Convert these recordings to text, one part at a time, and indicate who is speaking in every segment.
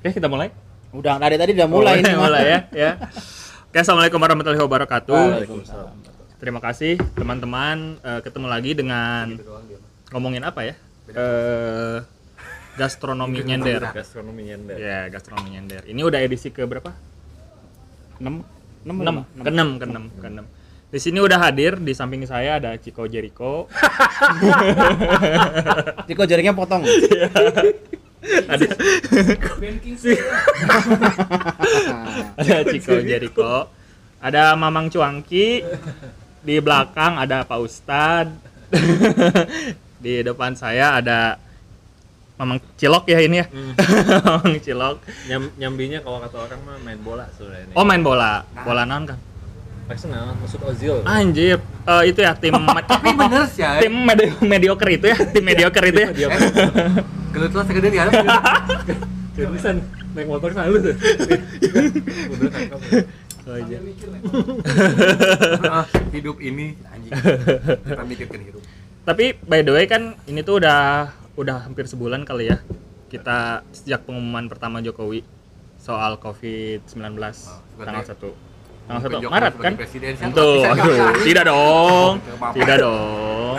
Speaker 1: Oke, kita mulai.
Speaker 2: Udah dari tadi udah mulai
Speaker 1: mulai,
Speaker 2: nih. Mas.
Speaker 1: mulai ya, ya. Oke, assalamualaikum warahmatullahi wabarakatuh.
Speaker 2: Waalaikumsalam.
Speaker 1: Terima kasih teman-teman. Eh, ketemu lagi dengan ngomongin apa ya? Eh, gastronomi nyender.
Speaker 3: Gastronomi nyender.
Speaker 1: Ya, gastronomi nyender. Ini udah edisi ke berapa?
Speaker 2: Enam, enam,
Speaker 1: Enam, keenam, keenam, keenam. Di sini udah hadir di samping saya ada Chico Jericho,
Speaker 2: Ciko jaringnya potong.
Speaker 1: ada ada Chico Jericho, ada Mamang Cuangki, di belakang ada Pak Ustad, di depan saya ada Mamang Cilok ya ini ya,
Speaker 4: Hmm.
Speaker 1: Mamang Cilok.
Speaker 3: Nyam- nyambinya kalau kata orang mah main bola sebenarnya.
Speaker 1: Oh main bola, bola non kan?
Speaker 3: Arsenal maksud Ozil.
Speaker 1: Anjir, Eh, itu ya tim
Speaker 4: Tapi bener sih Iya, ya.
Speaker 1: tim medi- mediocre itu ya, tim mediocre itu ya.
Speaker 3: Dia
Speaker 4: Gelut lah segede diharap.
Speaker 3: jurusan naik motor selalu tuh. Udah tangkap.
Speaker 1: Itu aja.
Speaker 4: Ah, hidup ini anjing. Kita mikirkan gitu. hidup.
Speaker 1: Tapi by the way kan ini tuh udah udah hampir sebulan kali ya kita sejak pengumuman pertama Jokowi soal COVID-19 tanggal 1 tanggal 1
Speaker 4: Mungkin ya? Jokowi
Speaker 1: Maret
Speaker 4: sebagai
Speaker 1: kan?
Speaker 4: presiden, siapa
Speaker 1: Tentu.
Speaker 4: bisa
Speaker 1: Aduh,
Speaker 4: nggak?
Speaker 1: tidak dong.
Speaker 4: Apa-apa.
Speaker 1: Tidak dong.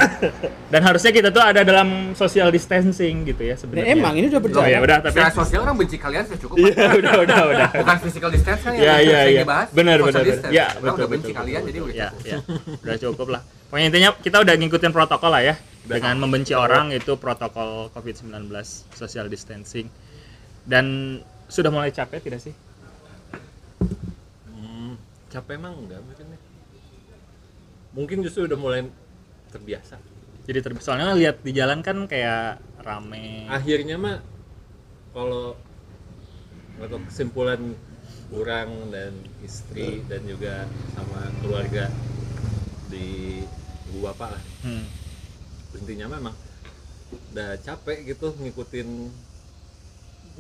Speaker 1: Dan harusnya kita tuh ada dalam social distancing gitu ya
Speaker 2: Ya,
Speaker 1: sebenarnya.
Speaker 2: emang ini udah
Speaker 1: Oh ya
Speaker 2: berjalan.
Speaker 1: udah tapi
Speaker 4: Secara sosial orang benci kalian sudah cukup.
Speaker 1: Iya, udah udah udah.
Speaker 4: Bukan physical distance kan
Speaker 1: Ya,
Speaker 4: yang
Speaker 1: ya,
Speaker 4: sering
Speaker 1: ya.
Speaker 4: dibahas.
Speaker 1: Benar,
Speaker 4: Social
Speaker 1: benar, benar.
Speaker 4: distance.
Speaker 1: Ya,
Speaker 4: Orang udah benci
Speaker 1: betul,
Speaker 4: kalian
Speaker 1: betul,
Speaker 4: jadi udah
Speaker 1: ya,
Speaker 4: cukup.
Speaker 1: ya. udah cukup lah. Pokoknya intinya kita udah ngikutin protokol lah ya. Dengan membenci orang itu protokol COVID-19, social distancing. Dan sudah mulai capek tidak sih?
Speaker 3: Hmm, capek emang enggak mungkin ya. Mungkin justru udah mulai terbiasa.
Speaker 1: Jadi ter- soalnya lihat di jalan kan kayak rame.
Speaker 4: Ah,
Speaker 3: Akhirnya mah kalau atau kesimpulan kurang dan istri dan juga sama keluarga di ibu bapak lah
Speaker 1: Hmm.
Speaker 3: intinya memang udah capek gitu ngikutin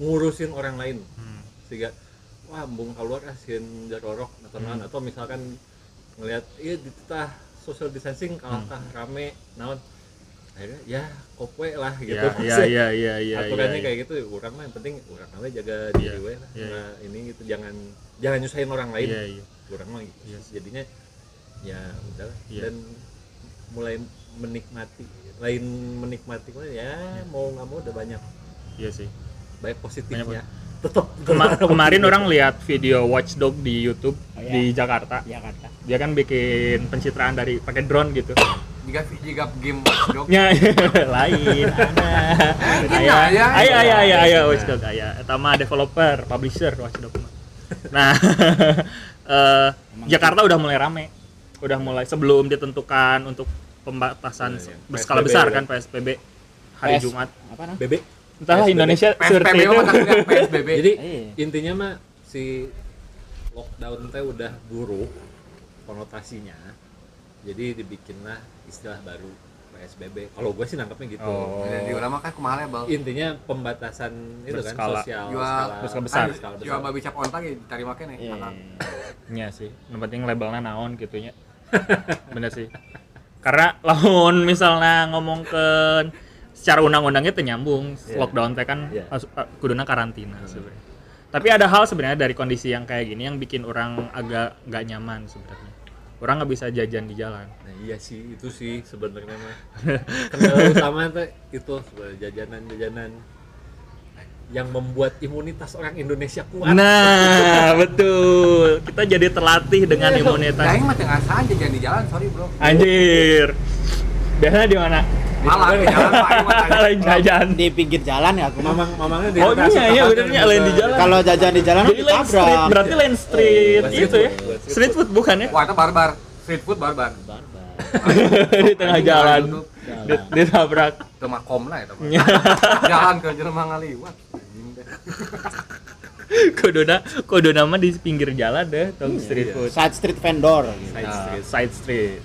Speaker 3: ngurusin orang lain
Speaker 1: Hmm.
Speaker 3: sehingga wah ah, embung keluar asin jarorok atau
Speaker 1: Hmm.
Speaker 3: naon. atau misalkan ngelihat iya di tah social distancing
Speaker 1: Hmm.
Speaker 3: kalah tah rame naon akhirnya ya kopwe lah gitu
Speaker 1: Ya, ya,
Speaker 3: Maksudnya,
Speaker 1: ya, ya, ya, ya,
Speaker 3: aturannya
Speaker 1: ya.
Speaker 3: kayak gitu orang mah yang penting orang mah jaga
Speaker 1: Iya,
Speaker 3: diri we lah
Speaker 1: iya,
Speaker 3: Nah, ini gitu jangan jangan nyusahin orang lain
Speaker 1: Iya, iya.
Speaker 3: kurang mah gitu.
Speaker 1: Iya.
Speaker 3: jadinya ya udahlah
Speaker 1: Iya.
Speaker 3: dan mulai menikmati lain menikmati mah ya mau nggak mau udah banyak
Speaker 1: Iya sih.
Speaker 3: banyak positifnya
Speaker 1: Banyak
Speaker 3: tetap
Speaker 1: Kema- kemarin orang lihat video Watchdog di YouTube
Speaker 2: Oh, iya.
Speaker 1: di Jakarta.
Speaker 2: Ya kata.
Speaker 1: Dia kan bikin pencitraan dari pakai drone gitu.
Speaker 4: Jika jika game dok
Speaker 1: Ya, lain ada. Aya,
Speaker 4: aya.
Speaker 1: aya, aya, aya, aya, Watchdog, aya. Eta mah developer, publisher Watchdog mah. Nah, eh,
Speaker 3: gitu.
Speaker 1: Jakarta udah mulai rame, udah mulai sebelum ditentukan untuk pembatasan
Speaker 3: Iya, iya.
Speaker 1: berskala
Speaker 3: PSBB
Speaker 1: besar
Speaker 3: ya.
Speaker 1: kan PSBB hari
Speaker 2: PS.
Speaker 1: Jumat.
Speaker 2: Apa nah?
Speaker 3: bebek
Speaker 1: Entahlah
Speaker 3: PSBB.
Speaker 1: Indonesia survei
Speaker 4: PSBB
Speaker 1: itu.
Speaker 3: kan?
Speaker 4: mah takutnya PSBB.
Speaker 3: jadi
Speaker 2: Iya.
Speaker 3: intinya mah si lockdown teh udah buruk konotasinya jadi dibikinlah istilah baru PSBB kalau gue sih nangkapnya gitu
Speaker 1: Oh.
Speaker 4: jadi orang mah kan kumaha label.
Speaker 3: intinya pembatasan itu
Speaker 1: Berskala.
Speaker 3: kan sosial
Speaker 4: Jual-
Speaker 1: Berskala besar.
Speaker 4: Kan,
Speaker 3: Iya. skala
Speaker 4: Jual
Speaker 3: besar.
Speaker 4: babi cap ontang ya dicari makan ya.
Speaker 2: Iya,
Speaker 4: Kakak.
Speaker 1: Iya sih, yang penting labelnya naon gitunya. Bener sih. Karena lamun misalnya ngomong ke secara undang-undangnya itu nyambung
Speaker 3: Iya.
Speaker 1: lockdown teh kan
Speaker 3: Iya.
Speaker 1: harus- eh, kuduna karantina sebenarnya. Tapi ada hal sebenarnya dari kondisi yang kayak gini yang bikin orang agak nggak nyaman sebenarnya. Orang nggak bisa jajan di jalan.
Speaker 3: Nah, iya sih, itu sih sebenarnya mah. Kendala utama tuh itu sebenarnya jajanan-jajanan yang membuat imunitas orang Indonesia kuat.
Speaker 1: Nah, betul. Kita jadi terlatih dengan imunitas.
Speaker 3: Iya.
Speaker 4: Daeng mah tengah saan jajan di jalan, sorry bro.
Speaker 1: Anjir. Biasanya di mana?
Speaker 4: Malah di jalan Pak Iwan aja.
Speaker 1: Lain jajan.
Speaker 2: Di pinggir jalan ya aku. mah.
Speaker 3: Mamang mamangnya di
Speaker 1: Oh
Speaker 3: atas,
Speaker 1: iya iya
Speaker 3: atasnya
Speaker 1: benernya
Speaker 3: ada-
Speaker 1: lain di jalan.
Speaker 2: Kalau jajan di jalan
Speaker 1: Jadi lane street,
Speaker 2: ditabrak.
Speaker 1: berarti lane street
Speaker 3: Buat
Speaker 1: itu
Speaker 3: street
Speaker 1: ya?
Speaker 3: food, buat street
Speaker 1: Street food bukan ya?
Speaker 4: Wah, itu barbar. Street food barbar.
Speaker 1: di tengah
Speaker 4: Anjing,
Speaker 1: jalan,
Speaker 4: duduk.
Speaker 1: Di- ditabrak.
Speaker 4: Itu mah komna ya, teman. Jalan ke Jerman ngaliwat. Anjing deh.
Speaker 1: Kodona, kodona mah di pinggir jalan deh, tong street
Speaker 3: iya.
Speaker 1: food.
Speaker 2: Gitu. Side street vendor. gitu.
Speaker 1: Side
Speaker 4: Nah.
Speaker 1: street, side street,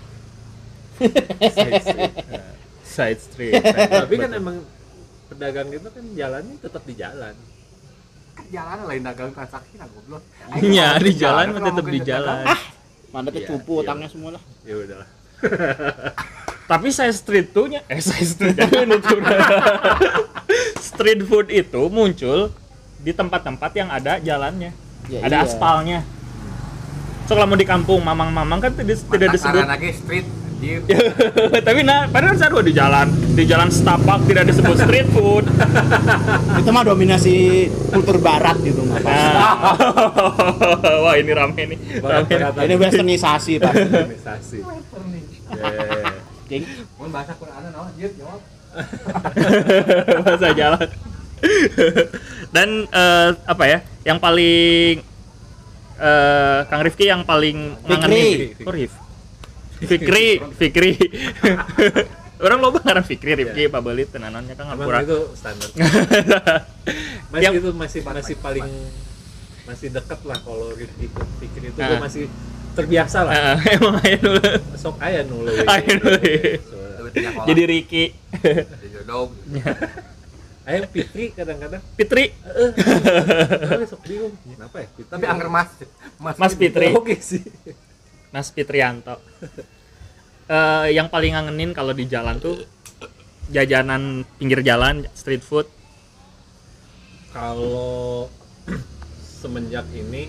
Speaker 3: Side
Speaker 1: side
Speaker 3: street. Nah,
Speaker 1: street.
Speaker 3: Tapi kan emang pedagang itu kan jalannya tetap di jalan.
Speaker 4: Kan jalan lain dagang transaksi lah goblok.
Speaker 1: Iya, di jalan mah tetap di jalan.
Speaker 2: Mana tuh
Speaker 3: Iya,
Speaker 2: cupu
Speaker 3: iya.
Speaker 2: utangnya semua lah.
Speaker 3: Ya udahlah.
Speaker 1: Tapi side street tuh nya eh side street. Street food itu muncul di tempat-tempat yang ada jalannya
Speaker 2: Ya,
Speaker 1: ada
Speaker 2: iya.
Speaker 1: aspalnya so kalau mau di kampung mamang-mamang kan tidak, tidak Iya. disebut
Speaker 4: lagi street anjir.
Speaker 1: tapi nah padahal sarua di jalan di jalan setapak tidak disebut street food Nah.
Speaker 2: itu mah dominasi kultur barat gitu mah pasti.
Speaker 1: nah. wah iya. ini rame nih rame nih.
Speaker 2: ini westernisasi pasti
Speaker 3: organisasi ya
Speaker 2: Jadi,
Speaker 4: Mun bahasa Qur'anna naon anjir jawab.
Speaker 1: bahasa jalan dan eh, apa ya yang paling eh, Kang Rifki yang paling
Speaker 2: Fikri.
Speaker 1: Oh, Rif. Fikri Fikri orang loba ngaran Fikri Rifki apa beulit teu nanonnya Kang
Speaker 3: Iya. Emang
Speaker 1: Ngapura
Speaker 3: itu standar masih
Speaker 1: Yang-
Speaker 3: itu masih masih paling masih deket lah kalau Rifki ke pikir itu
Speaker 1: Ah.
Speaker 3: gua masih terbiasa lah
Speaker 1: Eh, emang aya dulu
Speaker 3: sok aya nule
Speaker 1: Aya nule. jadi Iya. Riki
Speaker 4: jadi jodoh.
Speaker 3: aya Fitri kadang-kadang
Speaker 1: Fitri
Speaker 3: eh eh, sok bingung kenapa ya Fitri?
Speaker 4: Tapi anger Mas.
Speaker 1: Mas Fitri
Speaker 3: oke sih
Speaker 1: Mas Fitrianto. Eh, yang paling ngangenin kalau di jalan tuh jajanan pinggir jalan, street food.
Speaker 3: kalau semenjak ini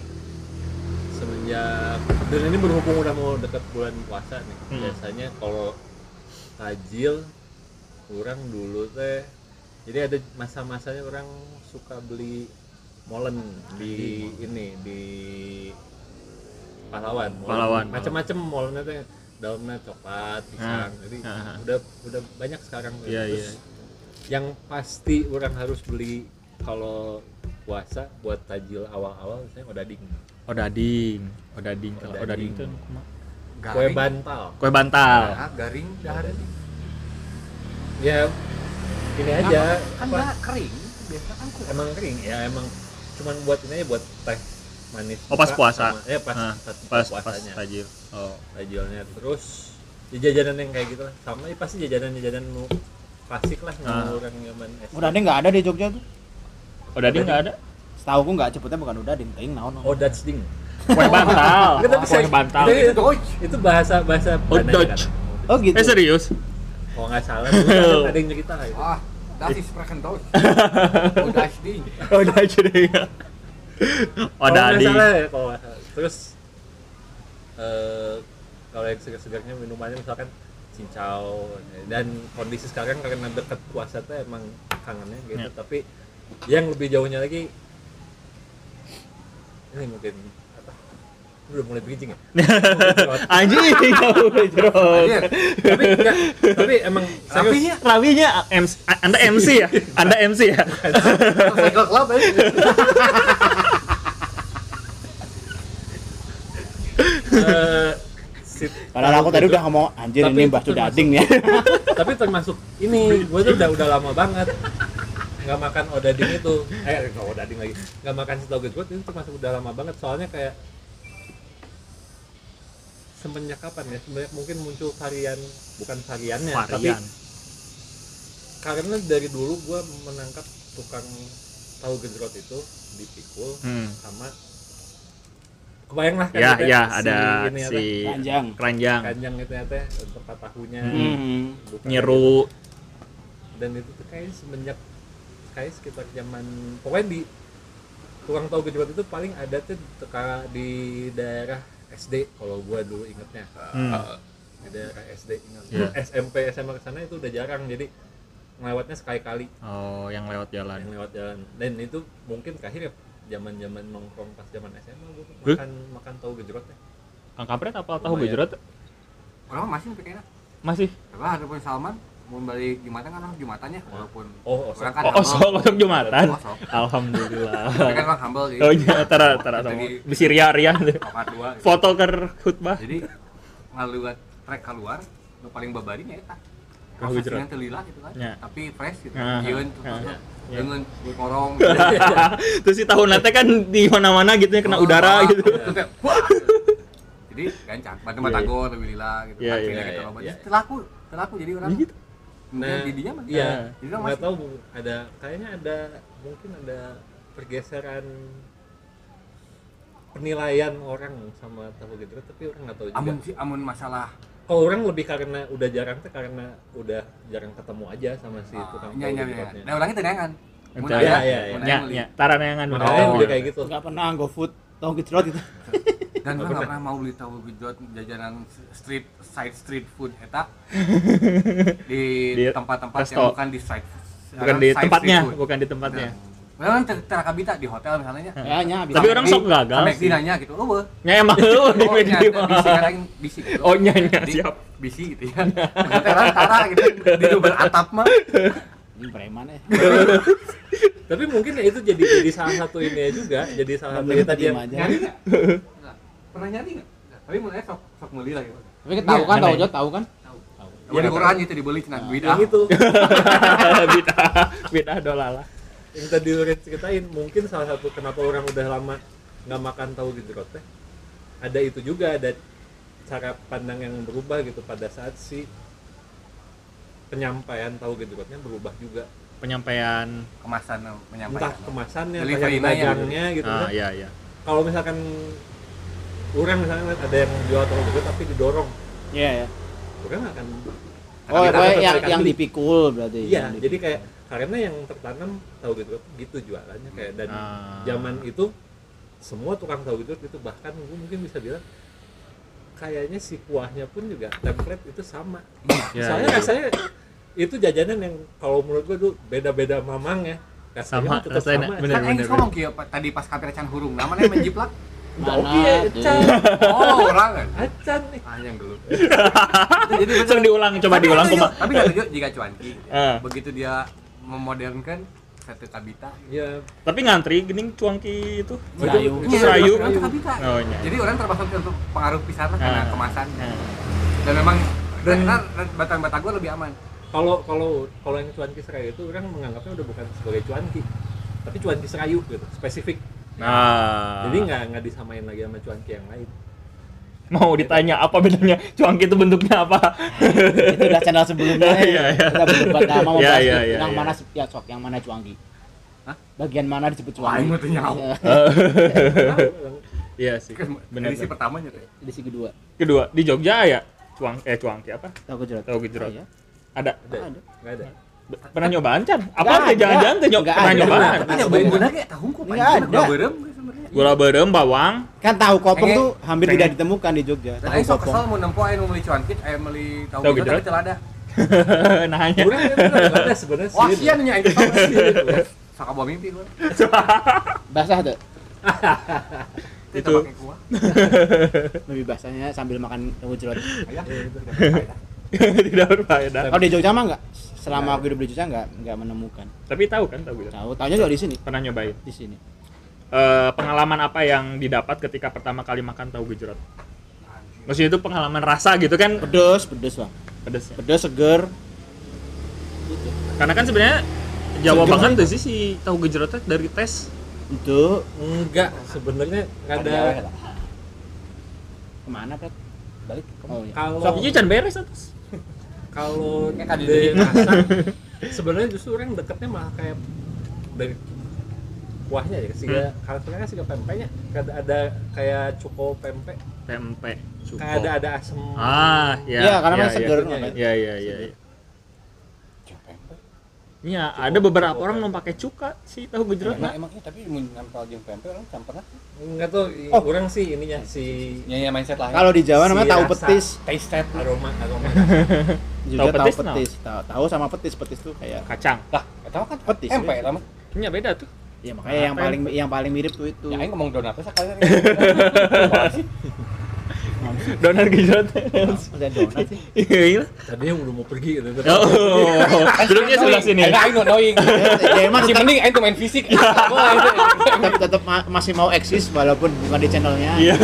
Speaker 3: semenjak dan ini berhubung udah mau deket bulan puasa nih
Speaker 1: Hmm.
Speaker 3: biasanya kalau tajil kurang dulu teh jadi ada masa-masanya orang suka beli molen di ini di pahlawan molen.
Speaker 1: Pahlawan.
Speaker 3: macam-macam molennya teh daunnya coklat pisang jadi
Speaker 1: ah, ah.
Speaker 3: udah udah banyak sekarang
Speaker 1: Iya,
Speaker 3: Terus
Speaker 1: iya.
Speaker 3: yang pasti orang harus beli kalau puasa buat tajil awal-awal misalnya odading
Speaker 1: Odading, odading, kalau odading
Speaker 3: Odading.
Speaker 1: tuh
Speaker 3: kue bantal
Speaker 1: kue
Speaker 3: Iya.
Speaker 1: bantal.
Speaker 4: Ah, garing dahar.
Speaker 3: ya ini aja
Speaker 4: Kan
Speaker 3: apa,
Speaker 4: dah kering, biasa kan kurang.
Speaker 3: emang kering ya emang cuman buat ini aja buat teh manis
Speaker 1: Oh, pas
Speaker 3: buka
Speaker 1: puasa.
Speaker 3: sama- eh, pas,
Speaker 1: Ah,
Speaker 3: pas,
Speaker 1: Pas
Speaker 3: buka
Speaker 1: pas
Speaker 3: puasanya
Speaker 1: tajil. Oh,
Speaker 3: tajilnya terus ya jajanan yang kayak gitu lah sama ya pasti jajanan-jajanan nu klasik lah yang
Speaker 1: Ah.
Speaker 3: orang zaman SD
Speaker 2: udah deh nggak ada di Jogja tuh
Speaker 1: odading Oh, nggak ada?
Speaker 2: setahu aku nggak cepetnya bukan udah ding ting naon
Speaker 3: oh that's ding
Speaker 1: Kue bantal.
Speaker 3: Kita bisa-
Speaker 1: Kue bantal.
Speaker 3: Tapi itu, itu bahasa bahasa
Speaker 1: Oh,
Speaker 3: Padanya kan?
Speaker 1: Dutch.
Speaker 2: oh gitu
Speaker 1: Eh serius?
Speaker 3: kalau nggak salah dulu ada, ada yang cerita gitu
Speaker 4: Ah, das ist sprechen Deutsch. Oh, das Ding.
Speaker 1: Odading.
Speaker 3: Kalau nggak
Speaker 1: Odading.
Speaker 3: salah ya, kalau nggak salah. terus eh, kalau yang segar-segarnya minumannya misalkan cincau dan kondisi sekarang karena deket puasa tuh emang kangennya gitu
Speaker 1: Ya.
Speaker 3: tapi yang lebih jauhnya lagi ini mungkin apa udah mulai bridging ya
Speaker 1: Anjing, jauh
Speaker 4: Anjir.
Speaker 1: jeruk.
Speaker 3: tapi enggak, tapi emang serius
Speaker 4: Tapi ya,
Speaker 1: Rawinya ah, MC, Anda MC ya? Anda MC ya?
Speaker 4: cycle club aja.
Speaker 3: eh, si-
Speaker 2: padahal aku tadi udah ngomong anjir
Speaker 3: Tapi
Speaker 2: ini
Speaker 3: itu
Speaker 2: mbah tuh
Speaker 3: termasuk-
Speaker 2: dading ya
Speaker 3: tapi termasuk ini gue tuh udah udah lama banget nggak makan odading itu eh nggak odading lagi nggak makan setahu gue itu termasuk udah lama banget soalnya kayak semenjak kapan ya semenjak mungkin muncul varian bukan variannya tapi
Speaker 1: Varian.
Speaker 3: karena dari dulu gue menangkap tukang tahu gejrot itu dipikul
Speaker 1: Hmm.
Speaker 3: sama kebayang lah kan
Speaker 1: Ya,
Speaker 3: gitu
Speaker 1: ya,
Speaker 3: si
Speaker 1: ada
Speaker 3: ini apa,
Speaker 1: si
Speaker 2: panjang
Speaker 1: Iya. keranjang,
Speaker 3: kanjang itu ya teh tempat tahunya
Speaker 2: Hmm.
Speaker 3: bukan-
Speaker 1: Ya, nyeru,
Speaker 3: dan itu tuh kayak semenjak kayak sekitar zaman pokoknya di tukang tahu gejrot itu paling ada tuh teka- di daerah SD kalau gua dulu ingetnya Uh,
Speaker 1: Hmm.
Speaker 3: di daerah SD ingat
Speaker 1: Iya.
Speaker 3: SMP SMA ke sana itu udah jarang jadi melewatnya sekali kali
Speaker 1: oh yang lewat
Speaker 3: yang
Speaker 1: jalan.
Speaker 3: lewat jalan dan itu mungkin akhirnya zaman zaman nongkrong pas zaman SMA gua tuh
Speaker 1: Huh?
Speaker 3: makan makan tahu gejrotnya
Speaker 1: Kang Kampret apa tahu
Speaker 3: Lumayan.
Speaker 1: gejrot?
Speaker 4: Orang masih pikirnya.
Speaker 1: Masih.
Speaker 4: Coba ada pun Salman mau balik Jumatan kan orang Jumatannya walaupun
Speaker 3: oh
Speaker 4: orang
Speaker 3: osok
Speaker 4: kan
Speaker 1: Oh,
Speaker 4: humble.
Speaker 1: osok osok jumatan.
Speaker 4: Osok. Tapi kan
Speaker 1: Alhamdulillah.
Speaker 4: orang humble jadi
Speaker 1: Oh iya, tara tara sama
Speaker 4: Jadi-
Speaker 1: bisi ria ria tuh.
Speaker 4: nomor dua. gitu.
Speaker 1: Foto ke khutbah.
Speaker 4: Jadi ngaluat trek keluar nu paling ya, babarinya eta.
Speaker 1: Tahu
Speaker 4: Rasa
Speaker 1: gejrot.
Speaker 4: dengan telila gitu kan.
Speaker 1: Ya.
Speaker 4: Tapi fresh gitu.
Speaker 1: Ah,
Speaker 4: Yeun tuh.
Speaker 1: ah, ya.
Speaker 4: Dengan di korong.
Speaker 1: Terus si tahun nanti kan di mana-mana gitu ya
Speaker 3: Oh,
Speaker 1: kena udara gitu.
Speaker 4: Terus kayak, wah. Jadi gancang. Bantu mata
Speaker 1: Iya, iya.
Speaker 4: gor lebih lila gitu.
Speaker 1: Iya,
Speaker 4: Akhirnya
Speaker 3: iya,
Speaker 4: gitu
Speaker 3: iya,
Speaker 4: loh.
Speaker 3: iya.
Speaker 4: Jadi Telaku, telaku jadi orang.
Speaker 1: Gitu.
Speaker 4: Mungkin didinya mah.
Speaker 3: iya
Speaker 4: Jadi orang
Speaker 3: nggak
Speaker 4: masih
Speaker 3: tahu Bu. ada kayaknya ada mungkin ada pergeseran penilaian orang sama tahu gitu tapi orang nggak tahu juga
Speaker 4: amun sih amun masalah
Speaker 3: kalau orang lebih karena udah jarang tuh karena udah jarang ketemu aja sama si
Speaker 4: Ah, iya,
Speaker 3: tukang
Speaker 4: nya
Speaker 1: Iya, kan.
Speaker 3: tahu
Speaker 4: nya nya.
Speaker 3: gejrotnya.
Speaker 4: Nah, orangnya tenangan.
Speaker 1: Entah.
Speaker 3: Iya, iya, iya.
Speaker 1: Nya, nya, taranayangan
Speaker 3: Makanya
Speaker 4: nah,
Speaker 1: makanya.
Speaker 4: iya.
Speaker 3: udah kayak gitu.
Speaker 2: nggak pernah GoFood tahu gejrot gitu
Speaker 4: Dan gue nggak pernah mau beli tahu gejot jajanan street side street food eta di
Speaker 1: Di
Speaker 4: tempat-tempat yang
Speaker 1: resto.
Speaker 4: bukan di side
Speaker 1: Bukan di
Speaker 4: side
Speaker 1: tempatnya,
Speaker 4: street food. Nah.
Speaker 1: bukan di
Speaker 3: Ya.
Speaker 1: tempatnya.
Speaker 4: Memang ter terkabita di hotel misalnya.
Speaker 2: ya nya bisa.
Speaker 1: Tapi orang sok gagal
Speaker 4: Sampai
Speaker 1: sih.
Speaker 4: dinanya gitu, oh,
Speaker 1: Nya Ya, emang lu
Speaker 3: iya,
Speaker 1: di
Speaker 4: oh,
Speaker 1: media.
Speaker 4: nyata, bisi kadang bisi gitu.
Speaker 1: Oh, nya, nya,
Speaker 4: Di-
Speaker 1: siap.
Speaker 4: Bisi gitu ya. Hotelan tara gitu di double atap mah.
Speaker 2: Ini preman ya
Speaker 3: Tapi mungkin ya itu jadi jadi salah satu ini ya juga, jadi
Speaker 4: Nah,
Speaker 3: salah satu
Speaker 2: Bener,
Speaker 3: ya
Speaker 4: iya,
Speaker 3: tadi yang
Speaker 2: diem aja.
Speaker 4: Nyari nggak? Nggak. Pernah nyari nggak? Nggak. Tapi mulai sok sok beli lah gitu.
Speaker 2: tapi kita tahu kan
Speaker 1: Iya,
Speaker 2: tahu
Speaker 1: aneh.
Speaker 2: jod tahu kan
Speaker 4: Ya di Quran itu dibeli cina
Speaker 1: Nah.
Speaker 4: duit
Speaker 3: yang
Speaker 4: ah.
Speaker 3: itu
Speaker 1: Bidah, bidah dolala.
Speaker 3: yang tadi lu ceritain mungkin salah satu kenapa orang udah lama nggak makan tahu gejrot teh ada itu juga ada cara pandang yang berubah gitu pada saat si penyampaian tahu gejrotnya berubah juga
Speaker 1: Penyampaian
Speaker 4: Kemasan menyampaikan.
Speaker 3: entah kemasannya entah
Speaker 4: Delivery-nya
Speaker 3: yang dagangnya gitu
Speaker 1: ah
Speaker 3: kan.
Speaker 1: iya iya.
Speaker 3: kalau misalkan orang misalnya ngeliat ada yang jual tahu gejrot tapi didorong
Speaker 2: iya ya
Speaker 3: orang akan
Speaker 2: oh
Speaker 3: akan
Speaker 2: pokoknya yang
Speaker 3: tertarik
Speaker 2: yang
Speaker 3: beli.
Speaker 2: dipikul berarti
Speaker 3: Iya,
Speaker 2: Yang dipikul.
Speaker 3: jadi
Speaker 1: gitu.
Speaker 3: kayak karena yang tertanam tahu gitu gitu jualannya kayak dan
Speaker 1: Ah.
Speaker 3: zaman itu semua tukang tahu gitu itu bahkan gue mungkin bisa bilang kayaknya si kuahnya pun juga template itu sama.
Speaker 1: Ya,
Speaker 3: Soalnya
Speaker 1: iya.
Speaker 3: rasanya itu jajanan yang kalau menurut gue dulu beda-beda mamang ya.
Speaker 1: Sama,
Speaker 3: Rasanya tetap
Speaker 1: rasanya
Speaker 3: sama.
Speaker 1: bener.
Speaker 4: Kan Aing ngomong kieu pa- tadi pas kapir can hurung, namanya menjiplak.
Speaker 2: Mana
Speaker 3: Oke,
Speaker 2: tuh?
Speaker 3: Iya, Chan.
Speaker 4: Oh, orang kan.
Speaker 3: Acan nih.
Speaker 4: Anjing dulu.
Speaker 1: Jadi langsung diulang coba diulang
Speaker 4: Tapi-
Speaker 1: kuma.
Speaker 4: Tapi nggak tujuh jika cuanki.
Speaker 1: Eh.
Speaker 4: Begitu dia memodernkan satu kabita.
Speaker 3: Ya,
Speaker 1: Tapi ngantri gening cuangki itu.
Speaker 3: Nah, iya.
Speaker 2: Serayu.
Speaker 1: Itu serayu.
Speaker 4: Orang tuh kabita.
Speaker 1: Oh, iya.
Speaker 4: Iya, Jadi orang terpaksa untuk pengaruh pisan lah karena
Speaker 1: Ah.
Speaker 4: kemasan.
Speaker 1: Nah,
Speaker 4: Dan memang
Speaker 3: Dan-
Speaker 4: dan batang batang gua lebih aman.
Speaker 3: kalau kalau kalau yang cuanki serayu itu orang menganggapnya udah bukan sebagai cuanki, tapi cuanki serayu gitu, spesifik.
Speaker 1: Nah.
Speaker 3: Jadi nggak nggak disamain lagi sama cuanki yang lain.
Speaker 1: mau ditanya apa bedanya cuangki itu bentuknya apa?
Speaker 2: itu udah channel sebelumnya
Speaker 1: Iya, iya.
Speaker 2: kita berdebat lama
Speaker 1: Iya,
Speaker 2: membahas
Speaker 1: iya, iya,
Speaker 2: yang
Speaker 1: iya.
Speaker 2: mana se- ya sok yang mana cuangki
Speaker 4: Hah?
Speaker 2: bagian mana disebut
Speaker 4: Wah,
Speaker 2: cuangki
Speaker 4: ini mah tuh nyawa.
Speaker 2: Iya,
Speaker 3: Tahu,
Speaker 1: Iya sih. Benar.
Speaker 4: Kan Edisi pertamanya tuh.
Speaker 2: di segi kedua
Speaker 1: Kedua, di Jogja ya cuang eh cuangki apa?
Speaker 2: tahu gejrot
Speaker 1: Tahu gejrot.
Speaker 2: Iya.
Speaker 1: Ada.
Speaker 3: Ada.
Speaker 2: Ada.
Speaker 3: Nggak ada.
Speaker 1: Pernah nyobaan Chan?
Speaker 2: Nggak
Speaker 1: Apa teh
Speaker 2: ada.
Speaker 1: jangan-jangan teh nyo-
Speaker 2: Nggak
Speaker 1: pernah
Speaker 2: ada.
Speaker 1: nyobaan?
Speaker 4: Iya, Tapi nyobain guna kayak tahu kok
Speaker 2: Nggak
Speaker 4: panjang.
Speaker 2: ada.
Speaker 4: Gak berem gue sebenarnya.
Speaker 1: Gula berem, bawang,
Speaker 2: kan tahu kopong
Speaker 4: Pengen-
Speaker 2: tuh hampir
Speaker 1: pengen- Nah, eh,
Speaker 2: tidak ditemukan di Jogja
Speaker 4: Dan
Speaker 2: tahu
Speaker 4: Aing sok
Speaker 2: kopong
Speaker 4: kesel mau nempo Aing mau beli cuankit, Aing beli tahu
Speaker 1: Tahu
Speaker 4: gitu tapi
Speaker 1: gejrot?
Speaker 4: celada.
Speaker 1: nanya.
Speaker 3: Kurang ya, bener, nggak ada sebenarnya
Speaker 4: Wah,
Speaker 3: sih.
Speaker 4: sian nya Aing tahu sih. Sok bawa mimpi gue.
Speaker 2: basah tuh
Speaker 1: Itu.
Speaker 4: Itu pakai kuah.
Speaker 2: lebih basahnya sambil makan tahu gejrot
Speaker 4: Ayah. tidak berfaedah.
Speaker 1: Tidak berfaedah.
Speaker 2: kalau di Jogja mah enggak selama aku hidup di Jogja enggak enggak menemukan
Speaker 1: Tapi tahu kan tahu gitu.
Speaker 2: tahu tahunya juga di sini
Speaker 1: Pernah nyobain.
Speaker 2: di sini
Speaker 1: Eh, pengalaman apa yang didapat ketika pertama kali makan tahu gejrot? Maksudnya itu pengalaman rasa gitu kan
Speaker 2: pedes pedes bang
Speaker 1: pedesnya.
Speaker 2: pedes seger
Speaker 1: Karena kan sebenarnya Jawa
Speaker 2: Seger
Speaker 1: banget tuh sih si tahu gejrotnya dari tes.
Speaker 2: itu
Speaker 3: Enggak, sebenarnya nggak ada.
Speaker 2: Ada- kemana Pret? balik oh iya
Speaker 3: Kalau
Speaker 1: Sopinya can beres atas.
Speaker 3: kalau
Speaker 4: Kayak tadi
Speaker 3: di
Speaker 4: jadi
Speaker 3: masak, sebenarnya justru orang deketnya malah kayak dari kuahnya ya. Sehingga
Speaker 1: Hmm.
Speaker 3: karakternya sih pempeknya ada, ada kayak cuko pempek,
Speaker 1: Pempek, cuko.
Speaker 3: kayak ada ada asam.
Speaker 1: Ah, ya.
Speaker 2: Iya, karena
Speaker 1: ya,
Speaker 2: kan seger.
Speaker 1: Ya, ya, ya, ya. ya. Iya,
Speaker 3: Cukup,
Speaker 1: ada beberapa
Speaker 3: cukup.
Speaker 1: orang mau pakai cuka sih tahu gejrot.
Speaker 5: Emang, emang iya, tapi mau nempel jeung pempek orang campur lah.
Speaker 3: Enggak tuh, i-
Speaker 2: Oh.
Speaker 3: orang sih ininya si
Speaker 5: Ya ya mindset lah.
Speaker 2: kalau di Jawa namanya
Speaker 3: Si
Speaker 2: tahu
Speaker 3: rasa.
Speaker 2: petis
Speaker 5: taste test lah.
Speaker 3: aroma aroma.
Speaker 2: Jogja
Speaker 1: Tahu
Speaker 2: tahu
Speaker 1: petis, no?
Speaker 2: petis tahu tahu sama petis petis tuh kayak
Speaker 1: Kacang.
Speaker 5: Lah, eta mah kan
Speaker 2: Petis,
Speaker 5: pempek
Speaker 2: ya.
Speaker 5: lah mah.
Speaker 1: Iya, beda tuh.
Speaker 2: ya makanya yang
Speaker 1: Apa
Speaker 2: paling yang paling mirip tuh itu
Speaker 5: Ya aing ngomong donat teh sakali.
Speaker 1: Donat gejrot.
Speaker 2: ada donat sih
Speaker 1: Iya, iya.
Speaker 3: Tadinya udah mau pergi gitu.
Speaker 1: Oh, duduknya sebelah sini. Iya.
Speaker 5: Aing aing knowing.
Speaker 2: ya emang
Speaker 5: Masih
Speaker 2: tetap,
Speaker 5: mending aing tuh main fisik. Gua aing tuh-
Speaker 2: tetap, tetap ma- masih mau eksis walaupun bukan di channelnya
Speaker 1: Iya.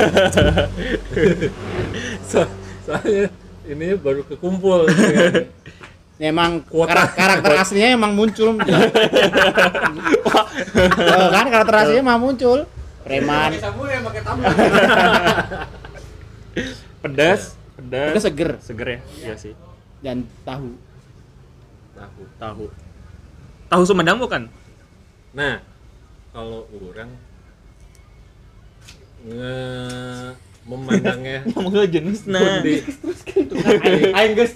Speaker 3: So, soalnya ini baru kekumpul. gitu kan. dengan
Speaker 2: emang
Speaker 3: Kuota.
Speaker 2: kar- karakter aslinya emang muncul Eh, kan karakter aslinya emang muncul preman
Speaker 4: Tamu
Speaker 5: ya,
Speaker 4: yang pakai tamu.
Speaker 5: Nah,
Speaker 1: Pedas, pedas.
Speaker 2: udah seger
Speaker 1: Seger ya? Iya sih.
Speaker 2: dan tahu
Speaker 3: Tahu.
Speaker 1: Tahu. Tahu Sumedang bukan?
Speaker 3: Nah, kalau orang nge memandangnya
Speaker 1: Ngomongnya jenis
Speaker 3: mun
Speaker 1: nah.
Speaker 3: di
Speaker 5: aing geus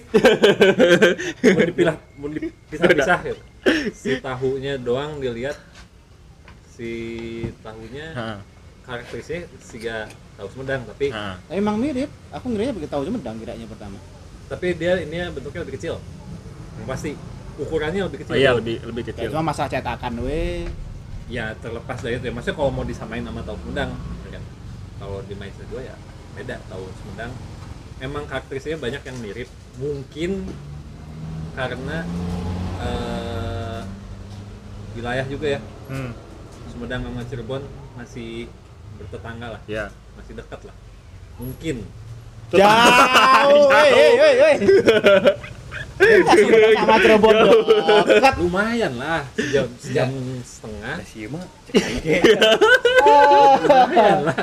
Speaker 3: mun dipilah mun dipisah-pisah gitu. si tahunya doang dilihat si tahunya
Speaker 1: Heeh,
Speaker 3: karakterisnya siga tahu Sumedang tapi
Speaker 1: heeh.
Speaker 2: Emang mirip. Aku ngiranya pakai tahu Sumedang kiranya pertama.
Speaker 3: tapi dia ini bentuknya lebih kecil yang pasti ukurannya lebih kecil
Speaker 1: Oh iya lebih lebih
Speaker 2: Ya,
Speaker 1: kecil.
Speaker 2: cuma masalah cetakan we.
Speaker 3: ya terlepas dari itu ya maksudnya kalau mau disamain sama tahu Sumedang ya kan kalau di mindset gue ya beda tahu Sumedang emang karakteristiknya banyak yang mirip mungkin karena eh, wilayah juga ya
Speaker 1: Hmm,
Speaker 3: Sumedang sama Cirebon masih bertetangga lah
Speaker 1: ya.
Speaker 3: masih dekat lah mungkin
Speaker 2: Jauh. Woi, woi, woi, woi.
Speaker 1: Iya,
Speaker 2: Kita Sumedang sama Cirebon dong. Dekat.
Speaker 3: lumayan lah sejam sejam setengah
Speaker 5: Nah, sih mah
Speaker 3: lumayan lah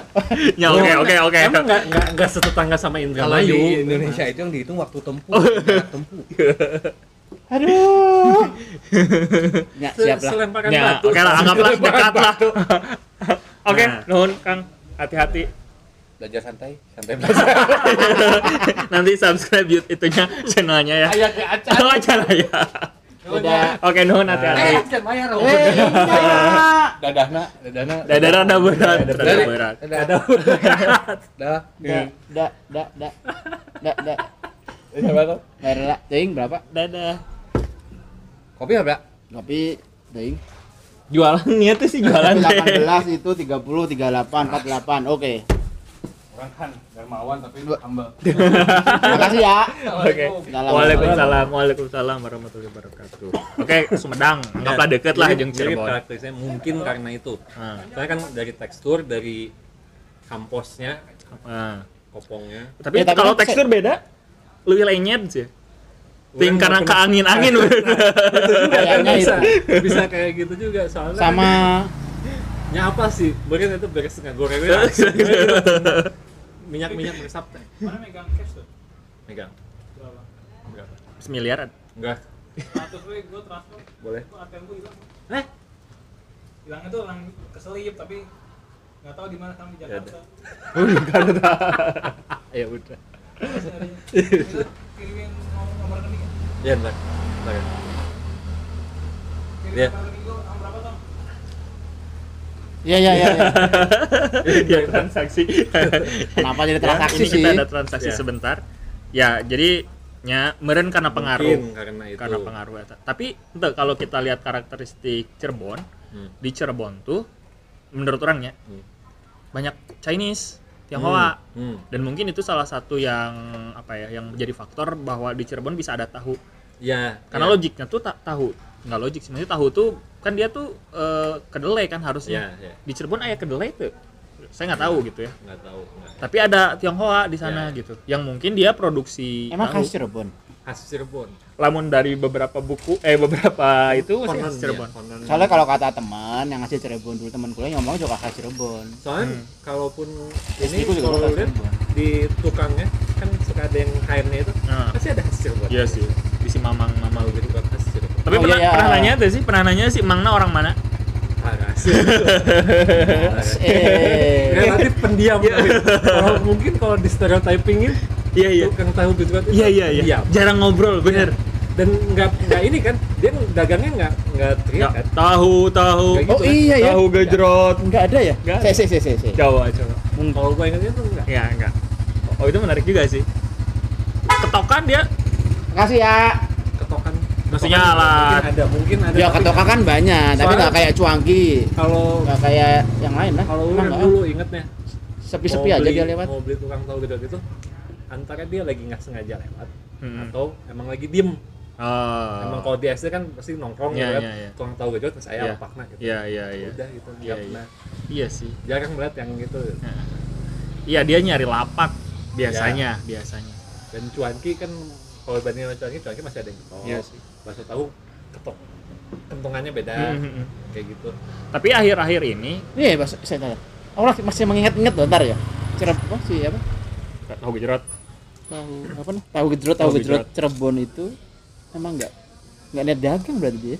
Speaker 1: Ya oke oke oke.
Speaker 3: emang nggak nggak nggak setetangga sama
Speaker 5: kalau di
Speaker 3: Indramayu
Speaker 5: Indonesia itu yang dihitung waktu tempuh
Speaker 1: Oh.
Speaker 5: jarak tempuh
Speaker 2: Aduh. Ya,
Speaker 3: Se-
Speaker 2: siap lah.
Speaker 3: selemparan
Speaker 1: Ya,
Speaker 3: batu
Speaker 1: oke lah anggaplah
Speaker 3: Selemparan
Speaker 1: dekat lah.
Speaker 3: batu.
Speaker 1: Oke,
Speaker 3: Nah.
Speaker 1: nuhun Kang. Hati-hati.
Speaker 5: belajar santai santai belajar
Speaker 1: Nanti subscribe YouTube itunya channelnya ya.
Speaker 4: Ayah ke acan.
Speaker 1: Oh, acara ya.
Speaker 2: Udah.
Speaker 1: Oke, nuhun
Speaker 4: Eh,
Speaker 1: hati-hati.
Speaker 4: acan bayar. oh.
Speaker 2: Eh,
Speaker 5: iya.
Speaker 2: enggak.
Speaker 5: dadahna dadahna
Speaker 1: Dadah ada berat,
Speaker 5: Dadah.
Speaker 1: dadah berat.
Speaker 5: dadah dadah
Speaker 2: Da, da, da, da, da, da,
Speaker 5: Siapa tuh?
Speaker 2: Merah, ting berapa?
Speaker 1: Dadah.
Speaker 5: kopi apa
Speaker 2: Kopi, ting.
Speaker 1: Jualannya tuh sih jualan deh.
Speaker 2: 18 itu 30, 38, 48. Oke.
Speaker 4: Orang kan dermawan tapi humble.
Speaker 2: Makasih ya.
Speaker 1: Oke. Waalaikumsalam, waalaikumsalam warahmatullahi wabarakatuh. Oke, Sumedang, anggaplah deket lah
Speaker 3: Mirip-
Speaker 1: jeung
Speaker 3: mirip
Speaker 1: Cirebon. Ah,
Speaker 3: karakterisnya mungkin karena itu
Speaker 1: Heeh.
Speaker 3: karena kan dari tekstur dari kamposnya
Speaker 1: heeh.
Speaker 3: kopongnya
Speaker 1: ah. Tapi,
Speaker 2: Ya, tapi
Speaker 1: kalau
Speaker 2: kan se-
Speaker 1: tekstur beda, lebih lenyet sih. Ting
Speaker 3: Orang
Speaker 1: karena
Speaker 3: nggak
Speaker 1: ke angin-angin.
Speaker 2: Kayaknya
Speaker 3: bisa
Speaker 2: itu.
Speaker 3: bisa kayak gitu juga soalnya
Speaker 2: Sama
Speaker 3: kan nyapa sih mungkin itu beres nggak gorengnya minyak minyak meresap teh
Speaker 6: Mana megang cash tuh?
Speaker 3: megang
Speaker 6: Berapa?
Speaker 3: berapa
Speaker 1: Semiliaran.
Speaker 3: enggak
Speaker 6: 100 we gue transfer,
Speaker 3: boleh
Speaker 6: gue ATM gue hilang.
Speaker 3: eh
Speaker 6: Hilangnya tuh hilang keselip tapi nggak tahu di mana kami Jakarta.
Speaker 3: ya udah
Speaker 6: Terus nyarinya. Itu kirimin nom- nomor rekening.
Speaker 3: ya ntar ntar ya.
Speaker 6: Kirimin
Speaker 3: Iya.
Speaker 6: nomor rekening gue sama berapa tong?
Speaker 2: Iya, iya, iya. iya.
Speaker 1: ya transaksi.
Speaker 2: Kenapa jadi transaksi
Speaker 1: ini
Speaker 2: sih?
Speaker 1: kita ada transaksi
Speaker 3: Ya.
Speaker 1: sebentar. Ya, jadi nya meren karena pengaruh.
Speaker 3: Mungkin gitu. karena itu
Speaker 1: karena pengaruh eta. Tapi ente, kalau kita lihat karakteristik Cirebon,
Speaker 3: Hmm.
Speaker 1: di Cirebon tuh menurut orangnya
Speaker 3: Hmm.
Speaker 1: banyak Chinese, Tionghoa
Speaker 3: Hmm.
Speaker 1: dan mungkin itu salah satu yang apa ya yang menjadi faktor bahwa di Cirebon bisa ada tahu.
Speaker 3: ya
Speaker 1: Karena
Speaker 3: ya.
Speaker 1: logiknya tuh tak tahu. Nggak logik sih, maksudnya tahu tuh kan dia tuh eh, kedelai kan
Speaker 3: ya
Speaker 1: harusnya.
Speaker 3: ya
Speaker 1: Di Cirebon ayah kedelai tuh. Saya nggak tahu gitu ya.
Speaker 3: nggak tahu nggak
Speaker 1: Tapi ada Tionghoa di sana gitu. Yang mungkin dia produksi
Speaker 2: Emang
Speaker 1: tahu.
Speaker 2: khas Cirebon.
Speaker 3: khas Cirebon
Speaker 1: Lamun dari beberapa buku eh beberapa itu masih
Speaker 3: Konon,
Speaker 1: khas Cirebon.
Speaker 3: ya, konon.
Speaker 2: Soalnya kalau kata teman yang ngasih Cirebon dulu teman kuliah ngomong juga khas Cirebon.
Speaker 3: soalnya
Speaker 1: Hmm.
Speaker 3: kalaupun ini
Speaker 2: SD ku juga kan,
Speaker 3: kalau
Speaker 2: khas
Speaker 3: lu lihat
Speaker 2: Cirebon.
Speaker 3: di tukangnya kan suka ada yang kainnya itu
Speaker 1: Nah.
Speaker 3: pasti ada khas Cirebon
Speaker 1: Iya sih, di si Mamang Mamang.
Speaker 3: mau gitu kan khas Cirebon
Speaker 1: Tapi
Speaker 2: Oh,
Speaker 1: pernah,
Speaker 2: iya, iya.
Speaker 1: pernah nanya tuh sih, pernah nanya si Mangna orang mana?
Speaker 3: Parah.
Speaker 2: Eh.
Speaker 3: Relatif pendiam. tapi Kalau mungkin kalau di stereotypingin
Speaker 1: Iya iya.
Speaker 3: tukang kan tahu gejrot itu
Speaker 1: Iya iya iya.
Speaker 3: pendiam.
Speaker 1: Jarang ngobrol, bener.
Speaker 3: Dan nggak nggak ini kan dia dagangnya nggak nggak teriak
Speaker 1: Nggak,
Speaker 3: kan.
Speaker 1: Tahu tahu.
Speaker 3: Kayak
Speaker 2: Oh
Speaker 3: gitu kan.
Speaker 2: iya ya.
Speaker 1: Tahu gejrot.
Speaker 2: Enggak ada ya?
Speaker 1: Nggak ada.
Speaker 2: Se se se se. se.
Speaker 1: Jawa coba.
Speaker 3: Kalau gue ingatnya tuh nggak.
Speaker 1: Ya enggak. Oh itu menarik juga sih. Ketokan dia,
Speaker 2: Makasih ya.
Speaker 3: Ketokan.
Speaker 1: Maksudnya
Speaker 3: ketokan
Speaker 1: alat.
Speaker 3: Mungkin ada mungkin ada.
Speaker 2: Ya
Speaker 3: tapi
Speaker 2: ketokan kan banyak, tapi
Speaker 3: Soalnya-
Speaker 2: nggak kayak cuangki.
Speaker 3: Kalau
Speaker 2: Nggak kayak yang lain lah.
Speaker 3: kalau
Speaker 2: Emang
Speaker 3: udah
Speaker 2: nggak?
Speaker 3: dulu ingetnya
Speaker 2: sepi-sepi
Speaker 3: mau
Speaker 2: aja
Speaker 3: beli-
Speaker 2: dia lewat.
Speaker 3: Mau beli tukang tahu gejrot itu antara dia lagi nggak sengaja lewat
Speaker 1: Hmm.
Speaker 3: atau emang lagi diem
Speaker 1: Oh.
Speaker 3: emang kalau di SD kan pasti nongkrong
Speaker 1: Iya,
Speaker 3: gitu kan
Speaker 1: iya, iya.
Speaker 3: tukang tahu gejrot terus ayam
Speaker 1: Iya.
Speaker 3: pakna gitu
Speaker 1: Iya iya iya.
Speaker 3: udah gitu nggak
Speaker 1: Iya,
Speaker 3: pernah
Speaker 1: Iya sih.
Speaker 3: jarang melihat yang gitu
Speaker 1: Iya dia nyari lapak biasanya biasanya.
Speaker 3: dan cuanki kan kalau bandingin sama cuanki cuanki masih ada yang ketok
Speaker 1: Iya sih.
Speaker 3: bakso tahu ketok kentongannya beda
Speaker 1: Mhm.
Speaker 3: kayak gitu
Speaker 1: Tapi akhir-akhir ini
Speaker 2: Iya, Mas, saya tanya. Orang masih mengingat-ingat loh, ntar ya. Cirebon si apa?
Speaker 1: tahu gejrot.
Speaker 2: Tahu apa nih? Tahu gejrot, tahu
Speaker 1: Tahu
Speaker 2: gejrot Cirebon itu emang enggak enggak niat dagang berarti dia.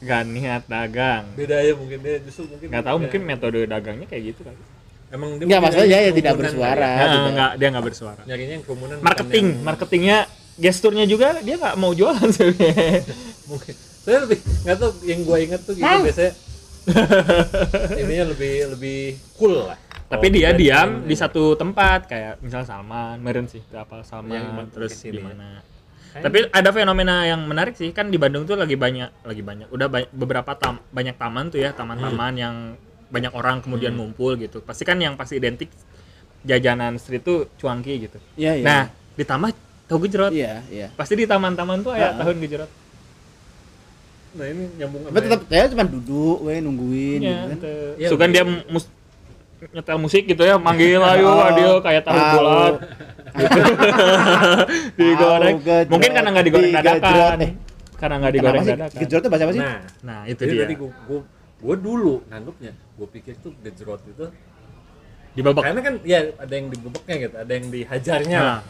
Speaker 1: Gak niat dagang.
Speaker 3: beda ya mungkin dia justru mungkin
Speaker 1: nggak tahu
Speaker 3: ya.
Speaker 1: mungkin metode dagangnya kayak gitu kan
Speaker 3: emang dia
Speaker 2: Enggak
Speaker 3: mungkin
Speaker 2: maksudnya
Speaker 3: nyari
Speaker 2: dia ya
Speaker 3: kerumunan
Speaker 2: tidak
Speaker 3: kali
Speaker 2: bersuara. gitu.
Speaker 3: ya.
Speaker 1: Nah,
Speaker 2: juga.
Speaker 1: nggak dia nggak bersuara
Speaker 3: nyarinya yang kerumunan bukan
Speaker 1: marketing
Speaker 3: yang-
Speaker 1: marketingnya gesturnya juga dia nggak mau jualan sebenarnya
Speaker 3: mungkin Saya lebih nggak tahu yang gue inget tuh gitu biasanya. Ininya lebih lebih cool lah.
Speaker 1: Tapi
Speaker 2: Oh,
Speaker 3: Kalau
Speaker 2: iya,
Speaker 1: dia
Speaker 3: brand
Speaker 1: diam
Speaker 3: brand
Speaker 1: di
Speaker 3: ini.
Speaker 1: satu tempat kayak misal Salman, Meren sih berapa Salman
Speaker 2: Iya,
Speaker 3: Yang emang
Speaker 1: terus
Speaker 3: terus
Speaker 1: di
Speaker 3: ini.
Speaker 1: mana. Tapi ada fenomena yang menarik sih kan di Bandung tuh lagi banyak lagi banyak udah ba- beberapa tam- banyak taman tuh ya taman-taman
Speaker 2: Hmm.
Speaker 1: yang banyak orang kemudian ngumpul gitu. Pasti kan yang pasti identik jajanan street tuh cuangki gitu.
Speaker 2: Iya, iya.
Speaker 1: Nah ditambah tahu gejrot.
Speaker 2: iya, iya.
Speaker 1: Pasti di taman-taman tuh ayah
Speaker 2: Ah.
Speaker 1: tahun gejrot.
Speaker 3: Nah ini nyambung
Speaker 2: Tapi tetap saya cuma duduk, we nungguin
Speaker 1: Ya,
Speaker 2: gitu kan.
Speaker 1: tuh.
Speaker 3: Iya,
Speaker 1: So kan dia
Speaker 3: bener.
Speaker 1: mus- nyetel musik gitu ya manggil ayo
Speaker 2: Oh,
Speaker 1: adil kayak tahu
Speaker 2: tahu.
Speaker 1: bulat gitu. digoreng
Speaker 2: Tahu gejrot,
Speaker 1: mungkin karena nggak digoreng
Speaker 2: digejrot,
Speaker 1: dadakan
Speaker 2: eh.
Speaker 1: karena nggak digoreng
Speaker 2: Kenapa sih?
Speaker 1: dadakan
Speaker 2: Gejrot itu bahasa apa sih?
Speaker 3: Nah,
Speaker 1: nah itu
Speaker 3: jadi
Speaker 1: dia
Speaker 3: tadi gue gue gue dulu nganggepnya gue pikir tuh gejrot itu
Speaker 1: di babak
Speaker 3: karena kan ya ada yang digebeknya gitu ada yang dihajarnya
Speaker 1: nah,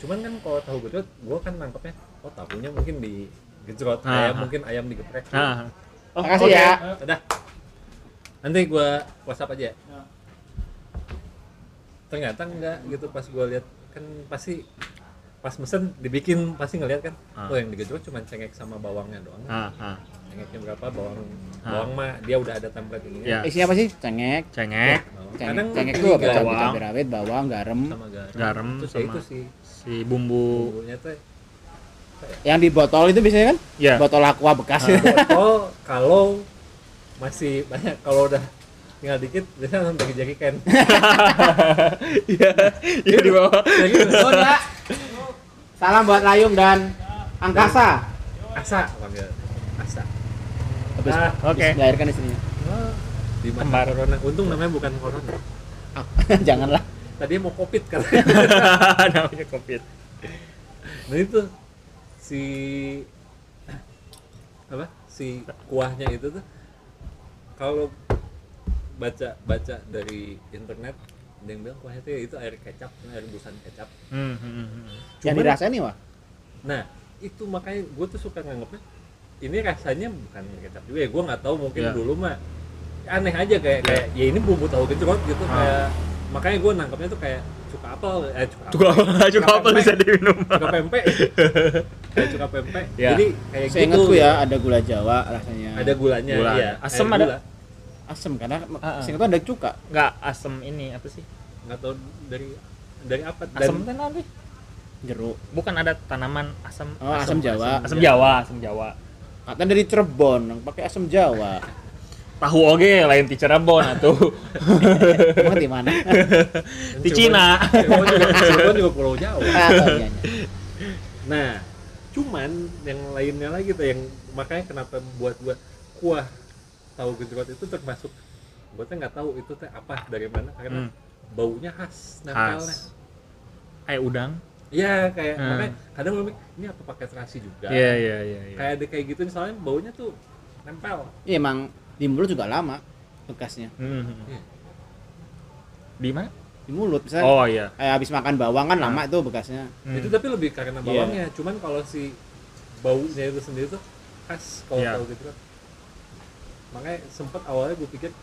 Speaker 3: cuman kan kalau tahu gejrot gue kan nangkepnya oh tahunya mungkin di gejrot
Speaker 1: Ah,
Speaker 3: ayam
Speaker 1: ah.
Speaker 3: mungkin ayam digeprek
Speaker 1: nah.
Speaker 2: Oh, Makasih
Speaker 1: oke.
Speaker 2: ya.
Speaker 3: udah nanti gue whatsapp aja ya.
Speaker 6: Ya.
Speaker 3: ternyata enggak gitu pas gue lihat kan pasti pas mesen dibikin pasti ngeliat kan
Speaker 1: Ah.
Speaker 3: oh yang digejrot cuma cengek sama bawangnya doang
Speaker 1: Ah, ah.
Speaker 3: cengeknya berapa bawang
Speaker 1: Ah.
Speaker 3: bawang mah dia udah ada template ini kan?
Speaker 1: ya
Speaker 2: Isinya apa sih? Cengek.
Speaker 1: cengek
Speaker 3: bawang.
Speaker 2: Cengek,
Speaker 3: kadang
Speaker 2: cengek
Speaker 3: ini
Speaker 2: tuh apa?
Speaker 3: garam
Speaker 1: Bawang.
Speaker 2: Cabai rawit, bawang, garam.
Speaker 3: sama garam,
Speaker 1: Garam
Speaker 3: terus ya
Speaker 1: sama-
Speaker 3: itu sih
Speaker 1: si bumbu
Speaker 3: bumbunya tuh
Speaker 2: Yang di botol itu biasanya kan?
Speaker 1: ya
Speaker 2: Botol aqua bekas.
Speaker 3: Ah. botol kalau masih banyak kalau udah tinggal dikit biasanya langsung pakai jaki kan
Speaker 1: iya iya di bawah
Speaker 3: jadi
Speaker 2: Saudara. Iya. Salam buat Layung dan Angkasa.
Speaker 3: asa panggil asa
Speaker 2: Habis
Speaker 3: Ah,
Speaker 1: oke
Speaker 2: habis melahirkan istrinya.
Speaker 3: di masa
Speaker 1: Kembar.
Speaker 3: corona untung namanya bukan corona
Speaker 2: Ah, Janganlah.
Speaker 3: tadi mau covid kan. katanya
Speaker 1: namanya covid
Speaker 3: nah itu si apa si kuahnya itu tuh kalau baca baca dari internet ada yang bilang kuahnya tuh ya itu air kecap air rebusan kecap
Speaker 1: Hmm, hmm, hmm.
Speaker 2: Yang
Speaker 3: Cuman-
Speaker 2: dirasain nih, Wah.
Speaker 3: Nah, itu makanya gue tuh suka nganggapnya ini rasanya bukan kecap juga ya. Gue nggak tahu mungkin
Speaker 1: Iya.
Speaker 3: dulu mah aneh aja kayak kayak ya ini bumbu tahu gejrot gitu
Speaker 1: Ah.
Speaker 3: kayak makanya gue nangkapnya tuh kayak cuka apel eh cuka apel,
Speaker 1: cukup cukup apa bisa diminum
Speaker 3: cuka pempek kayak cuka pempek
Speaker 1: Iya.
Speaker 3: jadi kayak
Speaker 2: Seingatku
Speaker 3: gitu
Speaker 2: ya ada gula Jawa rasanya.
Speaker 3: ada gulanya
Speaker 1: Gula.
Speaker 3: iya
Speaker 1: Asem
Speaker 3: air
Speaker 1: ada?
Speaker 3: gula.
Speaker 2: asam karena
Speaker 1: Ah, ah.
Speaker 2: seingatku ada cuka.
Speaker 1: nggak asem ini apa sih
Speaker 3: nggak tahu dari dari apa dan
Speaker 1: asem kan teh nanti
Speaker 2: jeruk.
Speaker 1: bukan ada tanaman asam
Speaker 2: Oh, asam Jawa.
Speaker 1: asam Jawa asam Jawa
Speaker 2: Katanya dari Cirebon, pakai asam Jawa.
Speaker 1: tahu oge lain di Cirebon atuh
Speaker 2: Emang di mana? Iya,
Speaker 3: dan
Speaker 1: di
Speaker 3: Cirebon-
Speaker 1: Cina
Speaker 3: Cirebon juga, Cirebon juga pulau Jawa
Speaker 2: Ah, tahu dia.
Speaker 3: Nah, cuman yang lainnya lagi tuh yang makanya kenapa buat gua kuah tahu gejrot itu termasuk gua tuh nggak tahu itu teh apa dari mana karena
Speaker 1: Hmm,
Speaker 3: baunya khas nakalnya.
Speaker 1: khas kayak udang
Speaker 3: Iya kayak
Speaker 1: Hmm.
Speaker 3: makanya kadang gua mikir, ini apa pakai terasi juga?
Speaker 1: iya iya iya iya.
Speaker 3: Kayak ada kayak gitu soalnya baunya tuh nempel.
Speaker 2: Iya, emang di mulut juga lama bekasnya.
Speaker 1: Hmm, hmm, hmm. di mana
Speaker 2: Di mulut misalnya
Speaker 1: oh iya
Speaker 2: kayak habis makan bawang kan lama Kan? itu bekasnya.
Speaker 1: Hmm.
Speaker 3: Itu tapi lebih karena bawangnya. Cuman kalau si baunya itu sendiri tuh khas kalau
Speaker 1: Iya.
Speaker 3: tahu gejrot. Makanya sempet awalnya gue pikir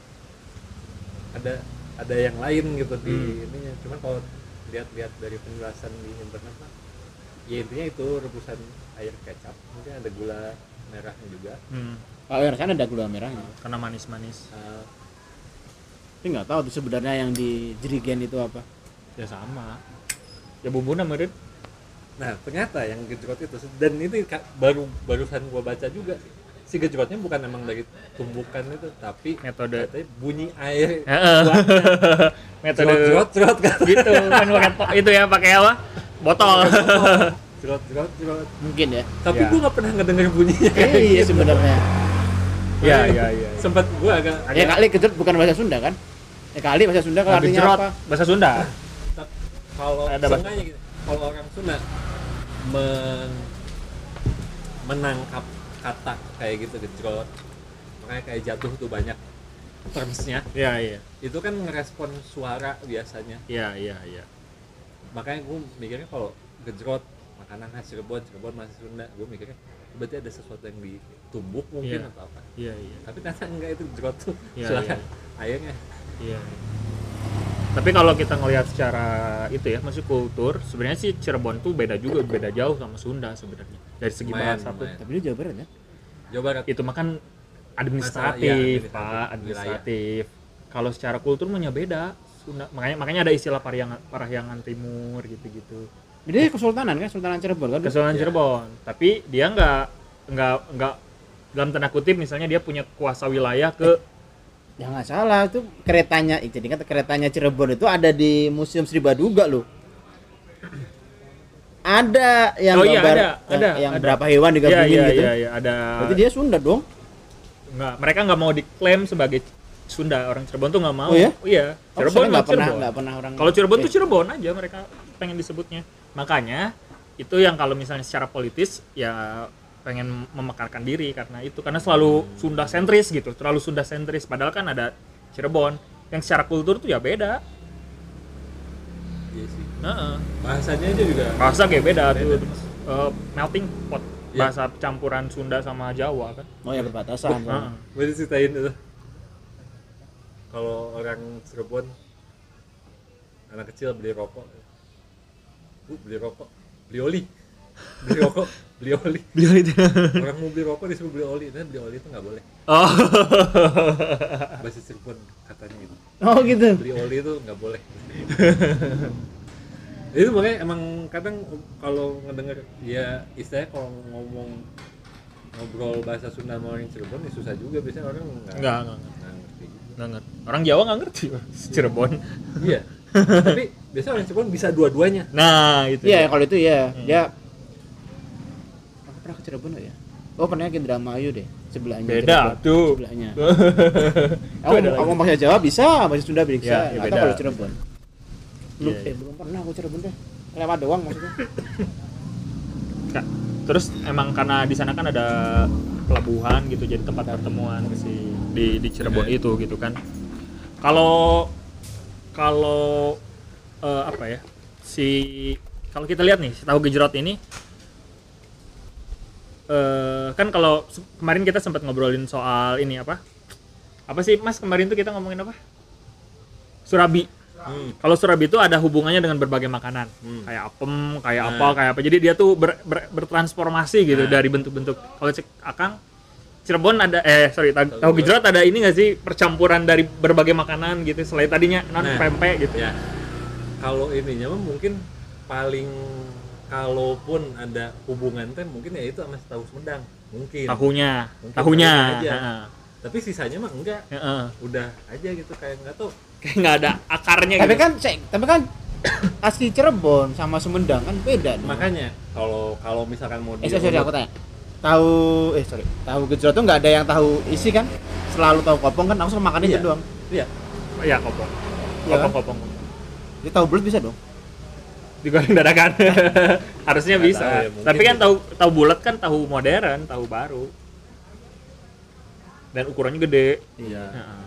Speaker 3: ada ada yang lain gitu di
Speaker 1: Hmm.
Speaker 3: ininya. Cuman kalau lihat-lihat dari penjelasan di internet mah, ya intinya itu rebusan air kecap, mungkin ada gula merahnya juga.
Speaker 1: Hmm,
Speaker 2: Kalau yang rasanya ada gula merahnya.
Speaker 1: karena manis manis
Speaker 3: Eh,
Speaker 2: Tapi nggak tahu tuh sebenarnya yang di jerigen itu apa.
Speaker 1: ya sama ya bumbu meureun
Speaker 3: Nah ternyata yang gejrot itu dan ini ka- baru barusan gua baca juga si gejrotnya bukan emang dari tumbukan itu tapi
Speaker 1: Metode.
Speaker 3: katanya bunyi air
Speaker 1: Heeh.
Speaker 3: Buatnya.
Speaker 1: metode
Speaker 3: jerot jerot jerot kan
Speaker 1: gitu kan pakai to- itu ya pakai apa botol
Speaker 3: jerot jerot jerot
Speaker 2: Mungkin ya.
Speaker 3: tapi
Speaker 1: Ya.
Speaker 3: gua nggak pernah ngedenger bunyinya
Speaker 2: Eh, iya sebenarnya.
Speaker 1: ya ya ya
Speaker 3: sempat gua agak
Speaker 2: Ya kali kejut bukan bahasa Sunda kan? Ya kali bahasa Sunda kalau artinya
Speaker 1: Gejrot,
Speaker 2: apa?
Speaker 1: bahasa Sunda
Speaker 3: tak- kalau
Speaker 1: Ada
Speaker 3: ada
Speaker 1: bahasa.
Speaker 3: gitu, kalau orang Sunda men- menangkap kata kayak gitu gejrot makanya kayak jatuh tuh banyak termsnya
Speaker 1: ya iya
Speaker 3: itu kan ngerespon suara biasanya
Speaker 1: ya ya ya
Speaker 3: makanya gue mikirnya kalau gejrot makanan khas Cirebon Cirebon masih Sunda gue mikirnya berarti ada sesuatu yang ditumbuk mungkin
Speaker 1: Iya.
Speaker 3: atau apa
Speaker 1: iya iya
Speaker 3: tapi ternyata enggak itu gejrot tuh
Speaker 1: Iya,
Speaker 3: suara
Speaker 1: iya.
Speaker 3: airnya
Speaker 1: Iya. Tapi kalau kita ngelihat secara itu ya, masih kultur, sebenarnya sih Cirebon tuh beda juga, beda jauh sama Sunda sebenarnya. Dari segi
Speaker 3: Lumayan,
Speaker 1: bahasa tuh.
Speaker 3: lumayan.
Speaker 2: Tapi dia Jawa Barat ya?
Speaker 3: Jawa Barat.
Speaker 1: itu makan
Speaker 3: Masalah,
Speaker 1: administratif
Speaker 3: iya,
Speaker 1: pak
Speaker 3: administratif.
Speaker 1: administratif kalau secara kultur mah ya beda Sunda makanya makanya ada istilah parahyangan parahyangan timur gitu-gitu
Speaker 2: Jadi kesultanan kan, Kesultanan Cirebon kan.
Speaker 1: kesulitan
Speaker 3: Iya.
Speaker 1: Cirebon tapi dia nggak nggak nggak dalam tanda kutip misalnya dia punya kuasa wilayah ke
Speaker 2: Ya nggak salah itu keretanya, eh, jadi kan keretanya Cirebon itu ada di Museum Sri Baduga loh. Ada yang
Speaker 1: Oh iya,
Speaker 2: gambar
Speaker 1: ada,
Speaker 2: yang,
Speaker 1: ada,
Speaker 2: yang
Speaker 1: ada.
Speaker 2: berapa hewan
Speaker 1: ya
Speaker 2: digabungin
Speaker 1: ya
Speaker 2: gitu.
Speaker 1: ya, ya, ada
Speaker 2: Berarti dia Sunda dong.
Speaker 1: nggak mereka nggak mau diklaim sebagai Sunda orang Cirebon tuh nggak mau
Speaker 2: Oh iya?
Speaker 1: iya
Speaker 2: Oh,
Speaker 1: Cirebon
Speaker 2: soalnya
Speaker 1: mah
Speaker 2: nggak pernah
Speaker 1: Cirebon
Speaker 2: nggak pernah orang. Eh,
Speaker 1: Kalau Cirebon
Speaker 2: Oke.
Speaker 1: tuh Cirebon aja mereka pengen disebutnya. Makanya itu yang kalau misalnya secara politis ya pengen memekarkan diri karena itu karena selalu Sunda sentris gitu, terlalu Sunda sentris padahal kan ada Cirebon yang secara kultur tuh ya beda.
Speaker 3: Iya sih.
Speaker 1: Heeh.
Speaker 3: Bahasanya aja juga.
Speaker 1: Bahasa kayak beda,
Speaker 3: Beda.
Speaker 1: tuh. Eh, melting pot
Speaker 3: Iya.
Speaker 1: bahasa campuran Sunda sama Jawa kan.
Speaker 2: Oh ya perbatasan.
Speaker 3: Iya.
Speaker 1: Heeh.
Speaker 3: Gue diceritain itu. Kalau orang Cirebon anak kecil beli rokok. Bu, beli rokok. Beli oli. Beli rokok, beli oli. Orang mau beli rokok disuruh beli oli, dan beli oli itu nggak boleh.
Speaker 1: Oh.
Speaker 3: Bahasa Cirebon katanya gitu.
Speaker 2: Oh gitu.
Speaker 3: beli oli itu nggak boleh itu makanya emang kadang kalau ngedenger ya istilahnya kalau ngomong ngobrol bahasa Sunda sama orang Cirebon ya susah juga biasanya orang nggak
Speaker 1: Nggak, nggak, nggak.
Speaker 3: nggak ngerti juga.
Speaker 1: Nggak ngerti. Orang Jawa nggak ngerti Cirebon.
Speaker 3: iya tapi biasanya orang Cirebon bisa dua-duanya
Speaker 1: Nah, itu.
Speaker 2: Iya kalau itu ya
Speaker 1: Hmm.
Speaker 2: dia. Aku pernah ke Cirebon nggak ya? Oh pernah ke Indramayu deh sebelahnya.
Speaker 1: Beda
Speaker 2: Cirebon.
Speaker 1: tuh.
Speaker 2: Sebelahnya.
Speaker 1: Itu
Speaker 2: Aku,
Speaker 1: ada
Speaker 2: aku
Speaker 1: lagi.
Speaker 2: bahasa Jawa bisa, bahasa Sunda bisa.
Speaker 1: Ya,
Speaker 2: Ya,
Speaker 1: ya beda.
Speaker 2: kalau Cirebon. Belum,
Speaker 1: Iya, iya.
Speaker 2: eh, belum pernah aku Cirebon deh. Lewat doang maksudnya.
Speaker 1: gitu. Ka- Terus emang karena di sana kan ada pelabuhan gitu jadi tempat pertemuan si di di Cirebon itu gitu kan. Kalau kalau eh, apa ya? Si kalau kita lihat nih si tahu gejrot ini eh kan kalau se- kemarin kita sempat ngobrolin soal ini apa? Apa sih Mas kemarin tuh kita ngomongin apa? Surabi.
Speaker 3: Hmm.
Speaker 1: Kalau surabi itu ada hubungannya dengan berbagai makanan,
Speaker 3: Hmm. Nah.
Speaker 1: kayak apem, kayak apa, kayak apa. Jadi dia tuh ber- ber- bertransformasi gitu dari bentuk-bentuk. Kalau cek Akang, Cirebon ada eh sorry ta- tahu gejrot ada ini nggak sih percampuran dari berbagai makanan gitu selain tadinya non
Speaker 3: Nah.
Speaker 1: pempek gitu.
Speaker 3: ya kalau ininya mah mungkin paling kalaupun ada hubungan teh mungkin ya itu sama tahu Sumedang mungkin
Speaker 1: Tahunya,
Speaker 3: Iya. Mungkin
Speaker 1: tahunya.
Speaker 3: tahunya aja.
Speaker 1: Heeh.
Speaker 3: tapi sisanya mah enggak
Speaker 1: Heeh.
Speaker 3: udah aja gitu kayak nggak tahu
Speaker 1: Kayak nggak ada akarnya
Speaker 2: tapi
Speaker 1: gitu.
Speaker 2: kan cek, tapi kan asli Cirebon sama Sumedang kan beda. dong.
Speaker 3: makanya kalau kalau misalkan mau
Speaker 2: Eh
Speaker 3: dia
Speaker 2: sorry, sorry, aku tanya. Tahu eh sorry, tahu gejrot tuh nggak ada yang tahu isi kan? Selalu tahu kopong kan, aku selalu makannya
Speaker 3: Iya.
Speaker 2: itu doang.
Speaker 3: iya
Speaker 1: Ya kopong.
Speaker 2: Iya kan?
Speaker 1: Kopong-kopong.
Speaker 2: Jadi tahu belut bisa dong.
Speaker 1: Digoreng dadakan. Harusnya
Speaker 3: Nggak
Speaker 1: bisa.
Speaker 3: tahu ya, mungkin
Speaker 1: Tapi kan
Speaker 3: gitu.
Speaker 1: tahu tahu bulat kan tahu modern, tahu baru. Dan ukurannya gede.
Speaker 3: iya
Speaker 1: Heeh.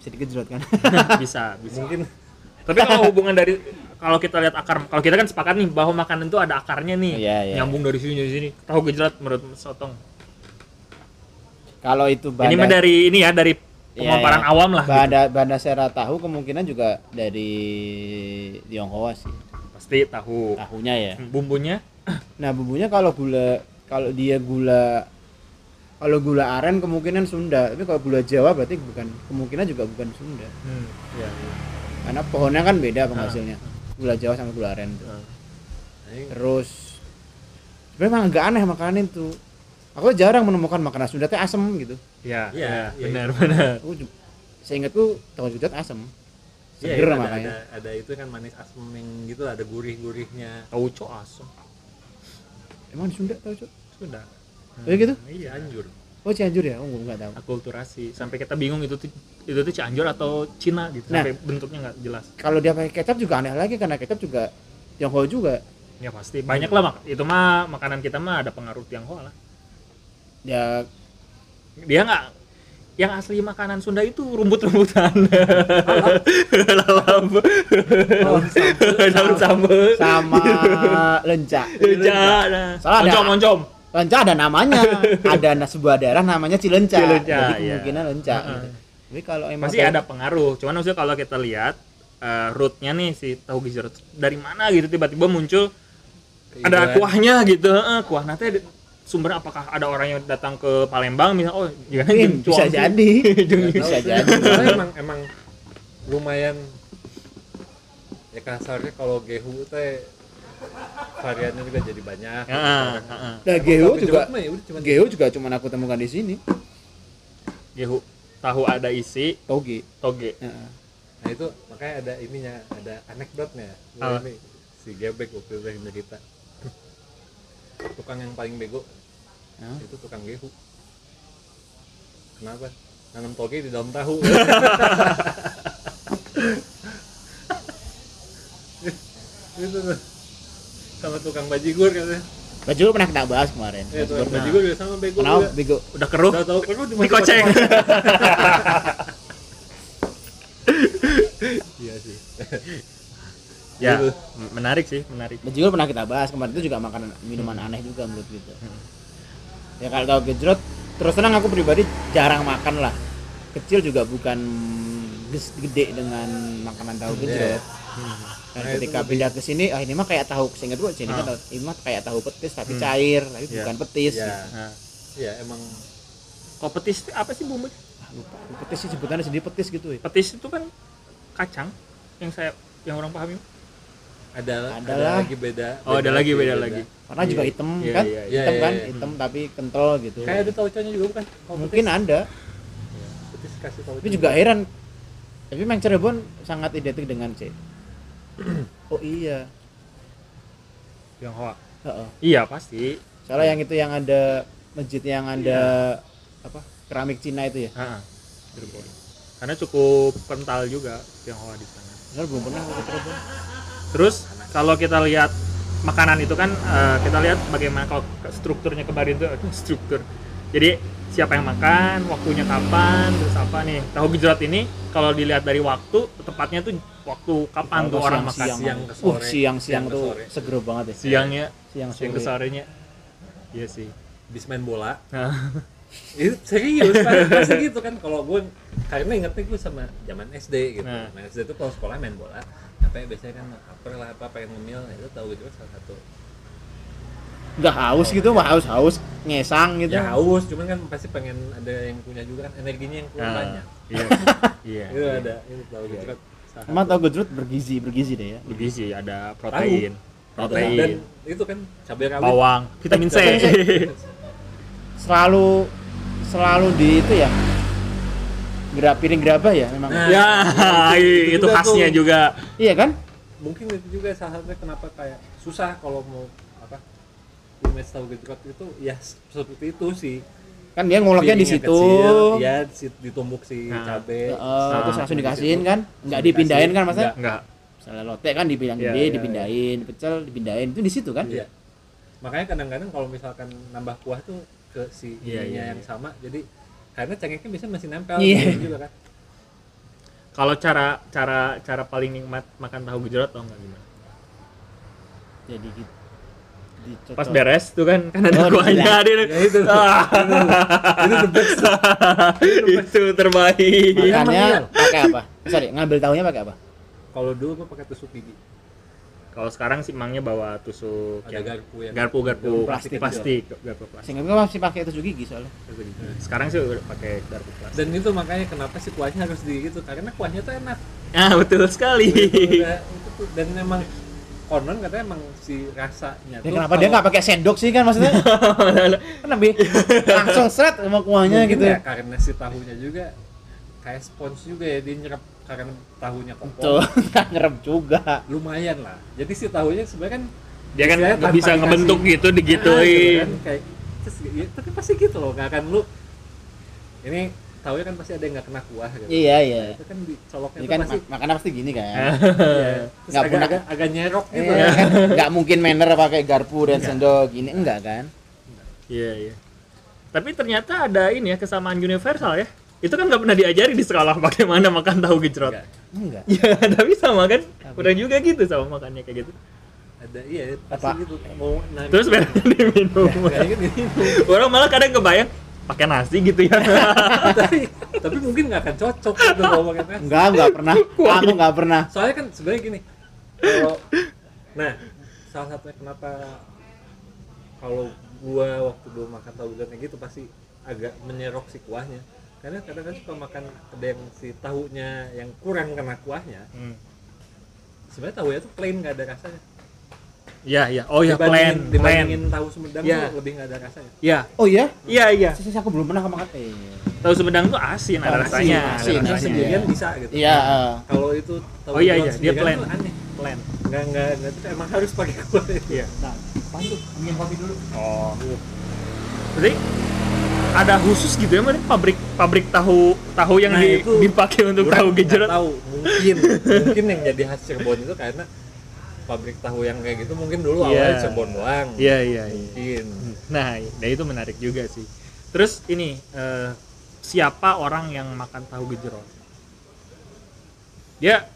Speaker 2: Bisa digejrot kan?
Speaker 1: bisa bisa
Speaker 3: mungkin
Speaker 1: tapi kalau hubungan dari kalau kita lihat akar kalau kita kan sepakat nih bahwa makanan itu ada akarnya nih
Speaker 2: Iya, iya.
Speaker 1: nyambung dari sini dari sini tahu gejrot menurut Mas sotong
Speaker 2: Kalau itu bahan
Speaker 1: ini mah dari ini ya dari
Speaker 2: Iya,
Speaker 1: pemaparan
Speaker 2: iya.
Speaker 1: awam lah
Speaker 2: bahan
Speaker 1: gitu.
Speaker 2: bahan dasar tahu kemungkinan juga dari Tionghoa sih
Speaker 1: pasti tahu
Speaker 2: tahunya ya
Speaker 1: bumbunya
Speaker 2: nah bumbunya kalau gula kalau dia gula kalau gula aren kemungkinan Sunda tapi kalau gula Jawa berarti bukan kemungkinan juga bukan Sunda
Speaker 1: hmm, iya, iya.
Speaker 2: karena pohonnya kan
Speaker 3: Ah.
Speaker 2: beda penghasilnya gula Jawa sama gula aren tuh. terus sebenarnya emang agak aneh makanan itu aku jarang menemukan makanan Sunda teh asem gitu
Speaker 1: Iya,
Speaker 3: Iya,
Speaker 1: iya,
Speaker 3: iya.
Speaker 1: benar benar
Speaker 2: aku ju- seingatku tahu juga asem
Speaker 3: Iya,
Speaker 2: seger
Speaker 3: iya, ada,
Speaker 2: makanya
Speaker 3: ada, ada itu kan manis asmeng gitu, ada gurih-gurihnya.
Speaker 1: tahu cok ah, asam
Speaker 2: emang di Sunda tahu
Speaker 1: sudah
Speaker 2: Oh, iya gitu?
Speaker 1: iya
Speaker 3: Anjur.
Speaker 2: Oh Cianjur ya? Oh nggak tahu.
Speaker 1: akulturasi sampai kita bingung itu tuh itu tuh Cianjur atau Cina gitu
Speaker 2: Nah.
Speaker 1: sampai bentuknya nggak jelas
Speaker 2: Kalau dia pakai kecap juga aneh lagi karena kecap juga Tionghoa juga.
Speaker 1: ya pasti banyak lah mak itu mah makanan kita mah ada pengaruh Tionghoa lah
Speaker 2: Ya
Speaker 1: dia nggak yang asli makanan Sunda itu rumput-rumputan lalap daun sambel
Speaker 2: sama lenca.
Speaker 1: lenca nah.
Speaker 2: Salah ada-
Speaker 1: oncom oncom
Speaker 2: Lenca ada namanya. Ada na- sebuah daerah namanya Cilenca.
Speaker 1: Cilenca,
Speaker 2: Jadi
Speaker 1: iya.
Speaker 2: kemungkinan lenca.
Speaker 1: Heeh.
Speaker 2: gitu. Tapi kalau emang
Speaker 1: pasti ada pengaruh cuman maksudnya kalau kita lihat eh, rootnya nih si tahu gejrot
Speaker 2: Iya.
Speaker 3: Iya.
Speaker 1: dari mana gitu tiba-tiba muncul ada kuahnya gitu Heeh, kuah nanti sumber apakah ada orang yang datang ke Palembang misal oh jangan
Speaker 2: Mungkin
Speaker 1: jeung
Speaker 2: bisa
Speaker 1: cuangki.
Speaker 2: jadi
Speaker 1: Jeung-
Speaker 3: Nggak tahu
Speaker 2: bisa
Speaker 3: sih.
Speaker 2: jadi.
Speaker 3: Soalnya emang emang lumayan ya kasarnya kalau gehu teh variannya juga jadi banyak.
Speaker 1: Ya, ah, ah, ah.
Speaker 2: nah
Speaker 3: Emang
Speaker 2: Geo
Speaker 3: nggak
Speaker 2: juga
Speaker 3: gejolak mah ya udah cuma
Speaker 2: Geo juga cuma aku temukan di sini
Speaker 1: Gehu tahu ada isi
Speaker 2: toge
Speaker 1: toge
Speaker 2: Heeh.
Speaker 3: Nah itu makanya ada ininya, ada anekdotnya. Gua
Speaker 1: Apa?
Speaker 3: ini si Gebek waktu itu yang cerita. tukang yang paling bego
Speaker 2: Hah?
Speaker 3: itu tukang gehu. Kenapa? Nanam toge di dalam tahu. itu tuh sama tukang bajigur katanya.
Speaker 2: baju lu pernah kita bahas kemarin
Speaker 3: Eh, tukang
Speaker 1: Nah.
Speaker 3: bajigur juga sama bego.
Speaker 2: kenapa
Speaker 3: juga.
Speaker 2: bego
Speaker 1: udah keruh
Speaker 3: Udah tahu kan lu dimasukin
Speaker 1: dikoceng
Speaker 3: ke- Iya sih.
Speaker 1: ya
Speaker 3: Gitu.
Speaker 1: m- menarik sih menarik
Speaker 2: baju lu pernah kita bahas kemarin itu juga makanan minuman aneh juga menurut gitu
Speaker 3: Hmm.
Speaker 2: ya kalau kalau gejrot terus terang aku pribadi jarang makan lah kecil juga bukan ges- gede dengan makanan tahu gejrot Dan
Speaker 3: Nah, itu
Speaker 2: ketika
Speaker 3: lebih- Ah.
Speaker 2: pindah ke sini, ah ini mah kayak tahu, seingat gua sini kan tahu- ini mah kayak tahu petis tapi cair, tapi
Speaker 1: Iya.
Speaker 2: bukan petis.
Speaker 3: Hmm.
Speaker 2: gitu.
Speaker 3: Iya.
Speaker 1: nah,
Speaker 3: Iya, emang
Speaker 1: kalau petis itu apa sih bumbu
Speaker 2: Ah, lupa. Petis sih sebutannya sendiri petis gitu ya.
Speaker 1: petis itu kan kacang yang saya yang orang pahami
Speaker 3: ada
Speaker 2: Ada
Speaker 3: ada,
Speaker 2: lah.
Speaker 3: lagi beda
Speaker 1: oh ada lagi beda lagi
Speaker 2: Karena juga hitam
Speaker 1: Iya,
Speaker 2: kan?
Speaker 1: iya,
Speaker 3: iya.
Speaker 2: hitam
Speaker 3: Iya,
Speaker 2: kan?
Speaker 3: iya, iya.
Speaker 2: Hitam tapi kental gitu.
Speaker 3: kayak ada tauconya juga bukan kalau
Speaker 2: Mungkin ada,
Speaker 3: petis, petis kasih tauco
Speaker 2: tapi juga heran. Tapi memang Cirebon sangat identik dengan C. oh iya.
Speaker 1: yang hoa
Speaker 2: Heeh.
Speaker 1: iya pasti
Speaker 2: Soalnya yang itu yang ada masjid yang ada apa? keramik Cina itu ya.
Speaker 1: Ha-ha. Cirebon. karena cukup kental juga yang hoa di sana
Speaker 2: Benar belum pernah aku ke Cirebon.
Speaker 1: Terus kalau kita lihat makanan itu kan eh, kita lihat bagaimana kalau ke- strukturnya kemarin itu aduh, struktur. Jadi siapa yang makan, waktunya kapan, terus apa nih. Tahu gejrot ini kalau dilihat dari waktu, tepatnya tuh waktu kapan tuh orang makan
Speaker 2: siang,
Speaker 3: siang
Speaker 2: siang,
Speaker 3: ke
Speaker 2: uh,
Speaker 3: sore.
Speaker 2: siang-siang
Speaker 3: Siang ke
Speaker 2: tuh
Speaker 3: sore.
Speaker 2: seger banget ya.
Speaker 1: siangnya,
Speaker 2: Siang,
Speaker 1: siang ke sorenya. Iya sih.
Speaker 3: bis main bola
Speaker 2: Iya.
Speaker 1: Nah,
Speaker 3: itu Iya, serius pas- pasti gitu kan kalau gue karena ingetnya gue sama zaman SD gitu
Speaker 1: Nah.
Speaker 3: nah. SD itu kalau sekolah main bola apa ya, biasanya kan apa lah apa pengen ngemil nah, itu tahu gitu salah satu
Speaker 2: Enggak haus gitu, mah haus-haus ngesang
Speaker 1: Iya.
Speaker 2: gitu.
Speaker 3: ya haus cuman kan pasti pengen ada yang punya juga kan energinya yang keluar banyak
Speaker 1: iya. Iya.
Speaker 3: itu ada itu tahu gitu kan salah
Speaker 2: Emang tau gejrot bergizi, bergizi deh ya.
Speaker 1: Bergizi ada protein,
Speaker 3: satu. dan
Speaker 1: protein,
Speaker 3: itu kan cabai rawit
Speaker 1: bawang, vitamin C.
Speaker 2: Vitamin Selalu selalu di itu ya. Gerak piring gerabah ya memang.
Speaker 3: Nah.
Speaker 1: ya,
Speaker 3: Itu
Speaker 1: itu
Speaker 3: juga
Speaker 1: khasnya
Speaker 3: tuh.
Speaker 1: juga.
Speaker 2: Iya kan?
Speaker 3: mungkin itu juga salah satunya kenapa kayak susah kalau mau apa image tahu gedrot itu ya seperti itu sih
Speaker 2: Kan dia ngoloknya di
Speaker 3: Piringnya
Speaker 2: situ.
Speaker 3: kecil, ya di situ ditumbuk si
Speaker 1: Nah.
Speaker 3: cabe
Speaker 2: Heeh,
Speaker 1: Nah,
Speaker 2: terus langsung
Speaker 3: di
Speaker 2: dikasihin
Speaker 3: situ.
Speaker 2: kan? Enggak dipindahin kan Mas?
Speaker 3: Enggak.
Speaker 1: Enggak.
Speaker 2: Misalnya lotek kan dibilang
Speaker 1: Iya,
Speaker 2: gede,
Speaker 1: iya,
Speaker 2: dipindahin, pecel, dipindahin. Itu di situ kan?
Speaker 3: Iya. makanya kadang-kadang kalau misalkan nambah kuah tuh ke si
Speaker 1: Iya,
Speaker 3: ininya
Speaker 1: iya,
Speaker 3: yang
Speaker 1: iya.
Speaker 3: sama jadi karena cengkeknya bisa masih nempel
Speaker 2: Iya.
Speaker 3: gitu juga kan
Speaker 1: Kalau cara cara cara paling nikmat makan tahu gejrot tau nggak gimana?
Speaker 2: Jadi gitu. Dicocok.
Speaker 1: Pas beres tuh kan kan ada
Speaker 2: Oh,
Speaker 1: kuahnya
Speaker 2: dibilang.
Speaker 1: di
Speaker 3: ya itu
Speaker 1: Ah.
Speaker 3: itu the best
Speaker 1: itu terbaik.
Speaker 2: Makannya pakai apa? Eh, Sorry, ngambil tahunya pakai apa?
Speaker 3: kalau dulu gua pakai tusuk gigi
Speaker 1: Kalau sekarang si mangnya bawa tusuk
Speaker 3: ada
Speaker 1: yang
Speaker 3: garpu yang
Speaker 1: garpu garpu
Speaker 2: Plastik.
Speaker 1: plastik plastik garpu plastik. Nah,
Speaker 2: Seingat gua masih pakai tusuk gigi soalnya.
Speaker 1: Sekarang sih udah pakai garpu plastik.
Speaker 3: dan itu makanya kenapa sih kuahnya harus di gitu karena kuahnya tuh enak
Speaker 1: Ah betul sekali.
Speaker 3: Itu udah- itu tuh- dan memang konon katanya emang si rasanya
Speaker 2: Ya, kenapa dia nggak pakai sendok sih kan maksudnya? kan lebih langsung seret
Speaker 1: Iya.
Speaker 2: sama kuahnya gitu.
Speaker 3: ya karena si tahunya juga kayak spons juga ya dia nyerap karena tahunya
Speaker 2: Tuh,
Speaker 3: kokoh
Speaker 2: nggak ngerem juga.
Speaker 3: lumayan lah jadi si tahunya sebenarnya kan
Speaker 1: Dia kan
Speaker 3: Istilahnya
Speaker 1: nggak
Speaker 3: tanpa
Speaker 1: bisa
Speaker 3: dikasih.
Speaker 1: ngebentuk gitu
Speaker 3: sebenarnya
Speaker 1: digituin.
Speaker 3: kan kayak terus ya, tapi pasti gitu loh nggak akan lu ini tahunya kan pasti ada yang nggak kena kuah gitu
Speaker 2: Iya iya.
Speaker 1: Ya,
Speaker 3: itu kan dicoloknya
Speaker 2: Ini
Speaker 3: tuh
Speaker 2: kan
Speaker 3: pasti
Speaker 2: mak- makanan pasti gini kan.
Speaker 1: Ah.
Speaker 3: ya,
Speaker 2: nggak
Speaker 3: terus agak,
Speaker 2: pernah-
Speaker 3: agak, agak nyerok gitu
Speaker 2: Iya,
Speaker 3: kan.
Speaker 2: kan? Nggak mungkin manner pakai garpu dan sendok gini enggak kan?
Speaker 1: Iya iya. Tapi ternyata ada ini ya kesamaan universal ya. Itu kan nggak pernah diajari di sekolah bagaimana makan tahu gejrot.
Speaker 3: Nggak.
Speaker 2: Enggak.
Speaker 1: Ya, tapi sama kan kurang juga gitu sama makannya kayak gitu.
Speaker 3: ada iya pasti
Speaker 2: Apa?
Speaker 3: gitu mau nanya
Speaker 1: Terus beresnya diminum.
Speaker 3: kayaknya gitu
Speaker 1: Orang malah kadang kebayang pakai nasi gitu ya.
Speaker 3: tapi tapi mungkin nggak akan cocok gitu kalau pakai nasi.
Speaker 2: Enggak, enggak pernah. Kamu enggak pernah.
Speaker 3: soalnya kan sebenarnya gini kalau nah salah satunya kenapa kalau gua waktu dulu makan tahu gejrotnya gitu pasti agak menyerok si kuahnya karena kadang-kadang suka makan ada yang si tahunya yang kurang kena kuahnya
Speaker 1: Hmm.
Speaker 3: sebenarnya tahunya tuh plain nggak ada rasanya
Speaker 1: Iya, iya. Oh ya,
Speaker 3: dibandingin,
Speaker 1: plan, plan.
Speaker 3: dibandingin tahu Sumedang
Speaker 1: Iya.
Speaker 3: tuh lebih nggak ada rasanya
Speaker 1: Iya.
Speaker 2: Oh iya?
Speaker 1: Iya, iya.
Speaker 2: Sih, sih, aku belum pernah makan. Eh,
Speaker 1: Tahu Sumedang tuh asin ada
Speaker 2: Asin,
Speaker 1: rasanya, ada
Speaker 2: asin,
Speaker 3: yang
Speaker 1: rasanya.
Speaker 2: asin.
Speaker 3: sendirian bisa gitu
Speaker 2: Iya. eh.
Speaker 3: kalau itu tahu
Speaker 1: Oh iya, iya,
Speaker 3: gejrot
Speaker 1: dia
Speaker 3: sendirian
Speaker 1: plain.
Speaker 3: tuh aneh
Speaker 1: Plan.
Speaker 3: nggak nggak nggak tuh emang harus pakai kuah iya
Speaker 2: Nah, pantu.
Speaker 6: Bikin kopi dulu.
Speaker 1: Oh. Berarti ada khusus gitu ya, Mbak, pabrik pabrik tahu tahu yang
Speaker 3: Nah,
Speaker 1: di-
Speaker 3: itu
Speaker 1: dipakai untuk
Speaker 3: Kurang,
Speaker 1: tahu
Speaker 3: nggak
Speaker 1: gejrot.
Speaker 3: tahu mungkin mungkin yang jadi khas Cirebon itu karena pabrik tahu yang kayak gitu mungkin dulu
Speaker 1: Iya.
Speaker 3: awalnya Cirebon doang
Speaker 1: Iya, iya, iya.
Speaker 3: mungkin
Speaker 1: Nah, dan itu menarik juga sih. Terus ini eh, siapa orang yang makan tahu gejrot? Dia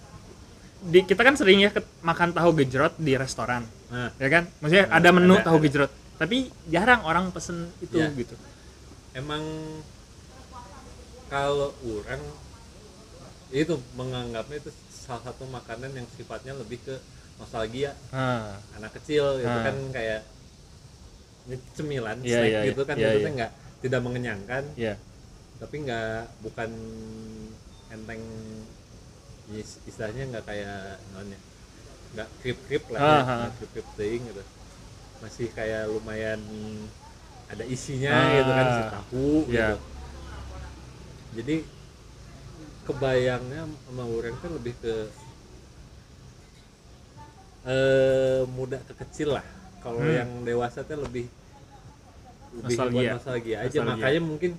Speaker 1: di, kita kan sering ya ket- makan tahu gejrot di restoran,
Speaker 3: nah
Speaker 1: ya kan? Maksudnya
Speaker 3: Nah,
Speaker 1: ada menu
Speaker 3: ada,
Speaker 1: tahu
Speaker 3: ada.
Speaker 1: gejrot, tapi jarang orang pesen itu
Speaker 3: Iya.
Speaker 1: gitu.
Speaker 3: emang kalau orang itu menganggapnya itu salah satu makanan yang sifatnya lebih ke nostalgia
Speaker 1: Ah,
Speaker 3: anak kecil itu
Speaker 1: Ah.
Speaker 3: kan kayak ini cemilan
Speaker 1: Iya,
Speaker 3: snack
Speaker 1: iya,
Speaker 3: gitu kan
Speaker 1: iya,
Speaker 3: maksudnya
Speaker 1: iya.
Speaker 3: nggak tidak mengenyangkan
Speaker 1: iya.
Speaker 3: tapi nggak bukan enteng is- istilahnya nggak kayak nonnya nggak krip krip lah ya,
Speaker 1: Aha.
Speaker 3: nggak krip krip ting gitu masih kayak lumayan ada isinya
Speaker 1: Ah,
Speaker 3: gitu kan si tahu
Speaker 1: iya.
Speaker 3: gitu jadi kebayangnya sama orang kan lebih ke eh muda ke kecil lah kalau
Speaker 1: Hmm.
Speaker 3: yang dewasa tuh lebih lebih
Speaker 1: Nostalgia.
Speaker 3: buat nostalgia aja
Speaker 1: Nostalgia.
Speaker 3: makanya mungkin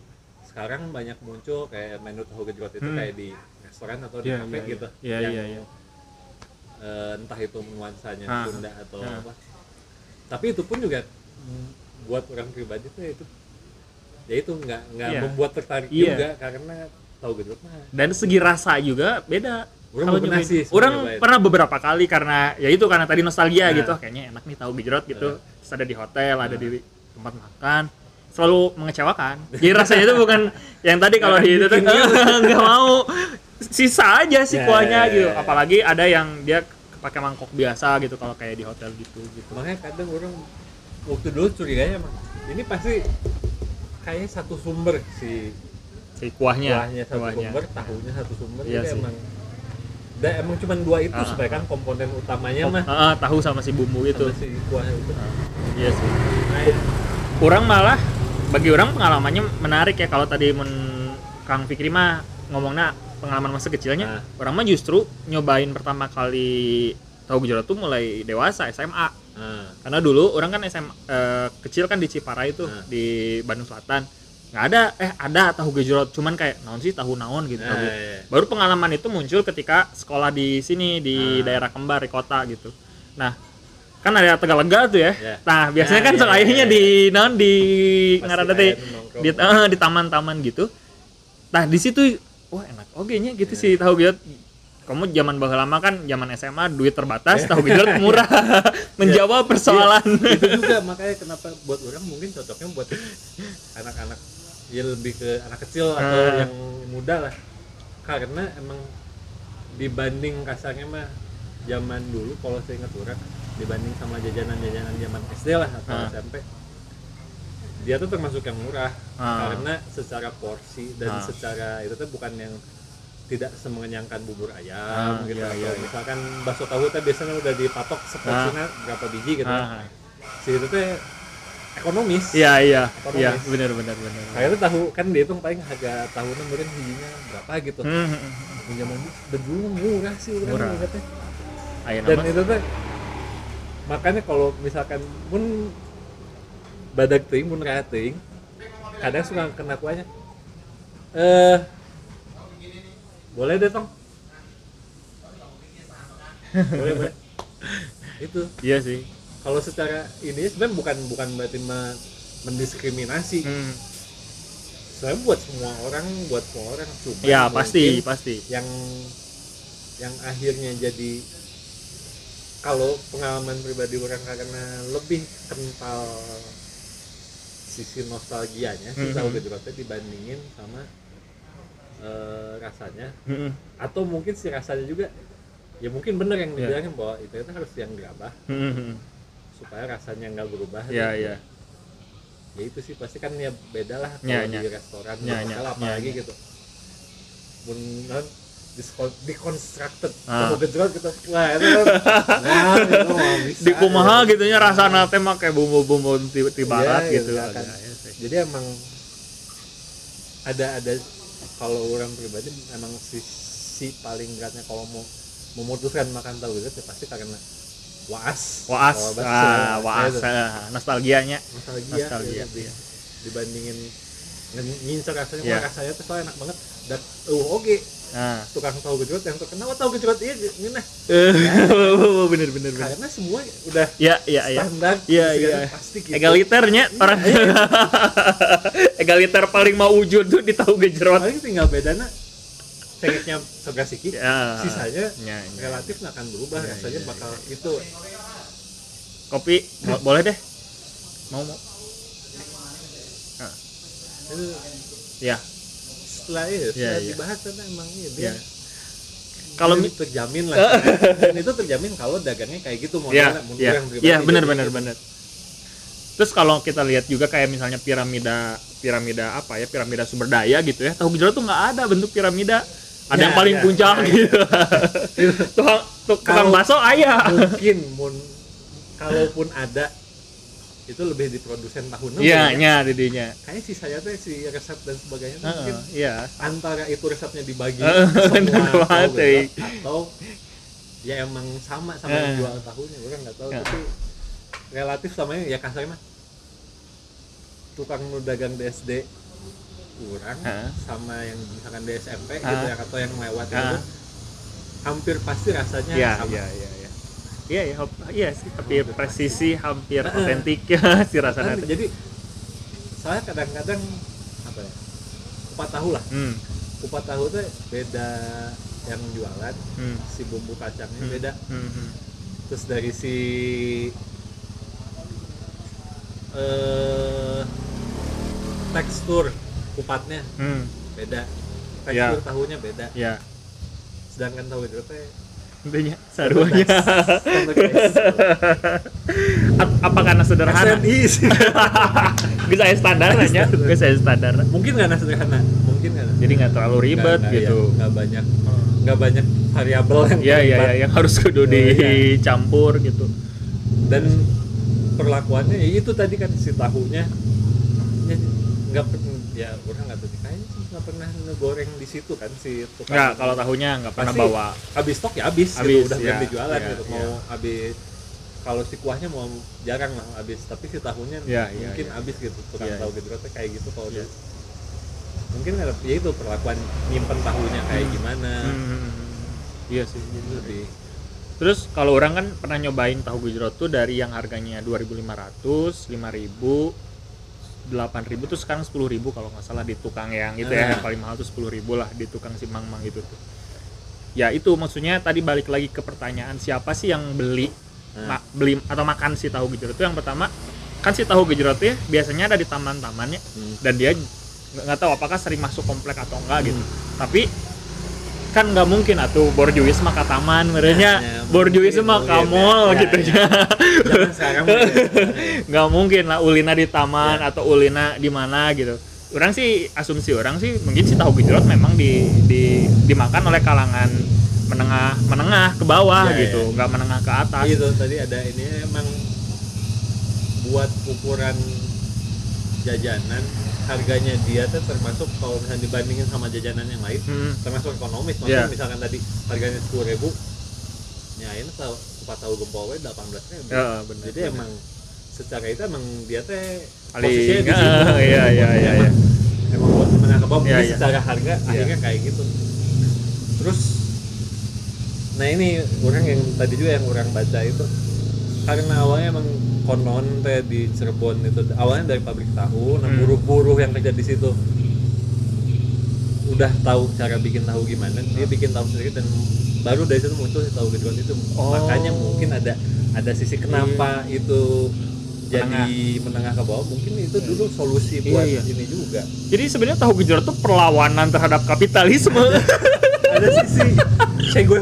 Speaker 3: sekarang banyak muncul kayak menu tahu gejrot itu
Speaker 1: Hmm.
Speaker 3: kayak di restoran atau di
Speaker 1: Iya,
Speaker 3: kafe
Speaker 1: iya, iya.
Speaker 3: gitu
Speaker 1: Iya,
Speaker 3: Yang,
Speaker 1: iya, iya.
Speaker 3: eh, entah itu nuansanya
Speaker 1: Ah.
Speaker 3: Sunda atau
Speaker 1: Ah.
Speaker 3: apa tapi itu pun juga mm, buat orang pribadi tuh itu ya itu nggak nggak
Speaker 1: Iya.
Speaker 3: membuat tertarik
Speaker 1: Iya.
Speaker 3: juga karena tahu gejrot mah
Speaker 1: Dan segi rasa juga beda.
Speaker 3: Orang
Speaker 1: Kalau
Speaker 3: belum pernah
Speaker 1: nyobain.
Speaker 3: sih sebenarnya
Speaker 1: Orang
Speaker 3: nyobain.
Speaker 1: pernah beberapa kali karena ya itu karena tadi nostalgia
Speaker 3: Nah.
Speaker 1: gitu, Ah, kayaknya enak nih tahu gejrot gitu. Terus ada di hotel, ada di
Speaker 3: Nah.
Speaker 1: tempat makan selalu mengecewakan. Jadi rasanya itu bukan yang tadi kalau
Speaker 3: Nah,
Speaker 1: di itu tuh "Eh, nggak mau sisa aja sih
Speaker 3: Ya,
Speaker 1: kuahnya
Speaker 3: ya, ya,
Speaker 1: gitu.
Speaker 3: ya.
Speaker 1: Apalagi ada yang dia pakai mangkok biasa gitu kalau kayak di hotel gitu gitu.
Speaker 3: makanya kadang orang waktu dulu curiganya emang ini pasti kayak satu sumber si
Speaker 1: Si Iya, kuahnya,
Speaker 3: kuahnya satu sumber, tahunya satu sumber
Speaker 1: Iya
Speaker 3: jadi
Speaker 1: sih.
Speaker 3: emang dan emang cuma dua itu
Speaker 1: Ah, ah,
Speaker 3: sebenarnya kan komponen utamanya mah
Speaker 1: Ah, ah, tahu sama si bumbu itu.
Speaker 3: sama si kuahnya itu.
Speaker 1: Iya sih.
Speaker 3: Nah,
Speaker 1: orang malah bagi orang pengalamannya menarik ya kalau tadi men- Kang Fikri mah ngomongnya pengalaman masa kecilnya
Speaker 3: Ah.
Speaker 1: orang mah justru nyobain pertama kali tahu gejolak tuh mulai dewasa SMA
Speaker 3: nah,
Speaker 1: karena dulu orang kan SMA eh, kecil kan di Ciparai itu
Speaker 3: Ah.
Speaker 1: di Bandung Selatan nggak ada eh ada tahu gejolak cuman kayak naon sih tahu naon gitu
Speaker 3: nah,
Speaker 1: tahu
Speaker 3: iya,
Speaker 1: gejolot.
Speaker 3: iya.
Speaker 1: baru pengalaman itu muncul ketika sekolah di sini di
Speaker 3: Ah.
Speaker 1: daerah kembar di kota gitu nah kan ada tegalega tuh ya
Speaker 3: Iya.
Speaker 1: nah biasanya
Speaker 3: Nah,
Speaker 1: kan
Speaker 3: iya,
Speaker 1: sok
Speaker 3: iya,
Speaker 1: ayahnya
Speaker 3: iya.
Speaker 1: di non di
Speaker 3: Pasti
Speaker 1: ngaran teh
Speaker 3: kayak nongkrong.
Speaker 1: di eh, di taman-taman gitu nah di situ wah enak oke nya gitu sih
Speaker 3: Iya.
Speaker 1: tahu gejot kamu zaman bahwa lama kan zaman SMA duit terbatas
Speaker 3: Iya.
Speaker 1: tahu gejot murah menjawab persoalan
Speaker 3: itu juga makanya kenapa buat orang mungkin cocoknya buat anak-anak ya lebih ke anak kecil atau
Speaker 1: Ah.
Speaker 3: yang muda lah karena emang dibanding kasarnya mah zaman dulu kalau saya ingat orang dibanding sama jajanan-jajanan zaman SD lah atau
Speaker 1: Ah.
Speaker 3: SMP dia tuh termasuk yang murah
Speaker 1: Ah.
Speaker 3: karena secara porsi dan
Speaker 1: Ah.
Speaker 3: secara itu tuh bukan yang tidak semengenyangkan bubur
Speaker 1: Ah,
Speaker 3: ayam gitu
Speaker 1: iya,
Speaker 3: atau
Speaker 1: iya.
Speaker 3: misalkan bakso tahu tuh biasanya udah dipatok seporsinya berapa biji gitu
Speaker 1: Ah,
Speaker 3: si itu tuh ekonomis
Speaker 1: iya iya
Speaker 3: Ekonomis.
Speaker 1: iya benar benar benar
Speaker 3: kayaknya tahu kan dihitung paling harga tahunan mungkin hijinya berapa gitu
Speaker 1: Hmm, hmm, hmm.
Speaker 3: pinjaman hmm. dan dulu murah sih orang
Speaker 1: Murah. Iya,
Speaker 3: ingatnya.
Speaker 1: Ayeuna
Speaker 3: dan
Speaker 1: mah.
Speaker 3: itu tuh makanya kalau misalkan pun badak ting pun rating kadang suka kena kuahnya eh boleh deh tong boleh boleh itu
Speaker 1: iya sih
Speaker 3: kalau secara ini sebenarnya bukan bukan berarti me- mendiskriminasi
Speaker 1: Hmm.
Speaker 3: sebenarnya buat semua orang buat semua orang cuma
Speaker 1: ya pasti
Speaker 3: mungkin
Speaker 1: pasti
Speaker 3: yang yang akhirnya jadi kalau pengalaman pribadi orang karena lebih kental sisi nostalgianya
Speaker 1: Mhm.
Speaker 3: sih tahu gitu Pak, dibandingin sama eh, rasanya
Speaker 1: Hmm,
Speaker 3: atau mungkin si rasanya juga ya mungkin bener
Speaker 1: Iya.
Speaker 3: yang dibilangin bahwa itu, itu harus yang gerabah
Speaker 1: hmm, hmm, hmm.
Speaker 3: supaya rasanya nggak berubah
Speaker 1: Iya
Speaker 3: gitu.
Speaker 1: iya.
Speaker 3: ya itu sih pasti kan ya beda lah kalau
Speaker 1: Nya,
Speaker 3: di
Speaker 1: nya.
Speaker 3: restoran di
Speaker 1: Nya, nya.
Speaker 3: hotel
Speaker 1: Nya,
Speaker 3: apalagi
Speaker 1: nya.
Speaker 3: gitu mun non discon- deconstructed
Speaker 1: Ah.
Speaker 3: ah. gejrot gitu wah itu kan nah, itu mah bisa,
Speaker 1: di kumaha
Speaker 3: gitu.
Speaker 1: gitu nya rasana teh make bumbu-bumbu ti, ti barat
Speaker 3: Iya,
Speaker 1: gitu
Speaker 3: iya, kan.
Speaker 1: Agak, ya, sih.
Speaker 3: jadi emang ada ada kalau orang pribadi emang sisi paling beratnya kalau mau memutuskan makan tahu gejrot ya pasti karena waas
Speaker 1: waas
Speaker 3: Kalau bahasa
Speaker 1: ah,
Speaker 3: Indonesia
Speaker 1: waas
Speaker 3: itu.
Speaker 1: ah, nostalgianya
Speaker 3: nostalgia,
Speaker 1: Nostalgia,
Speaker 3: gitu,
Speaker 1: iya.
Speaker 3: dibandingin nge- ngincer rasanya
Speaker 1: Iya.
Speaker 3: yeah. rasanya tuh soalnya enak banget dan uh oke
Speaker 1: nah
Speaker 3: tukang tahu gejrot yang terkenal tahu gejrot iya ini nah
Speaker 1: bener bener bener
Speaker 3: karena semua udah
Speaker 1: ya ya ya
Speaker 3: standar
Speaker 1: Iya,
Speaker 3: segala
Speaker 1: iya.
Speaker 3: pasti gitu Iya.
Speaker 1: egaliternya orang egaliter paling mau wujud tuh di tahu gejrot
Speaker 3: paling tinggal bedana cengeknya soga
Speaker 1: ya
Speaker 3: siki Iya. sisanya
Speaker 1: ya, ya.
Speaker 3: relatif nggak akan berubah
Speaker 1: Iya,
Speaker 3: rasanya
Speaker 1: iya,
Speaker 3: bakal gitu. itu
Speaker 1: kopi bo- boleh deh mau mau
Speaker 3: itu Iya.
Speaker 1: ya
Speaker 3: setelah itu setelah
Speaker 1: iya.
Speaker 3: dibahas karena emang iya dia
Speaker 1: ya kalau
Speaker 3: dia
Speaker 1: mi-
Speaker 3: terjamin lah dan itu terjamin kalau dagangnya kayak gitu mau gitu.
Speaker 1: ya ya ya benar benar
Speaker 3: benar
Speaker 1: benar terus kalau kita lihat juga kayak misalnya piramida piramida apa ya piramida sumber daya gitu ya tahu gejrot tuh nggak ada bentuk piramida ada
Speaker 3: Ya,
Speaker 1: yang paling
Speaker 3: ya,
Speaker 1: puncak
Speaker 3: ya, ya.
Speaker 1: gitu tukang tukang
Speaker 3: Kalau-
Speaker 1: bakso ayah
Speaker 3: mungkin mun kalaupun ada itu lebih di produsen tahunan
Speaker 1: Iya, nya
Speaker 3: kayaknya.
Speaker 1: didinya.
Speaker 3: kayaknya ya. si saya tuh si resep dan sebagainya tuh
Speaker 1: Heeh,
Speaker 3: mungkin
Speaker 1: Iya.
Speaker 3: antara itu resepnya dibagi
Speaker 1: Heeh, bener banget,
Speaker 3: semua tahu
Speaker 1: Teh.
Speaker 3: gejrot, atau ya emang sama sama
Speaker 1: Heeh.
Speaker 3: yang jual tahunya gue kan nggak tahu
Speaker 1: Heeh.
Speaker 3: tapi relatif samanya ya kasarnya mah tukang nu dagang DSD kurang
Speaker 1: Heeh.
Speaker 3: sama yang misalkan DSMP gitu
Speaker 1: Heeh.
Speaker 3: ya atau yang lewat itu
Speaker 1: Heeh.
Speaker 3: hampir pasti rasanya
Speaker 1: Iya,
Speaker 3: sama
Speaker 1: iya, iya, iya. Iya, iya, hop- iya sih, tapi presisi hampir otentik si rasanya.
Speaker 3: Kan,
Speaker 1: teh.
Speaker 3: jadi saya kadang-kadang apa ya kupat tahu lah
Speaker 1: Hmm,
Speaker 3: kupat tahu tuh beda yang jualan
Speaker 1: hmm,
Speaker 3: si bumbu kacangnya
Speaker 1: hmm,
Speaker 3: beda
Speaker 1: hmm, hmm.
Speaker 3: terus dari si eh tekstur kupatnya
Speaker 1: Hmm,
Speaker 3: beda tekstur
Speaker 1: Ya.
Speaker 3: tahunya beda
Speaker 1: ya,
Speaker 3: sedangkan tahu itu teh
Speaker 1: intinya seruannya.
Speaker 3: sama guys.
Speaker 1: Ap- Apa karena sederhana?
Speaker 3: SNI sih.
Speaker 1: Bisa saya standar aja, bisa saya standar.
Speaker 3: mungkin karena sederhana mungkin karena
Speaker 1: Jadi nggak terlalu ribet
Speaker 3: Nggak- nggak-
Speaker 1: gitu.
Speaker 3: ya, nggak banyak nggak banyak variabel yang
Speaker 1: Iya, iya,
Speaker 3: terlibat.
Speaker 1: iya, yang harus kudu
Speaker 3: Iya, iya.
Speaker 1: dicampur gitu.
Speaker 3: dan perlakuannya ya itu tadi kan si tahunya ya, nggak pernah ya orang nggak tahu sih, kayaknya sih nggak pernah ngegoreng di situ kan si tukang
Speaker 1: Nggak, kalau tahunya nggak pernah
Speaker 3: Pasti
Speaker 1: bawa.
Speaker 3: habis stok ya habis,
Speaker 1: Habis,
Speaker 3: gitu udah
Speaker 1: ya,
Speaker 3: ganti jualan
Speaker 1: ya,
Speaker 3: gitu
Speaker 1: ya.
Speaker 3: mau habis kalau si kuahnya mau jarang lah habis tapi si tahunya
Speaker 1: Ya, ya,
Speaker 3: mungkin
Speaker 1: ya.
Speaker 3: habis gitu tukang
Speaker 1: Ya, ya.
Speaker 3: tahu gitu kayak gitu kalau
Speaker 1: Ya.
Speaker 3: dulu. mungkin ada ya itu perlakuan nyimpen tahunya kayak gimana
Speaker 1: Hmm, Iya sih.
Speaker 3: Jadi lebih
Speaker 1: Terus kalau orang kan pernah nyobain tahu gejrot tuh dari yang harganya 2.500, 5.000, 8.000 tuh sekarang 10.000 kalau nggak salah di tukang yang itu ya
Speaker 3: Ah.
Speaker 1: yang paling mahal tuh 10.000 lah di tukang si Mang Mang itu tuh. Ya itu maksudnya tadi balik lagi ke pertanyaan siapa sih yang beli
Speaker 3: Ah.
Speaker 1: ma- beli atau makan si tahu gejrot itu yang pertama kan si tahu gejrot tuh ya biasanya ada di taman-tamannya
Speaker 3: Hmm.
Speaker 1: dan dia nggak nggak tahu apakah sering masuk komplek atau enggak gitu.
Speaker 3: Hmm.
Speaker 1: Tapi kan nggak mungkin atuh borjuis mah ke taman merenya
Speaker 3: Ya, ya,
Speaker 1: borjuis
Speaker 3: mungkin,
Speaker 1: mah ke
Speaker 3: mungkin,
Speaker 1: mall
Speaker 3: ya.
Speaker 1: gitu
Speaker 3: Ya,
Speaker 1: ya
Speaker 3: Jangan sekarang ya.
Speaker 1: nggak mungkin lah ulina di taman
Speaker 3: Iya.
Speaker 1: atau ulina di mana gitu orang sih asumsi orang sih mungkin si tahu gejrot memang di, di dimakan oleh kalangan menengah menengah ke bawah
Speaker 3: Ya, ya.
Speaker 1: gitu nggak menengah ke atas
Speaker 3: itu Iya, tadi ada ini emang buat ukuran jajanan harganya dia tuh termasuk kalau misalnya dibandingin sama jajanan yang lain
Speaker 1: Hmm.
Speaker 3: termasuk ekonomis
Speaker 1: Iya.
Speaker 3: maksudnya misalkan tadi harganya sepuluh ribu ya ini tahu empat tahu gempolwe delapan belas ribu
Speaker 1: Ya, bener,
Speaker 3: jadi
Speaker 1: bener.
Speaker 3: emang secara itu emang dia teh
Speaker 1: Paling-
Speaker 3: posisinya di
Speaker 1: ah,
Speaker 3: situ
Speaker 1: iya, iya,
Speaker 3: Emang-
Speaker 1: iya, iya.
Speaker 3: emang buat menengah ke bawah
Speaker 1: Iya,
Speaker 3: jadi
Speaker 1: iya.
Speaker 3: secara harga akhirnya kayak gitu terus nah ini orang yang tadi juga yang orang baca itu karena awalnya emang konon teh di Cirebon itu awalnya dari pabrik tahu nah
Speaker 1: Hmm.
Speaker 3: buruh-buruh yang kerja di situ udah tahu cara bikin tahu gimana dia
Speaker 1: Hmm.
Speaker 3: bikin tahu sendiri dan baru dari situ muncul si tahu gejrot itu
Speaker 1: Oh. Iya.
Speaker 3: makanya mungkin ada ada sisi kenapa itu jadi menengah ke bawah mungkin itu dulu solusi buat
Speaker 1: iya.
Speaker 3: ini juga
Speaker 1: jadi sebenarnya tahu gejrot tuh perlawanan terhadap kapitalisme
Speaker 3: ada sisi saya gue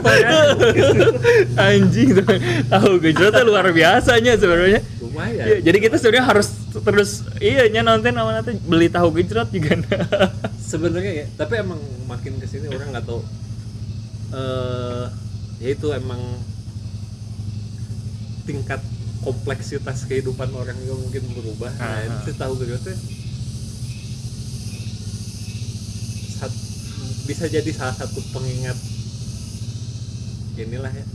Speaker 1: anjing tuh. tahu gejrot tuh luar biasanya sebenarnya
Speaker 3: Cuma lumayan.
Speaker 1: Iya, jadi kita sebenarnya harus terus iya nya nonton sama nanti beli tahu gejrot juga. nah.
Speaker 3: sebenarnya ya tapi emang makin kesini orang nggak tahu eh ya itu emang tingkat kompleksitas kehidupan orang juga mungkin berubah nah,
Speaker 1: Ah.
Speaker 3: itu tahu gue tuh sat- bisa jadi salah satu pengingat inilah ya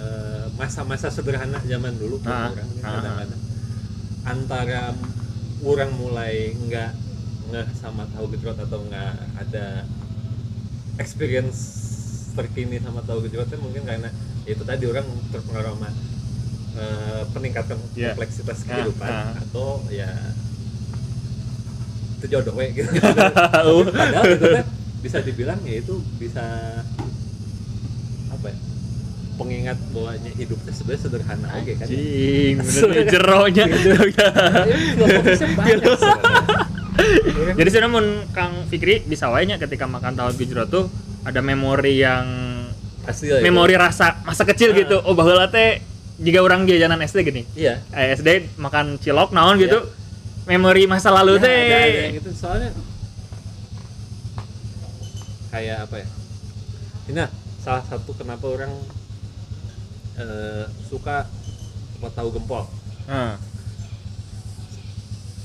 Speaker 3: eh, masa-masa sederhana zaman dulu buat
Speaker 1: Ah.
Speaker 3: orang ini
Speaker 1: Ah.
Speaker 3: kadang-kadang antara orang mulai nggak nggak sama tahu gejrot atau nggak ada experience terkini sama tahu gejrotnya mungkin karena ya itu tadi orang terpengaruh sama eh, peningkatan
Speaker 1: Iya.
Speaker 3: kompleksitas
Speaker 1: Ah,
Speaker 3: kehidupan
Speaker 1: ah.
Speaker 3: atau ya itu jodoh we gitu
Speaker 1: Oh.
Speaker 3: Tapi padahal itu teh bisa dibilang ya itu bisa apa ya pengingat bahwa hidupnya sebenarnya sederhana oke kan ya.
Speaker 1: Cing, bener nih, jeronya.
Speaker 3: Iya, Ya, filosofisnya banyak sebenarnya.
Speaker 1: jadi sebenarnya mun Kang Fikri bisa wae nya ketika makan tahu gejrot tuh ada memori yang
Speaker 3: Pasti lah ya. itu.
Speaker 1: memori rasa masa kecil
Speaker 3: Ah.
Speaker 1: gitu. Oh baheula teh jika orang jajanan SD gini.
Speaker 3: iya
Speaker 1: Eh, SD makan cilok naon gitu.
Speaker 3: Iya.
Speaker 1: Memori masa lalu
Speaker 3: Ya,
Speaker 1: teh.
Speaker 3: ada- ada yang gitu soalnya kayak apa ya ini nah, salah satu kenapa orang eh, suka sama tahu gempol
Speaker 1: Heeh.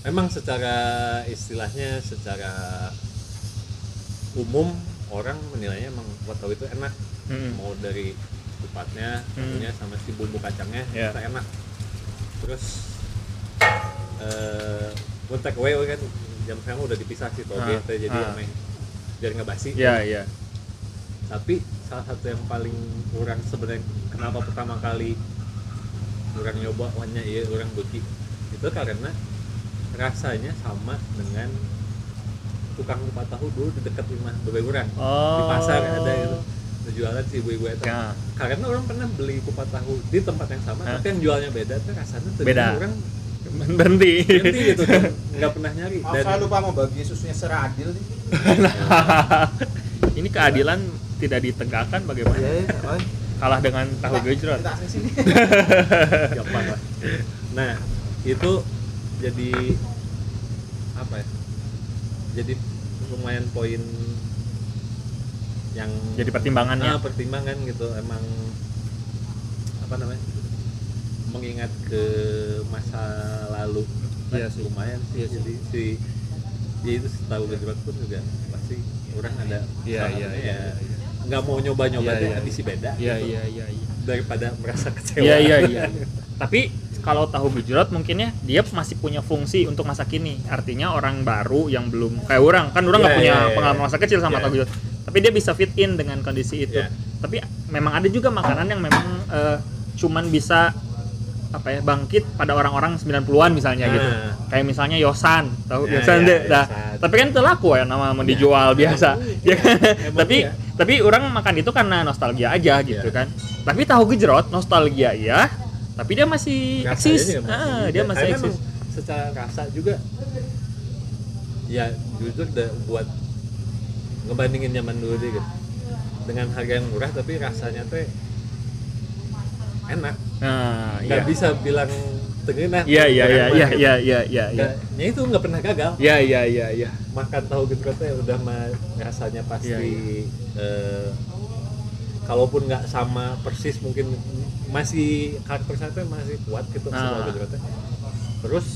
Speaker 3: memang secara istilahnya secara umum orang menilainya emang kupat tahu itu enak
Speaker 1: Mm-mm.
Speaker 3: mau dari kupatnya
Speaker 1: Hmm.
Speaker 3: bumbunya sama si bumbu kacangnya
Speaker 1: Iya.
Speaker 3: itu enak terus eh buat take away kan jam sekarang udah dipisah sih toge
Speaker 1: Ah,
Speaker 3: teh, jadi
Speaker 1: ah.
Speaker 3: ameh biar nggak basi
Speaker 1: Iya, iya.
Speaker 3: tapi salah satu yang paling kurang sebenarnya kenapa pertama kali orang nyoba wanya iya orang beki itu karena rasanya sama dengan tukang kupat tahu dulu di dekat rumah bebek orang
Speaker 1: Oh.
Speaker 3: di pasar ada gitu. itu Ada jualan si ibu-ibu itu
Speaker 1: Ya.
Speaker 3: karena orang pernah beli kupat tahu di tempat yang sama
Speaker 1: Hah?
Speaker 3: tapi yang jualnya beda tuh rasanya tuh
Speaker 1: Beda.
Speaker 3: orang
Speaker 1: Berhenti.
Speaker 3: ganti gitu kan nggak pernah nyari
Speaker 7: Maaf saya lupa mau bagi susunya secara adil nih.
Speaker 1: Ini keadilan tidak ditegakkan bagaimana?
Speaker 7: oh.
Speaker 1: Kalah dengan tahu gejrot.
Speaker 7: Kita asli sini.
Speaker 3: gampang lah nah itu jadi apa ya jadi lumayan poin yang
Speaker 1: Jadi pertimbangannya.
Speaker 3: Ah, pertimbangan gitu emang apa namanya mengingat ke masa lalu Kan
Speaker 1: Iya sih.
Speaker 3: lumayan sih
Speaker 1: Iya sih.
Speaker 3: jadi si ya itu setahu gejolak pun juga pasti orang ada
Speaker 1: Iya, iya,
Speaker 3: saatnya
Speaker 1: iya,
Speaker 3: ya nggak mau nyoba nyoba
Speaker 1: Iya,
Speaker 3: deh
Speaker 1: iya,
Speaker 3: habis si beda
Speaker 1: Iya,
Speaker 3: gitu.
Speaker 1: iya, iya, iya.
Speaker 3: daripada merasa kecewa
Speaker 1: Iya, iya, iya. Tapi kalau tahu gejrot mungkinnya dia masih punya fungsi untuk masa kini. Artinya orang baru yang belum kayak orang kan orang nggak
Speaker 3: Iya,
Speaker 1: punya
Speaker 3: iya, iya.
Speaker 1: pengalaman masa kecil sama
Speaker 3: Iya.
Speaker 1: tahu gejrot. Tapi dia bisa fit in dengan kondisi itu.
Speaker 3: Iya.
Speaker 1: Tapi memang ada juga makanan yang memang eh, cuman bisa apa ya bangkit pada orang-orang 90-an misalnya gitu.
Speaker 3: Nah.
Speaker 1: Kayak misalnya yosan, tahu
Speaker 3: Ya,
Speaker 1: yosan
Speaker 3: ya,
Speaker 1: deh. Nah,
Speaker 3: yosan.
Speaker 1: tapi kan telaku ya nama mau dijual biasa. Ya kan?
Speaker 3: Iya. Emang
Speaker 1: tapi
Speaker 3: iya.
Speaker 1: tapi orang makan itu karena nostalgia aja gitu kan tapi tahu gejrot nostalgia iya tapi dia masih
Speaker 3: Rasanya
Speaker 1: eksis
Speaker 3: iya juga masih
Speaker 1: Ah,
Speaker 3: ada.
Speaker 1: dia masih
Speaker 3: Karena
Speaker 1: eksis
Speaker 3: emang secara rasa juga ya jujur udah buat ngebandingin zaman dulu deh gitu dengan harga yang murah tapi rasanya teh enak
Speaker 1: nah
Speaker 3: nggak
Speaker 1: iya
Speaker 3: bisa bilang tengenah
Speaker 1: iya iya iya
Speaker 3: kurang
Speaker 1: iya
Speaker 3: mah,
Speaker 1: iya
Speaker 3: gitu.
Speaker 1: iya iya iya
Speaker 3: Nggak- ya itu nggak pernah gagal
Speaker 1: iya iya iya iya
Speaker 3: makan tahu gejrot teh udah mah rasanya pasti
Speaker 1: Iya,
Speaker 3: eh, kalaupun nggak sama persis mungkin masih karakter saya teh masih kuat gitu
Speaker 1: Ah.
Speaker 3: semua gejrot teh. Terus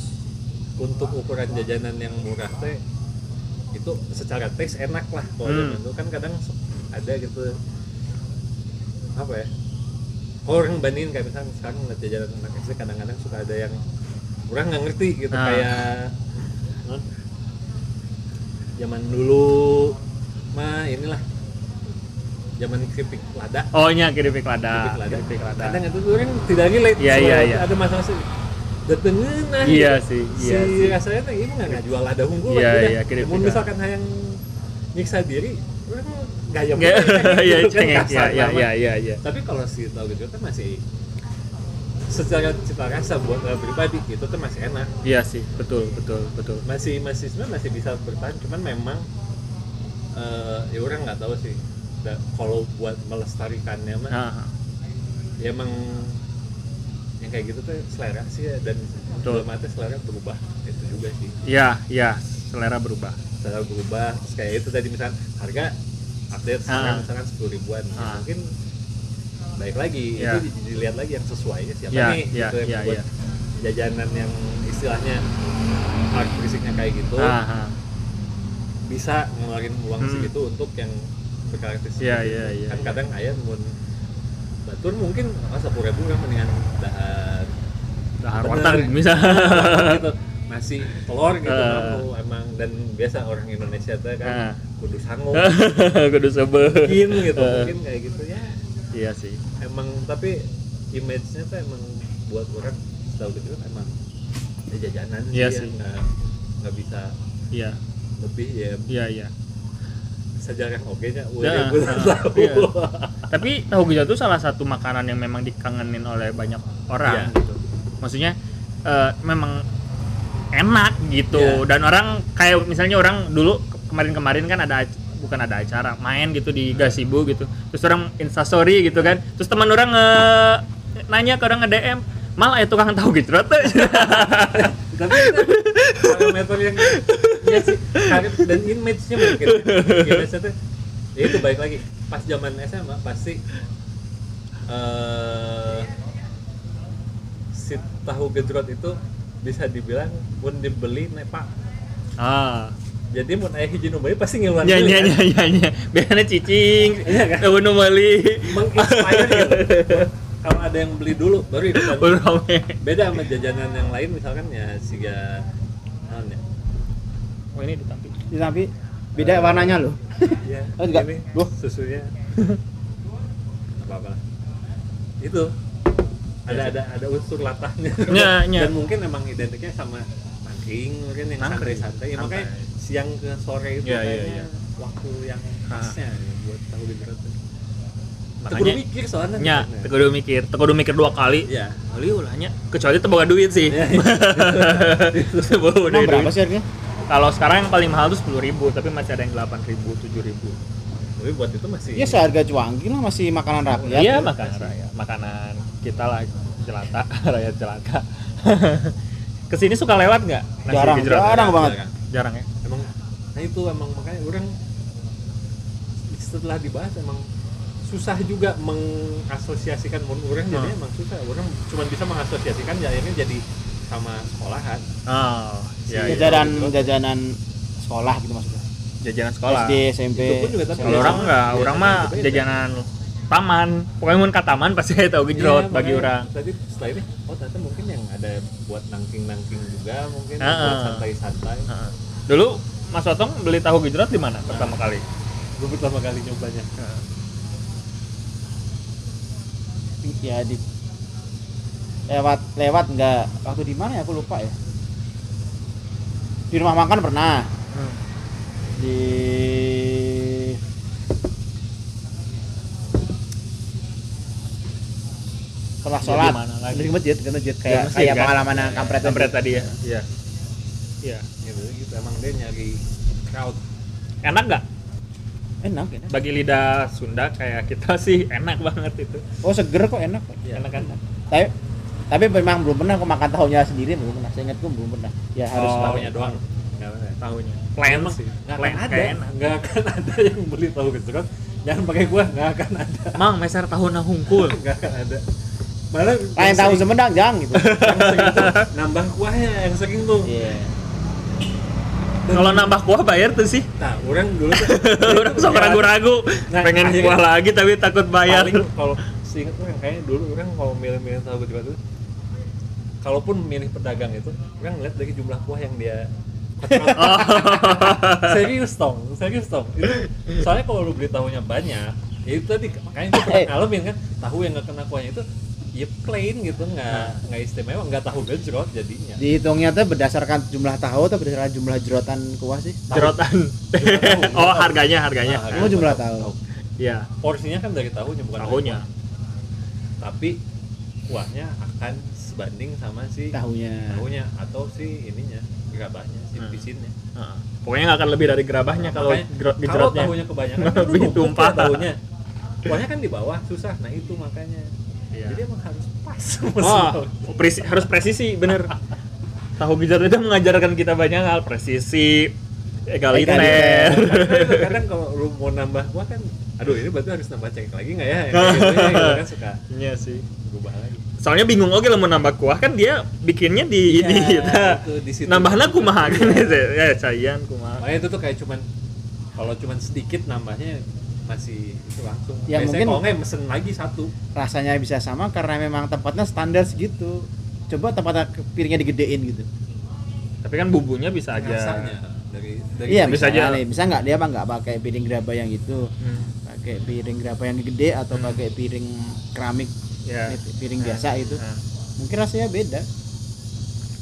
Speaker 3: untuk ukuran jajanan yang murah teh itu secara taste enak lah kalau
Speaker 1: Hmm.
Speaker 3: zaman dulu kan kadang ada gitu apa ya kalau orang bandingin kayak misalnya sekarang ngeliat jajanan anak SD kadang-kadang suka ada yang orang nggak ngerti gitu
Speaker 1: Ah.
Speaker 3: kayak non, zaman dulu mah inilah zaman keripik lada
Speaker 1: oh iya keripik
Speaker 3: keripik
Speaker 1: lada
Speaker 3: lada
Speaker 1: keripik lada
Speaker 3: kadang itu orang tidak relate
Speaker 1: Iya, iya,
Speaker 3: soalnya
Speaker 1: iya.
Speaker 3: ada masalah sih Detengenah
Speaker 1: Iya sih, iya
Speaker 3: si
Speaker 1: sih.
Speaker 3: rasanya tuh ini mah nggak jual lada unggul
Speaker 1: Iya,
Speaker 3: gitu
Speaker 1: iya,
Speaker 3: dah.
Speaker 1: keripik
Speaker 3: Mun
Speaker 1: lah.
Speaker 3: misalkan hayang nyiksa diri orang nggak yang
Speaker 1: Nggak- iya cengeng
Speaker 3: kasar
Speaker 1: iya iya
Speaker 3: banget.
Speaker 1: iya iya iya
Speaker 3: tapi kalau si tahu gitu kan masih secara cita rasa buat eh, pribadi itu tuh masih enak
Speaker 1: iya sih betul betul betul
Speaker 3: masih masih sebenarnya masih bisa bertahan cuman memang eh, ya orang nggak tahu sih
Speaker 1: Ah.
Speaker 3: Da- kalau buat melestarikannya mah
Speaker 1: nah
Speaker 3: ya emang ya yang kayak gitu tuh selera sih ya, dan
Speaker 1: Betul.
Speaker 3: dalam arti selera berubah itu juga sih
Speaker 1: Iya, iya, selera berubah.
Speaker 3: selera berubah terus kayak itu tadi misalnya harga update sekarang
Speaker 1: Ah.
Speaker 3: misalkan sepuluh ribuan Ya,
Speaker 1: Ah.
Speaker 3: mungkin baik lagi
Speaker 1: Ya.
Speaker 3: itu di- dilihat lagi yang sesuainya siapa
Speaker 1: Ya,
Speaker 3: nih
Speaker 1: ya,
Speaker 3: gitu yang
Speaker 1: ya,
Speaker 3: buat
Speaker 1: ya.
Speaker 3: jajanan yang istilahnya karakteristiknya kayak gitu
Speaker 1: Aha.
Speaker 3: bisa ngeluarin uang
Speaker 1: Hmm.
Speaker 3: segitu untuk yang berkarakteristik
Speaker 1: Iya,
Speaker 3: gitu.
Speaker 1: iya, iya,
Speaker 3: kan
Speaker 1: iya.
Speaker 3: kadang ayam mun batur mungkin sepuluh ribu kan mendingan dahar
Speaker 1: Dahar
Speaker 3: Bener.
Speaker 1: warteg misalnya.
Speaker 3: gitu nasi telur gitu
Speaker 1: Ah.
Speaker 3: mampu emang dan biasa orang Indonesia tuh
Speaker 1: Ah.
Speaker 3: kan kudu sanggup
Speaker 1: Kudu sebe.
Speaker 3: Oh. mungkin gitu
Speaker 1: Ah.
Speaker 3: mungkin kayak gitu ya
Speaker 1: Iya sih.
Speaker 3: emang tapi image-nya tuh emang buat orang setahu gitu kan emang ya jajanan
Speaker 1: Iya
Speaker 3: ya,
Speaker 1: sih.
Speaker 3: nggak nggak bisa
Speaker 1: Iya,
Speaker 3: lebih ya
Speaker 1: iya, iya.
Speaker 3: sejarah oke
Speaker 1: Ya,
Speaker 3: nya udah gue
Speaker 1: ah,
Speaker 3: tahu
Speaker 1: iya. Tapi tahu gejot itu salah satu makanan yang memang dikangenin oleh banyak orang
Speaker 3: Iya.
Speaker 1: gitu. Maksudnya eh, memang enak gitu
Speaker 3: Iya.
Speaker 1: dan orang kayak misalnya orang dulu ke- kemarin-kemarin kan ada ac- bukan ada acara main gitu di gazebo gitu terus orang instastory gitu kan terus teman orang nge- nanya ke orang nge DM malah ya tukang tahu gitu
Speaker 3: tapi itu parameter yang ya sih karir dan image-nya mungkin image-nya tuh ya itu baik lagi pas zaman SMA pasti eh si tahu gedrot itu bisa dibilang pun dibeli nepak
Speaker 1: ah
Speaker 3: jadi mau ayah hiji nu bayi pasti ngeluarin
Speaker 1: nya nya
Speaker 3: beli,
Speaker 1: nya
Speaker 3: kan?
Speaker 1: nya nya biasanya cicing tahun nu meuli
Speaker 3: Iya. menginspire gitu kalau ada yang beli dulu baru itu kan.
Speaker 1: Baru rame.
Speaker 3: beda sama jajanan yang lain misalkan ya siga naon ya
Speaker 1: oh ini ditampil
Speaker 2: Iya, tapi beda warnanya loh
Speaker 3: Iya,
Speaker 2: Oh, enggak.
Speaker 3: ini
Speaker 2: Duh.
Speaker 3: susunya. apa apa. Itu ada ada ada unsur latahnya.
Speaker 1: Iya, iya.
Speaker 3: Dan mungkin emang identiknya sama tangking mungkin yang
Speaker 1: Tangkring,
Speaker 3: santai-santai. Ya,
Speaker 1: santai.
Speaker 3: makanya siang ke sore itu
Speaker 1: Iya, iya,
Speaker 3: kayaknya
Speaker 1: iya. Ah.
Speaker 3: waktu yang khasnya ya, buat tahu beneran tuh.
Speaker 1: Makanya- ya, Iya,
Speaker 3: Tekudu mikir soalnya.
Speaker 1: nya
Speaker 3: sebenarnya.
Speaker 1: tekudu mikir tekudu mikir dua kali
Speaker 3: Iya.
Speaker 1: kali ulahnya kecuali teu boga duit sih
Speaker 3: Iya.
Speaker 1: Teu boga
Speaker 2: emang berapa
Speaker 1: duit.
Speaker 2: sih harganya
Speaker 1: kalau sekarang yang paling mahal tuh sepuluh ribu tapi masih ada yang delapan ribu tujuh ribu
Speaker 3: Tapi buat itu masih
Speaker 2: ya
Speaker 3: iya,
Speaker 2: seharga cuangki lah masih makanan rakyat
Speaker 1: iya makanan rakyat makanan kita lah jelata rakyat jelata kesini suka lewat nggak nasi
Speaker 2: jarang
Speaker 1: gejrot?
Speaker 2: jarang banget
Speaker 3: Jarang.
Speaker 1: jarang ya
Speaker 3: emang nah itu emang makanya orang setelah dibahas emang susah juga mengasosiasikan mun orang jadi
Speaker 1: Hmm.
Speaker 3: emang susah orang cuma bisa mengasosiasikan ya akhirnya jadi sama sekolahan
Speaker 1: oh iya, iya.
Speaker 2: jajanan jajanan sekolah gitu maksudnya
Speaker 1: jajanan sekolah
Speaker 2: SD SMP
Speaker 3: Itu pun juga tapi
Speaker 1: kalau
Speaker 3: Iya,
Speaker 1: orang
Speaker 3: sama.
Speaker 1: nggak
Speaker 3: Iya,
Speaker 1: orang
Speaker 3: tapi
Speaker 1: mah
Speaker 3: beda.
Speaker 1: jajanan taman pokoknya mun ke taman pasti tahu gejrot
Speaker 3: Iya,
Speaker 1: bagi
Speaker 3: makanya
Speaker 1: orang
Speaker 3: tadi setelah ini oh ternyata mungkin yang ada buat nangking nangking juga mungkin
Speaker 1: Ah,
Speaker 3: buat
Speaker 1: ah.
Speaker 3: santai santai
Speaker 1: Heeh. dulu Mas Otong beli tahu gejrot di mana pertama kali
Speaker 3: gue pertama kali nyobanya
Speaker 2: ya di lewat lewat nggak waktu di mana ya aku lupa ya di rumah makan pernah di setelah
Speaker 1: Ya,
Speaker 2: sholat
Speaker 1: di mana lagi?
Speaker 2: dari masjid ke masjid
Speaker 1: Di
Speaker 2: kayak
Speaker 1: masjid,
Speaker 2: kayak
Speaker 1: kan?
Speaker 2: pengalaman yang kampret
Speaker 1: kampret tadi ya iya iya
Speaker 3: gitu gitu emang dia nyari crowd
Speaker 1: enak nggak
Speaker 2: enak enak
Speaker 1: bagi lidah Sunda kayak kita sih enak banget itu
Speaker 2: oh seger kok enak kok.
Speaker 3: Iya.
Speaker 1: enak kan
Speaker 2: tapi tapi memang belum pernah aku makan tahunya sendiri belum pernah saya ingatku belum pernah ya harus
Speaker 1: Oh.
Speaker 3: tahunya doang Nggak apa-apa.
Speaker 1: tahunya plan
Speaker 3: Emang
Speaker 1: sih
Speaker 3: Iya nggak
Speaker 1: plan
Speaker 3: akan ada
Speaker 1: kayak enak
Speaker 3: nggak akan ada yang beli tahu gitu kan. gejrot jangan pakai gua nggak akan ada
Speaker 1: mang meser tahu nah hungkul
Speaker 3: nggak akan ada malah
Speaker 2: lain
Speaker 3: yang
Speaker 2: tahu
Speaker 3: Iya, sering-
Speaker 2: Sumedang jang gitu
Speaker 3: yang sering tuh nambah kuahnya yang sering tuh
Speaker 2: Iya.
Speaker 3: Dan-
Speaker 1: kalau nambah kuah bayar tuh sih
Speaker 3: nah orang dulu tuh
Speaker 1: orang sok
Speaker 3: Iya.
Speaker 1: ragu-ragu
Speaker 3: Nah,
Speaker 1: pengen
Speaker 3: akhirnya-
Speaker 1: kuah lagi tapi takut bayar
Speaker 3: paling kalau seingat gue kayaknya dulu orang kalau milih-milih tahu gejrot itu kalaupun milih pedagang itu orang ngeliat dari jumlah kuah yang dia
Speaker 1: Oh.
Speaker 3: serius tong serius tong itu soalnya kalau lu beli tahunya banyak ya itu tadi makanya itu
Speaker 1: Eh.
Speaker 3: pernah ngalamin kan tahu yang nggak kena kuahnya itu ya plain gitu nggak
Speaker 1: Nah.
Speaker 3: nggak istimewa nggak tahu gejrot jadinya
Speaker 2: dihitungnya tuh berdasarkan jumlah tahu atau berdasarkan jumlah jerotan kuah sih
Speaker 1: jerotan
Speaker 3: Jerotan.
Speaker 1: oh harganya harganya
Speaker 3: Nah,
Speaker 2: Oh, jumlah tahu.
Speaker 1: iya
Speaker 3: porsinya kan dari tahunya bukan dari
Speaker 1: tahunya
Speaker 3: kuah. tapi kuahnya akan sebanding sama si
Speaker 2: Tahunya.
Speaker 3: tahunya atau si ininya gerabahnya si
Speaker 1: Hmm.
Speaker 3: pisinnya Nah,
Speaker 1: Heeh. pokoknya nggak akan lebih dari gerabahnya kalau
Speaker 3: Makanya,
Speaker 1: gero-
Speaker 3: kalau
Speaker 1: gejrotnya
Speaker 3: tahunya kebanyakan
Speaker 1: Bikin
Speaker 3: itu tumpah
Speaker 1: tumpah.
Speaker 3: tahunya kuahnya kan di bawah susah nah itu makanya
Speaker 1: Iya.
Speaker 3: Jadi emang harus pas.
Speaker 1: Wah, Oh, presi- harus presisi, bener. Tahu gejala itu mengajarkan kita banyak hal, presisi, egaliter.
Speaker 3: Karena itu kadang kalau lu mau nambah wah kan aduh ini berarti harus nambah cengkeh lagi nggak ya? Yang kayak gitu ya, gitu kan suka
Speaker 1: Iya sih.
Speaker 3: berubah lagi.
Speaker 1: Soalnya bingung oke lah mau nambah kuah kan dia bikinnya di ini kita.
Speaker 3: Iya, Nah, itu di situ.
Speaker 1: Nambahnya kumaha kan ya sayang kumaha.
Speaker 3: Makanya itu tuh kayak cuman kalau cuman sedikit nambahnya masih itu langsung.
Speaker 2: Ya,
Speaker 3: Biasanya
Speaker 2: mungkin-
Speaker 3: kalau nggak ya mesen lagi satu.
Speaker 2: rasanya bisa sama karena memang tempatnya standar segitu coba tempat piringnya digedein gitu
Speaker 1: Tapi kan bumbunya bisa aja.
Speaker 3: Rasanya dari dari
Speaker 2: iya
Speaker 1: bisa
Speaker 2: bisa
Speaker 1: aja.
Speaker 2: aja bisa nggak dia mah nggak pakai piring gerabah yang itu
Speaker 1: Hmm,
Speaker 2: pakai piring gerabah yang gede atau pakai piring keramik
Speaker 1: Ya.
Speaker 2: eh, piring biasa itu
Speaker 1: Nah,
Speaker 2: mungkin rasanya beda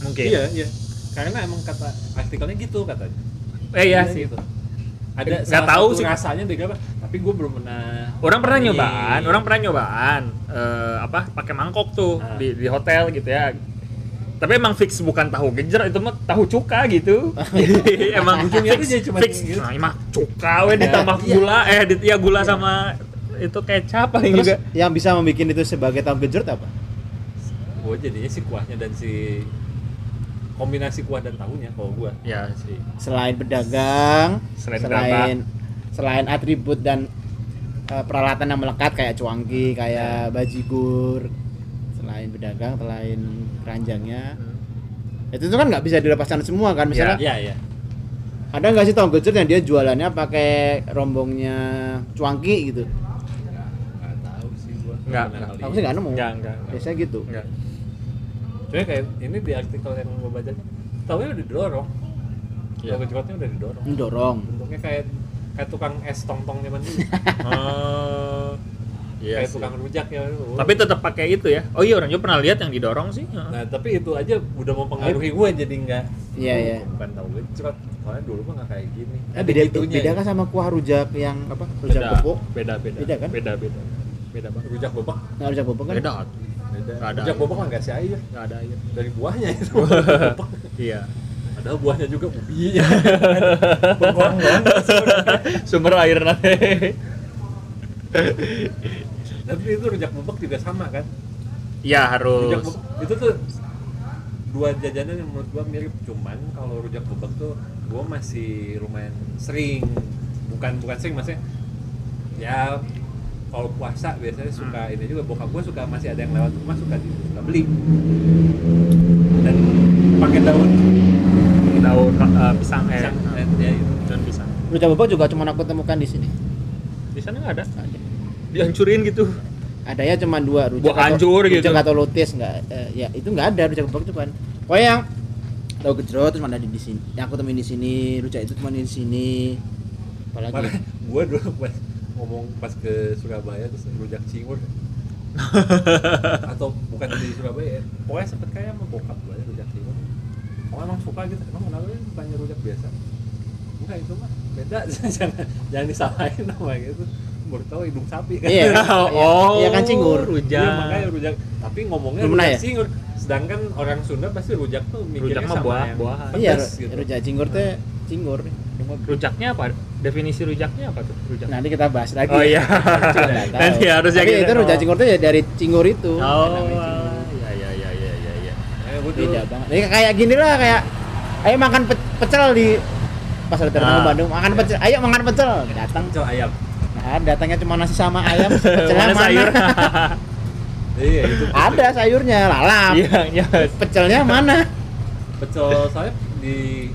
Speaker 1: mungkin.
Speaker 3: Iya, iya. Karena emang kata artikelnya gitu katanya.
Speaker 1: Eh iya sih.
Speaker 3: gitu. Ada
Speaker 1: Nggak
Speaker 3: salah
Speaker 1: tahu
Speaker 3: satu
Speaker 1: sih.
Speaker 3: rasanya dari apa? Tapi gue belum pernah
Speaker 1: Orang pernah
Speaker 3: Ini.
Speaker 1: nyobaan, orang pernah nyobaan eh, apa pakai mangkok tuh
Speaker 3: Ah.
Speaker 1: di, di hotel gitu ya. Tapi emang fix bukan tahu gejer itu mah tahu cuka gitu. Jadi emang
Speaker 3: Ujungnya tuh
Speaker 1: fix,
Speaker 3: jadi cuma
Speaker 1: fix.
Speaker 3: gitu.
Speaker 1: Nah, ini mah cuka we ditambah gula eh dit, ya gula sama itu kecap paling
Speaker 2: terus
Speaker 1: juga.
Speaker 2: yang bisa membuat itu sebagai tahu gejrot apa
Speaker 3: gue Oh, jadinya si kuahnya dan si kombinasi kuah dan tahunya kalau gue
Speaker 1: Ya sih.
Speaker 2: selain pedagang
Speaker 1: Selain
Speaker 2: selain, selain atribut dan eh, peralatan yang melekat kayak cuangki kayak bajigur selain pedagang selain keranjangnya itu tuh kan nggak bisa dilepaskan semua kan misalnya
Speaker 3: ya
Speaker 1: Iya,
Speaker 3: ya
Speaker 2: ada nggak sih tahu gejrot yang dia jualannya pakai rombongnya cuangki gitu
Speaker 3: nggak tahu sih gue
Speaker 1: Nggak,
Speaker 2: aku sih nggak nemu
Speaker 1: Enggak, enggak. enggak.
Speaker 2: biasanya gitu
Speaker 1: Enggak.
Speaker 3: cuma kayak ini di artikel yang gue baca tahunya udah didorong
Speaker 1: Iya.
Speaker 3: yeah. logo udah didorong
Speaker 2: mendorong
Speaker 3: bentuknya kayak kayak tukang es tongtong zaman dulu Eh,
Speaker 1: Oh. Iya
Speaker 3: kayak
Speaker 1: sih.
Speaker 3: tukang rujak ya Oh.
Speaker 1: Tapi tetap pakai itu ya. Oh iya orang juga pernah lihat yang didorong sih. Heeh.
Speaker 3: nah tapi itu aja udah mau pengaruhi gue jadi nggak
Speaker 2: Iya,
Speaker 3: Oh,
Speaker 2: iya.
Speaker 3: bukan tahu gue cuma soalnya dulu mah nggak kayak gini
Speaker 2: Eh,
Speaker 3: Ada
Speaker 2: beda
Speaker 3: gitunya
Speaker 2: beda
Speaker 3: ya.
Speaker 2: kan sama kuah rujak yang apa rujak
Speaker 1: Beda,
Speaker 2: bobok
Speaker 1: beda, beda.
Speaker 2: Beda kan?
Speaker 1: Beda, beda. Beda banget.
Speaker 3: rujak bobak
Speaker 2: nah, rujak bobok kan
Speaker 1: Beda. tuh.
Speaker 3: beda
Speaker 1: Nggak ada.
Speaker 3: rujak bobak mah nggak sih air
Speaker 1: Nggak ada air.
Speaker 3: dari buahnya itu Bobak.
Speaker 1: Iya.
Speaker 3: Padahal buahnya juga ubi. Bengkong-bengkong.
Speaker 1: Sumber air nanti.
Speaker 3: Tapi itu rujak bubuk juga sama kan?
Speaker 1: Iya
Speaker 3: Rujak
Speaker 1: harus.
Speaker 3: bubuk itu tuh dua jajanan yang menurut gua mirip cuman kalau rujak bubuk tuh gua masih lumayan sering bukan bukan sering maksudnya ya kalau puasa biasanya suka ini juga bokap gua suka masih ada yang lewat rumah suka di suka beli dan pakai daun
Speaker 1: Daun eh, pisang eh.
Speaker 3: pisang dan ya itu
Speaker 1: Daun pisang.
Speaker 2: rujak bobok juga cuma aku temukan di sini
Speaker 1: Di sana nggak ada.
Speaker 2: ada
Speaker 1: Dihancurin gitu.
Speaker 2: adanya cuma dua rujak
Speaker 1: Buah hancur
Speaker 2: rujak
Speaker 1: gitu.
Speaker 2: atau lutis nggak eh, ya itu nggak ada rujak bobok cuman pokoknya yang tahu gejrot terus mana ada di sini yang aku temuin di sini rujak itu temuin di sini
Speaker 3: Makanya
Speaker 2: apalagi
Speaker 3: gue dulu pas ngomong pas ke Surabaya terus rujak cingur atau bukan di Surabaya ya. pokoknya sempet kayak sama bokap gue rujak cingur oh emang suka gitu emang kenapa ya bukannya rujak biasa enggak itu mah beda jangan jangan disalahin sama gitu baru tahu hidung sapi kan
Speaker 2: Iya.
Speaker 1: oh.
Speaker 2: Iya kan, cingur.
Speaker 1: Rujak.
Speaker 3: Iya, makanya rujak tapi ngomongnya
Speaker 2: Belum pernah
Speaker 3: rujak
Speaker 2: ya?
Speaker 3: cingur sedangkan orang Sunda pasti rujak tuh mikirnya
Speaker 1: Rujak mah
Speaker 3: sama
Speaker 1: buah-
Speaker 3: yang
Speaker 1: buahan.
Speaker 2: iya
Speaker 3: pedas
Speaker 2: ru-
Speaker 3: gitu.
Speaker 2: rujak cingur teh cingur
Speaker 1: Rujaknya apa? Definisi rujaknya apa tuh? Rujak.
Speaker 2: nanti kita bahas lagi
Speaker 1: Oh iya.
Speaker 2: Nggak Nah, tahu.
Speaker 1: Nanti harus ya
Speaker 2: Tapi
Speaker 1: kita
Speaker 2: itu rujak
Speaker 1: tahu.
Speaker 2: cingur teh ya dari cingur itu
Speaker 1: Oh.
Speaker 2: Namanya cingur.
Speaker 1: Iya iya iya iya iya iya.
Speaker 3: Makanya Eh, gua dulu
Speaker 2: beda banget Ini kayak gini lah kayak ayo makan pe- pecel di pasar terminal
Speaker 1: Ah.
Speaker 2: Bandung makan pecel ayo makan pecel datang
Speaker 3: pecel ayam
Speaker 2: nah, datangnya cuma nasi sama ayam pecelnya
Speaker 1: Mana
Speaker 2: mana,
Speaker 1: sayur?
Speaker 3: iya itu
Speaker 2: ada sayurnya lalap
Speaker 1: Iya iya.
Speaker 2: pecelnya mana
Speaker 3: pecel saya di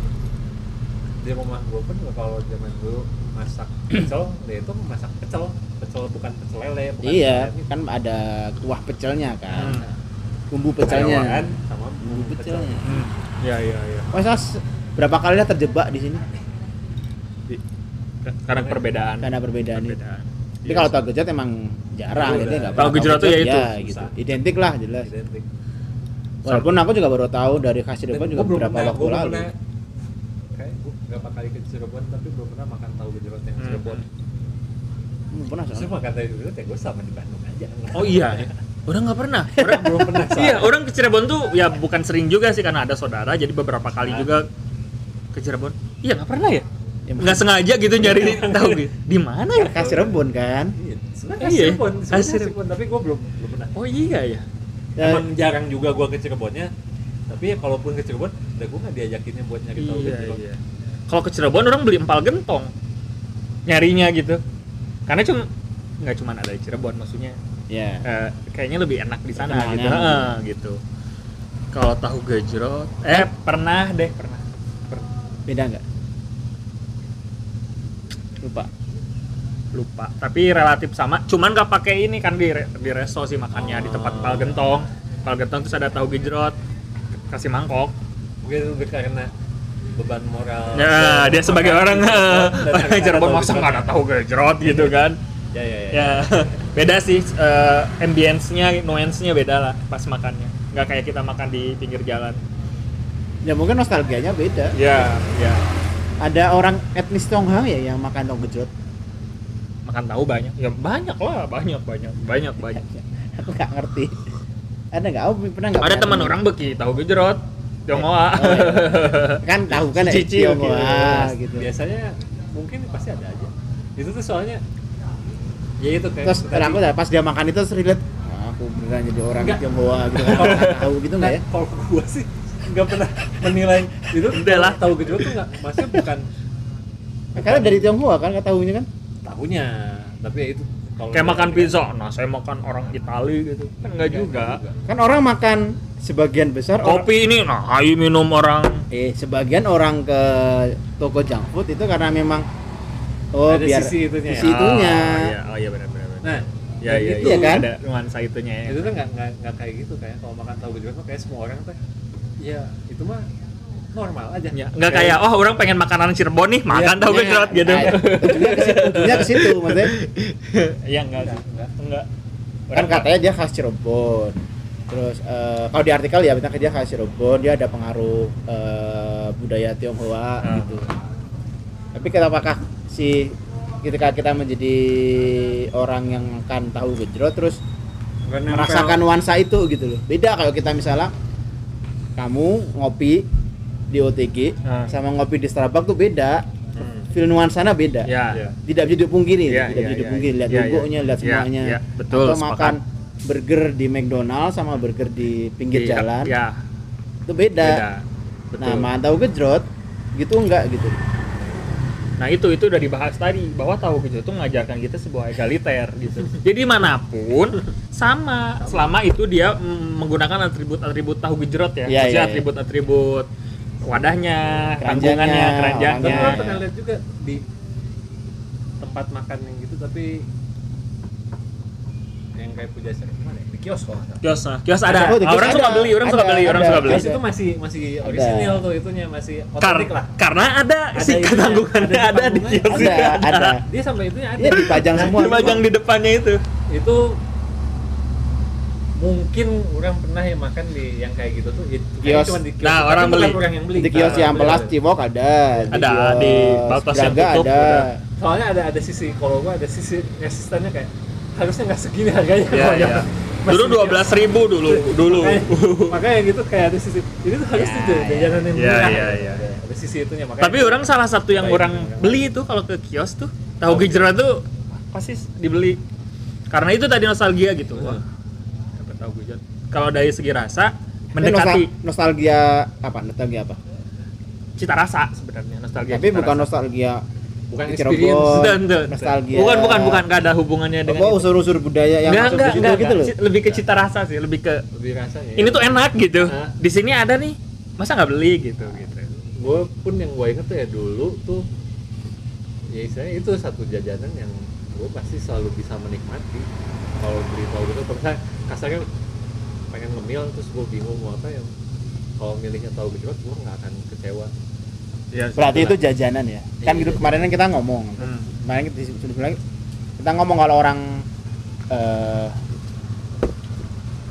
Speaker 3: di rumah gue pun kalau zaman dulu masak pecel dia itu masak pecel pecel bukan pecel lele bukan
Speaker 2: iya
Speaker 3: pecel ayam.
Speaker 2: kan ada kuah pecelnya kan
Speaker 1: Hmm.
Speaker 2: bumbu
Speaker 3: Kayawan
Speaker 2: pecelnya
Speaker 3: sama
Speaker 2: bumbu pecelnya
Speaker 1: Hmm. Iya iya iya.
Speaker 2: masa s- berapa kali lah terjebak di sini
Speaker 1: Kan Karena perbedaan.
Speaker 2: karena perbedaan ini
Speaker 1: perbedaan.
Speaker 2: tapi kalau tahu gejot emang jarang
Speaker 3: Iya.
Speaker 2: jadi nggak
Speaker 1: Tahu
Speaker 2: pernah
Speaker 1: gejrot tuh ya itu.
Speaker 2: gitu identik lah jelas
Speaker 3: identik
Speaker 2: walaupun aku juga baru tahu dari khas Cirebon juga beberapa waktu
Speaker 3: gue
Speaker 2: lalu
Speaker 3: pernah kayak gue berapa kali ke Cirebon tapi belum pernah makan tahu gejrot yang
Speaker 1: Hmm.
Speaker 3: Cirebon
Speaker 2: Hmm, pernah
Speaker 3: justru
Speaker 2: soalnya.
Speaker 3: makan tahu gejrot ya gue sama di Bandung aja
Speaker 1: Oh iya, orang nggak pernah. Orang
Speaker 3: belum pernah
Speaker 1: iya, orang ke Cirebon tuh ya bukan sering juga sih karena ada saudara, jadi beberapa kali juga ke Cirebon. Iya nggak pernah ya?
Speaker 2: Ya,
Speaker 1: Nggak sengaja gitu nyari tahu gitu. Di mana ya?
Speaker 2: khas Cirebon kan
Speaker 3: Iya, sebenarnya
Speaker 1: Iya,
Speaker 3: Cirebon,
Speaker 1: khas
Speaker 3: sebenarnya
Speaker 1: Cirebon.
Speaker 3: Cirebon, tapi gue belum belum pernah.
Speaker 1: Oh iya ya.
Speaker 2: Ya,
Speaker 3: Emang jarang juga gue ke Cirebonnya. Tapi ya kalaupun ke Cirebon, udah gue nggak diajakinnya buat nyari tahu ke
Speaker 1: Iya
Speaker 3: Cirebon.
Speaker 1: iya. Kalau ke Cirebon orang beli empal gentong nyarinya gitu. Karena cuma nggak cuma ada di Cirebon maksudnya
Speaker 2: ya.
Speaker 1: eh, kayaknya lebih enak di sana
Speaker 2: Terkenalnya
Speaker 1: gitu.
Speaker 2: gitu.
Speaker 1: Heeh, gitu. Kalau tahu gejrot, eh pernah deh pernah. Pernah.
Speaker 2: Beda nggak? Lupa.
Speaker 1: lupa tapi relatif sama cuman nggak pakai ini kan di re- di resto sih makannya di tempat pal gentong pal gentong terus ada tahu gejrot kasih mangkok
Speaker 3: Mungkin lebih karena beban moral. Iya,
Speaker 1: ya dia sebagai orang
Speaker 3: Dan
Speaker 1: orang
Speaker 3: karena
Speaker 1: Cirebon
Speaker 3: tahu
Speaker 1: masa
Speaker 3: Cirebon.
Speaker 1: nggak ada tahu gejrot gitu kan
Speaker 3: Ya ya ya.
Speaker 1: ya beda sih eh, ambience-nya nuance-nya beda lah pas makannya nggak kayak kita makan di pinggir jalan
Speaker 2: Ya mungkin nostalgianya beda.
Speaker 1: ya ya
Speaker 2: Ada orang etnis Tonghang ya yang makan dong gejot.
Speaker 1: makan tahu banyak ya banyak lah banyak banyak banyak banyak
Speaker 2: Aku nggak ngerti. Ada nggak? Oh, pernah nggak?
Speaker 1: ada
Speaker 2: pernah
Speaker 1: teman
Speaker 2: nemu?
Speaker 1: orang beki tahu gejrot Tionghoa
Speaker 2: Oh, iya. kan tahu kan ya,
Speaker 1: Cicil gitu.
Speaker 2: Tionghoa gitu.
Speaker 3: Biasanya mungkin pasti ada aja. Itu tuh soalnya ya itu kayak
Speaker 2: Terus
Speaker 3: tadi.
Speaker 2: aku pas dia makan itu terus relate "Wah, aku beneran jadi orang
Speaker 3: Nggak.
Speaker 2: Tionghoa gitu kan Nggak tahu gitu nggak ya?
Speaker 3: Nah, Kalau gua sih nggak pernah menilai itu.
Speaker 1: Udah lah.
Speaker 3: Tahu gejot tuh nggak, maksudnya bukan
Speaker 2: Karena dari Tionghoa kan nggak tahunya kan.
Speaker 3: tahunya, tapi ya itu kalau
Speaker 1: kayak makan
Speaker 3: dari-
Speaker 1: pizza nah saya makan orang Itali gitu kan enggak juga
Speaker 2: Kan orang makan sebagian besar orang-
Speaker 1: kopi ini nah ayo minum orang
Speaker 2: eh sebagian orang ke toko junk food itu karena memang oh
Speaker 3: Ada
Speaker 2: biar
Speaker 3: sisi itunya ya.
Speaker 2: sisi itunya.
Speaker 1: oh iya, oh, iya benar benar benar.
Speaker 3: Nah,
Speaker 1: ya ya
Speaker 2: Iya kan?
Speaker 1: ada nuansa itunya ya
Speaker 2: Iya.
Speaker 3: itu tuh nggak nggak nggak kayak gitu kayak kalau makan tahu gejot tuh kayak semua orang tuh ya itu mah normal aja.
Speaker 2: Iya,
Speaker 1: Ya, nggak kayak oh orang pengen makanan Cirebon nih makan
Speaker 3: Iya.
Speaker 1: tahu gejrot gitu
Speaker 2: Nah, ujungnya ke situ, ujungnya ke situ maksudnya.
Speaker 1: ya enggak sih enggak
Speaker 2: Kan katanya dia khas Cirebon. Terus eh, kalau di artikel ya bintang dia khas Cirebon, dia ada pengaruh eh, budaya Tionghoa
Speaker 1: Ah.
Speaker 2: gitu. Tapi apakah si ketika kita menjadi orang yang makan tahu gejrot terus merasakan nuansa itu gitu loh. Beda kalau kita misalnya kamu ngopi di OTG
Speaker 1: Ah.
Speaker 2: sama ngopi di Starbucks tuh beda.
Speaker 1: Hmm.
Speaker 2: Feel nuansanya beda.
Speaker 1: ya
Speaker 2: Tidak bisa dipungkiri,
Speaker 1: Iya, iya,
Speaker 2: tidak bisa
Speaker 1: iya,
Speaker 2: dipungkiri lihat
Speaker 1: iya, iya.
Speaker 2: logonya, lihat
Speaker 1: Iya,
Speaker 2: semuanya.
Speaker 1: iya, betul,
Speaker 2: Atau
Speaker 1: sepakat.
Speaker 2: makan burger di McDonald sama burger di pinggir
Speaker 1: Iya,
Speaker 2: jalan
Speaker 1: ya
Speaker 2: itu beda.
Speaker 1: beda betul
Speaker 2: Nah, makan tahu gejrot gitu enggak gitu.
Speaker 1: Nah itu itu udah dibahas tadi bahwa tahu gejrot itu mengajarkan kita sebuah egaliter gitu. Jadi manapun sama selama itu dia mm, menggunakan atribut-atribut tahu gejrot ya,
Speaker 2: Iya,
Speaker 1: maksudnya
Speaker 2: iya, iya.
Speaker 1: atribut-atribut wadahnya,
Speaker 2: Keranjangnya,
Speaker 1: tanggungannya,
Speaker 3: Tapi
Speaker 1: keranjangnya.
Speaker 3: orang pernah lihat juga di tempat makan yang gitu tapi yang kayak puja sering mana ya? Di kios kalau nggak salah.
Speaker 1: Kios, nah. kios ada.
Speaker 2: Oh, di kios
Speaker 1: orang suka
Speaker 2: ada,
Speaker 1: beli, orang suka
Speaker 2: ada,
Speaker 1: beli, orang
Speaker 2: ada.
Speaker 1: suka beli.
Speaker 3: Kios itu masih masih orisinil tuh itunya masih
Speaker 1: Kar-
Speaker 3: otentik lah.
Speaker 1: karena ada,
Speaker 3: Ada
Speaker 1: si
Speaker 3: itunya,
Speaker 1: ketanggungannya
Speaker 3: ada
Speaker 1: ada, di
Speaker 3: tanggungannya,
Speaker 1: kios
Speaker 2: Ada,
Speaker 1: itu.
Speaker 2: ada.
Speaker 3: Dia sampai itunya ada.
Speaker 2: Iya dipajang semua.
Speaker 1: Dipajang di depannya itu.
Speaker 3: itu mungkin orang pernah yang makan di yang kayak gitu tuh itu
Speaker 2: Kios.
Speaker 3: cuma di kios
Speaker 1: Nah,
Speaker 3: tapi
Speaker 1: orang
Speaker 3: bukan
Speaker 1: beli.
Speaker 3: orang yang beli
Speaker 2: Di kios
Speaker 3: Nah,
Speaker 2: yang
Speaker 3: beli,
Speaker 2: pelas
Speaker 3: beli.
Speaker 2: Cibok ada,
Speaker 1: Ada, di
Speaker 2: kios
Speaker 1: Baltos yang
Speaker 2: Braga
Speaker 1: tutup,
Speaker 2: ada.
Speaker 1: ada.
Speaker 3: soalnya ada ada sisi kalau gua ada sisi resistannya kayak harusnya nggak segini harganya
Speaker 1: Iya,
Speaker 3: Kalau
Speaker 1: iya.
Speaker 3: yang-
Speaker 1: Dulu
Speaker 3: masih
Speaker 1: dua belas ribu dulu,
Speaker 3: Makanya-
Speaker 1: dulu.
Speaker 3: makanya gitu kayak ada sisi ini tuh harusnya
Speaker 2: Ya,
Speaker 3: jajanan
Speaker 1: ya.
Speaker 3: yang murah
Speaker 1: Ya, ya, ya.
Speaker 3: ada sisi itunya makanya
Speaker 1: Tapi orang salah satu yang
Speaker 3: Baik,
Speaker 1: orang
Speaker 3: baik.
Speaker 1: beli itu kalau ke kios tuh tahu gejrot tuh pasti dibeli. Karena itu tadi nostalgia gitu. Wah. Dapat tahu gejrot. Kalau dari segi rasa
Speaker 2: Tapi nostal-
Speaker 1: mendekati
Speaker 2: nostalgia apa? Nostalgia apa?
Speaker 1: cita rasa sebenarnya nostalgia.
Speaker 2: Tapi
Speaker 1: cita
Speaker 2: bukan
Speaker 1: rasa.
Speaker 2: nostalgia
Speaker 3: bukan
Speaker 2: di
Speaker 3: experience
Speaker 2: Cirebon,
Speaker 1: Betul, betul.
Speaker 2: nostalgia.
Speaker 1: Bukan bukan bukan nggak ada hubungannya dengan
Speaker 2: Apa
Speaker 1: itu.
Speaker 2: unsur-unsur budaya yang
Speaker 1: Nggak,
Speaker 2: masuk
Speaker 1: nggak,
Speaker 2: di situ
Speaker 1: nggak,
Speaker 2: gitu loh.
Speaker 1: nggak. Lebih ke cita rasa sih, lebih ke
Speaker 3: lebih rasanya ya.
Speaker 1: ini tuh enak gitu.
Speaker 3: Hah?
Speaker 1: Di sini ada nih, masa nggak beli gitu gitu.
Speaker 3: gue pun yang gue inget tuh ya dulu tuh ya istilahnya itu satu jajanan yang gue pasti selalu bisa menikmati kalau beli tahu gitu kalau misalnya kasarnya pengen ngemil terus gue bingung mau apa yang kalau milihnya tahu gejrot gue nggak akan kecewa
Speaker 1: Iya. sih.
Speaker 2: Berarti itu jajanan ya. Kan gitu kemarin kan kita ngomong.
Speaker 1: Iya. Hmm.
Speaker 2: Kemarin kita sudah bilang kita ngomong kalau orang eh,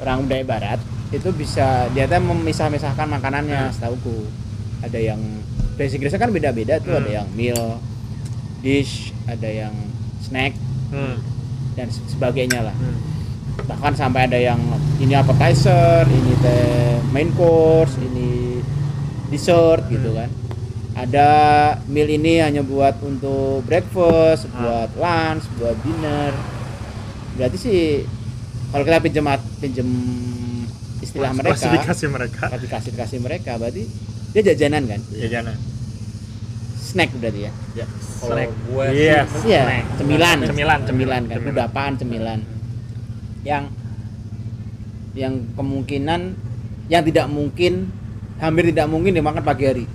Speaker 2: orang budaya barat itu bisa dia tuh memisah-misahkan
Speaker 1: Hmm.
Speaker 2: makanannya setauku. Ada yang dari Inggrisnya kan beda-beda tuh
Speaker 1: Hmm.
Speaker 2: ada yang meal, dish, ada yang snack
Speaker 1: Hmm.
Speaker 2: dan se- sebagainya lah.
Speaker 1: Hmm.
Speaker 2: bahkan sampai ada yang ini appetizer, ini teh main course, ini dessert
Speaker 1: Hmm.
Speaker 2: gitu kan. Ada
Speaker 1: Hmm.
Speaker 2: meal ini hanya buat untuk breakfast, buat lunch, buat dinner. berarti sih kalau kita pinjam pinjem istilah mereka
Speaker 1: klasifikasi mereka
Speaker 2: klasifikasi klasifikasi mereka berarti dia jajanan kan
Speaker 1: jajanan
Speaker 2: snack berarti ya
Speaker 1: ya
Speaker 3: Kalau gua sih-
Speaker 1: iya
Speaker 2: Iya,
Speaker 1: snack.
Speaker 2: cemilan.
Speaker 1: Cemilan,
Speaker 2: cemilan kan.
Speaker 1: cemilan.
Speaker 2: Udah apaan cemilan? Yang yang kemungkinan yang tidak mungkin hampir tidak mungkin dimakan pagi hari.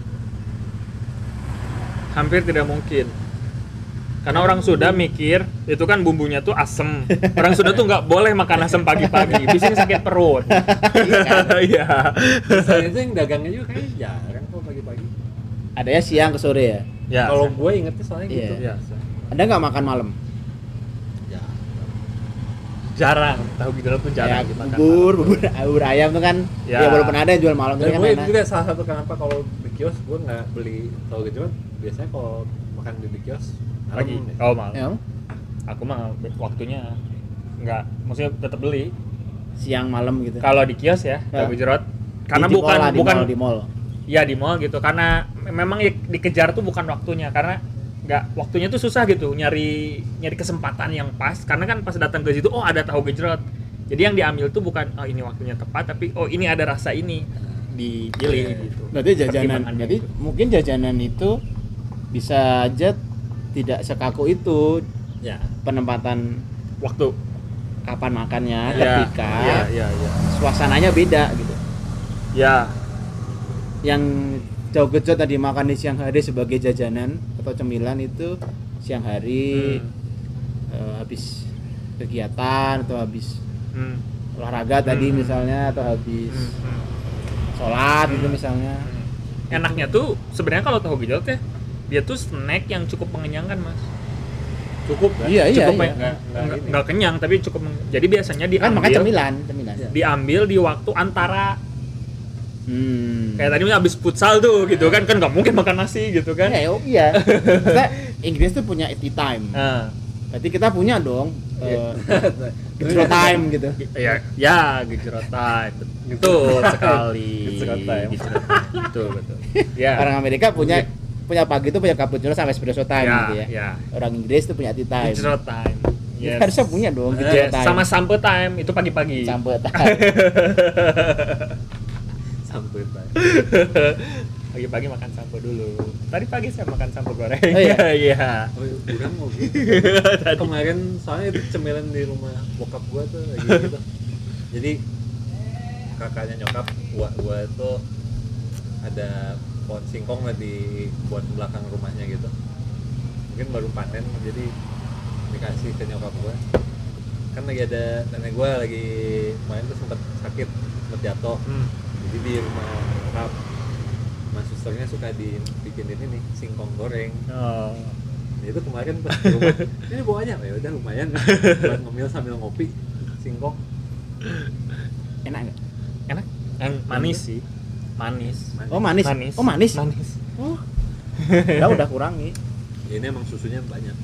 Speaker 1: hampir tidak mungkin karena orang Sunda mikir itu kan bumbunya tuh asem orang Sunda tuh nggak boleh makan asem pagi-pagi biasanya sakit perut iya
Speaker 3: Selain itu yang dagangnya juga kayaknya jarang kok pagi-pagi.
Speaker 2: Ada ya siang ke sore ya.
Speaker 1: ya
Speaker 3: Kalau gue ingetnya soalnya
Speaker 2: Iya.
Speaker 3: gitu.
Speaker 1: Iya.
Speaker 2: Anda nggak makan malam?
Speaker 1: jarang tahu gejala tuh jarang
Speaker 2: ya,
Speaker 1: dimakan
Speaker 2: bubur, bubur, bubur ayam tuh kan.
Speaker 1: Ya.
Speaker 2: Ya. walaupun ada yang jual malam tapi
Speaker 3: Dan
Speaker 2: kan
Speaker 3: gue itu
Speaker 2: enak.
Speaker 3: juga salah satu kenapa kalau di kios gue nggak beli tahu gejrot. Biasanya kalau makan di, di kios malam
Speaker 1: pagi
Speaker 3: ya.
Speaker 1: oh malam
Speaker 2: Ya,
Speaker 1: aku mah waktunya nggak maksudnya tetap beli
Speaker 2: siang malam gitu.
Speaker 1: kalau di kios ya
Speaker 2: Ya.
Speaker 1: tahu gejrot karena
Speaker 2: Di- di
Speaker 1: bukan
Speaker 2: mall lah, di
Speaker 1: bukan
Speaker 2: mall, di mall.
Speaker 1: ya di mall gitu karena me- memang ya dikejar tuh bukan waktunya karena nggak waktunya tuh susah gitu nyari nyari kesempatan yang pas karena kan pas datang ke situ oh ada tahu gejrot jadi yang diambil tuh bukan oh ini waktunya tepat tapi oh ini ada rasa ini dipilih gitu
Speaker 2: Iya, Berarti jajanan.
Speaker 1: Pertimbangannya
Speaker 2: Jadi
Speaker 1: itu.
Speaker 2: mungkin jajanan itu bisa aja tidak sekaku itu
Speaker 1: ya
Speaker 2: penempatan
Speaker 1: waktu
Speaker 2: kapan makannya
Speaker 1: ya
Speaker 2: ketika
Speaker 1: ya ya ya
Speaker 2: suasananya beda gitu
Speaker 1: ya
Speaker 2: yang jauh gejot tadi makan di siang hari sebagai jajanan atau cemilan itu siang hari
Speaker 1: Hmm.
Speaker 2: eh, habis kegiatan atau habis
Speaker 1: Hmm.
Speaker 2: olahraga tadi
Speaker 1: Hmm.
Speaker 2: misalnya atau habis
Speaker 1: Hmm. Hmm.
Speaker 2: sholat
Speaker 1: Hmm.
Speaker 2: gitu misalnya
Speaker 1: enaknya tuh sebenarnya kalau tahu gejot ya dia tuh snack yang cukup mengenyangkan mas
Speaker 3: Cukup kan?
Speaker 2: iya iya,
Speaker 1: cukup
Speaker 2: iya.
Speaker 1: men- nggak nggak kenyang tapi cukup meng- jadi biasanya
Speaker 2: kan
Speaker 1: diambil
Speaker 2: makan cemilan cemilan
Speaker 1: diambil di waktu antara
Speaker 2: hmm.
Speaker 1: kayak tadi habis futsal tuh gitu kan kan nggak mungkin makan nasi gitu kan
Speaker 2: Iya, iya. Kita Inggris tuh punya tea time.
Speaker 1: nah,
Speaker 2: Berarti kita punya dong
Speaker 1: Iya.
Speaker 2: eh, gejot time gitu.
Speaker 1: gi- ya ya gejrot time betul sekali
Speaker 5: Gejrot time.
Speaker 1: Gejrot time. betul betul ya
Speaker 2: orang Amerika punya punya pagi itu punya cappuccino sama espresso time
Speaker 1: ya
Speaker 2: gitu ya.
Speaker 1: ya
Speaker 2: Orang Inggris tuh punya tea time.
Speaker 1: gejrot time
Speaker 2: Kita
Speaker 1: yes.
Speaker 2: harusnya punya dong
Speaker 1: Yes.
Speaker 2: gejot time.
Speaker 1: sama sampe time itu pagi-pagi
Speaker 2: Sampai time.
Speaker 3: Sampai tadi.
Speaker 1: pagi-pagi makan sampo dulu tadi pagi saya makan sampo goreng
Speaker 2: Oh, iya?
Speaker 1: iya
Speaker 3: Oh, iya, kurang mau gitu. Kemarin soalnya itu cemilan di rumah bokap gua tuh lagi gitu. Jadi kakaknya nyokap gua gua tuh ada pohon singkong lah di buat belakang rumahnya gitu. Mungkin baru panen jadi dikasih ke nyokap gua. Kan lagi ada nenek gua lagi main tuh sempet sakit, sempet jatuh
Speaker 1: Hmm.
Speaker 3: jadi di rumah nyokap mas susternya suka dibikinin ini nih singkong goreng
Speaker 1: Oh.
Speaker 3: Ya itu kemarin pas di rumah ini bawanya ya udah lumayan buat ngemil sambil ngopi singkong
Speaker 2: Enak nggak?
Speaker 1: enak yang manis sih manis
Speaker 2: Oh manis.
Speaker 1: manis
Speaker 2: Oh manis.
Speaker 1: manis
Speaker 2: Oh. Ya udah kurangi.
Speaker 3: Ya, ini emang susunya banyak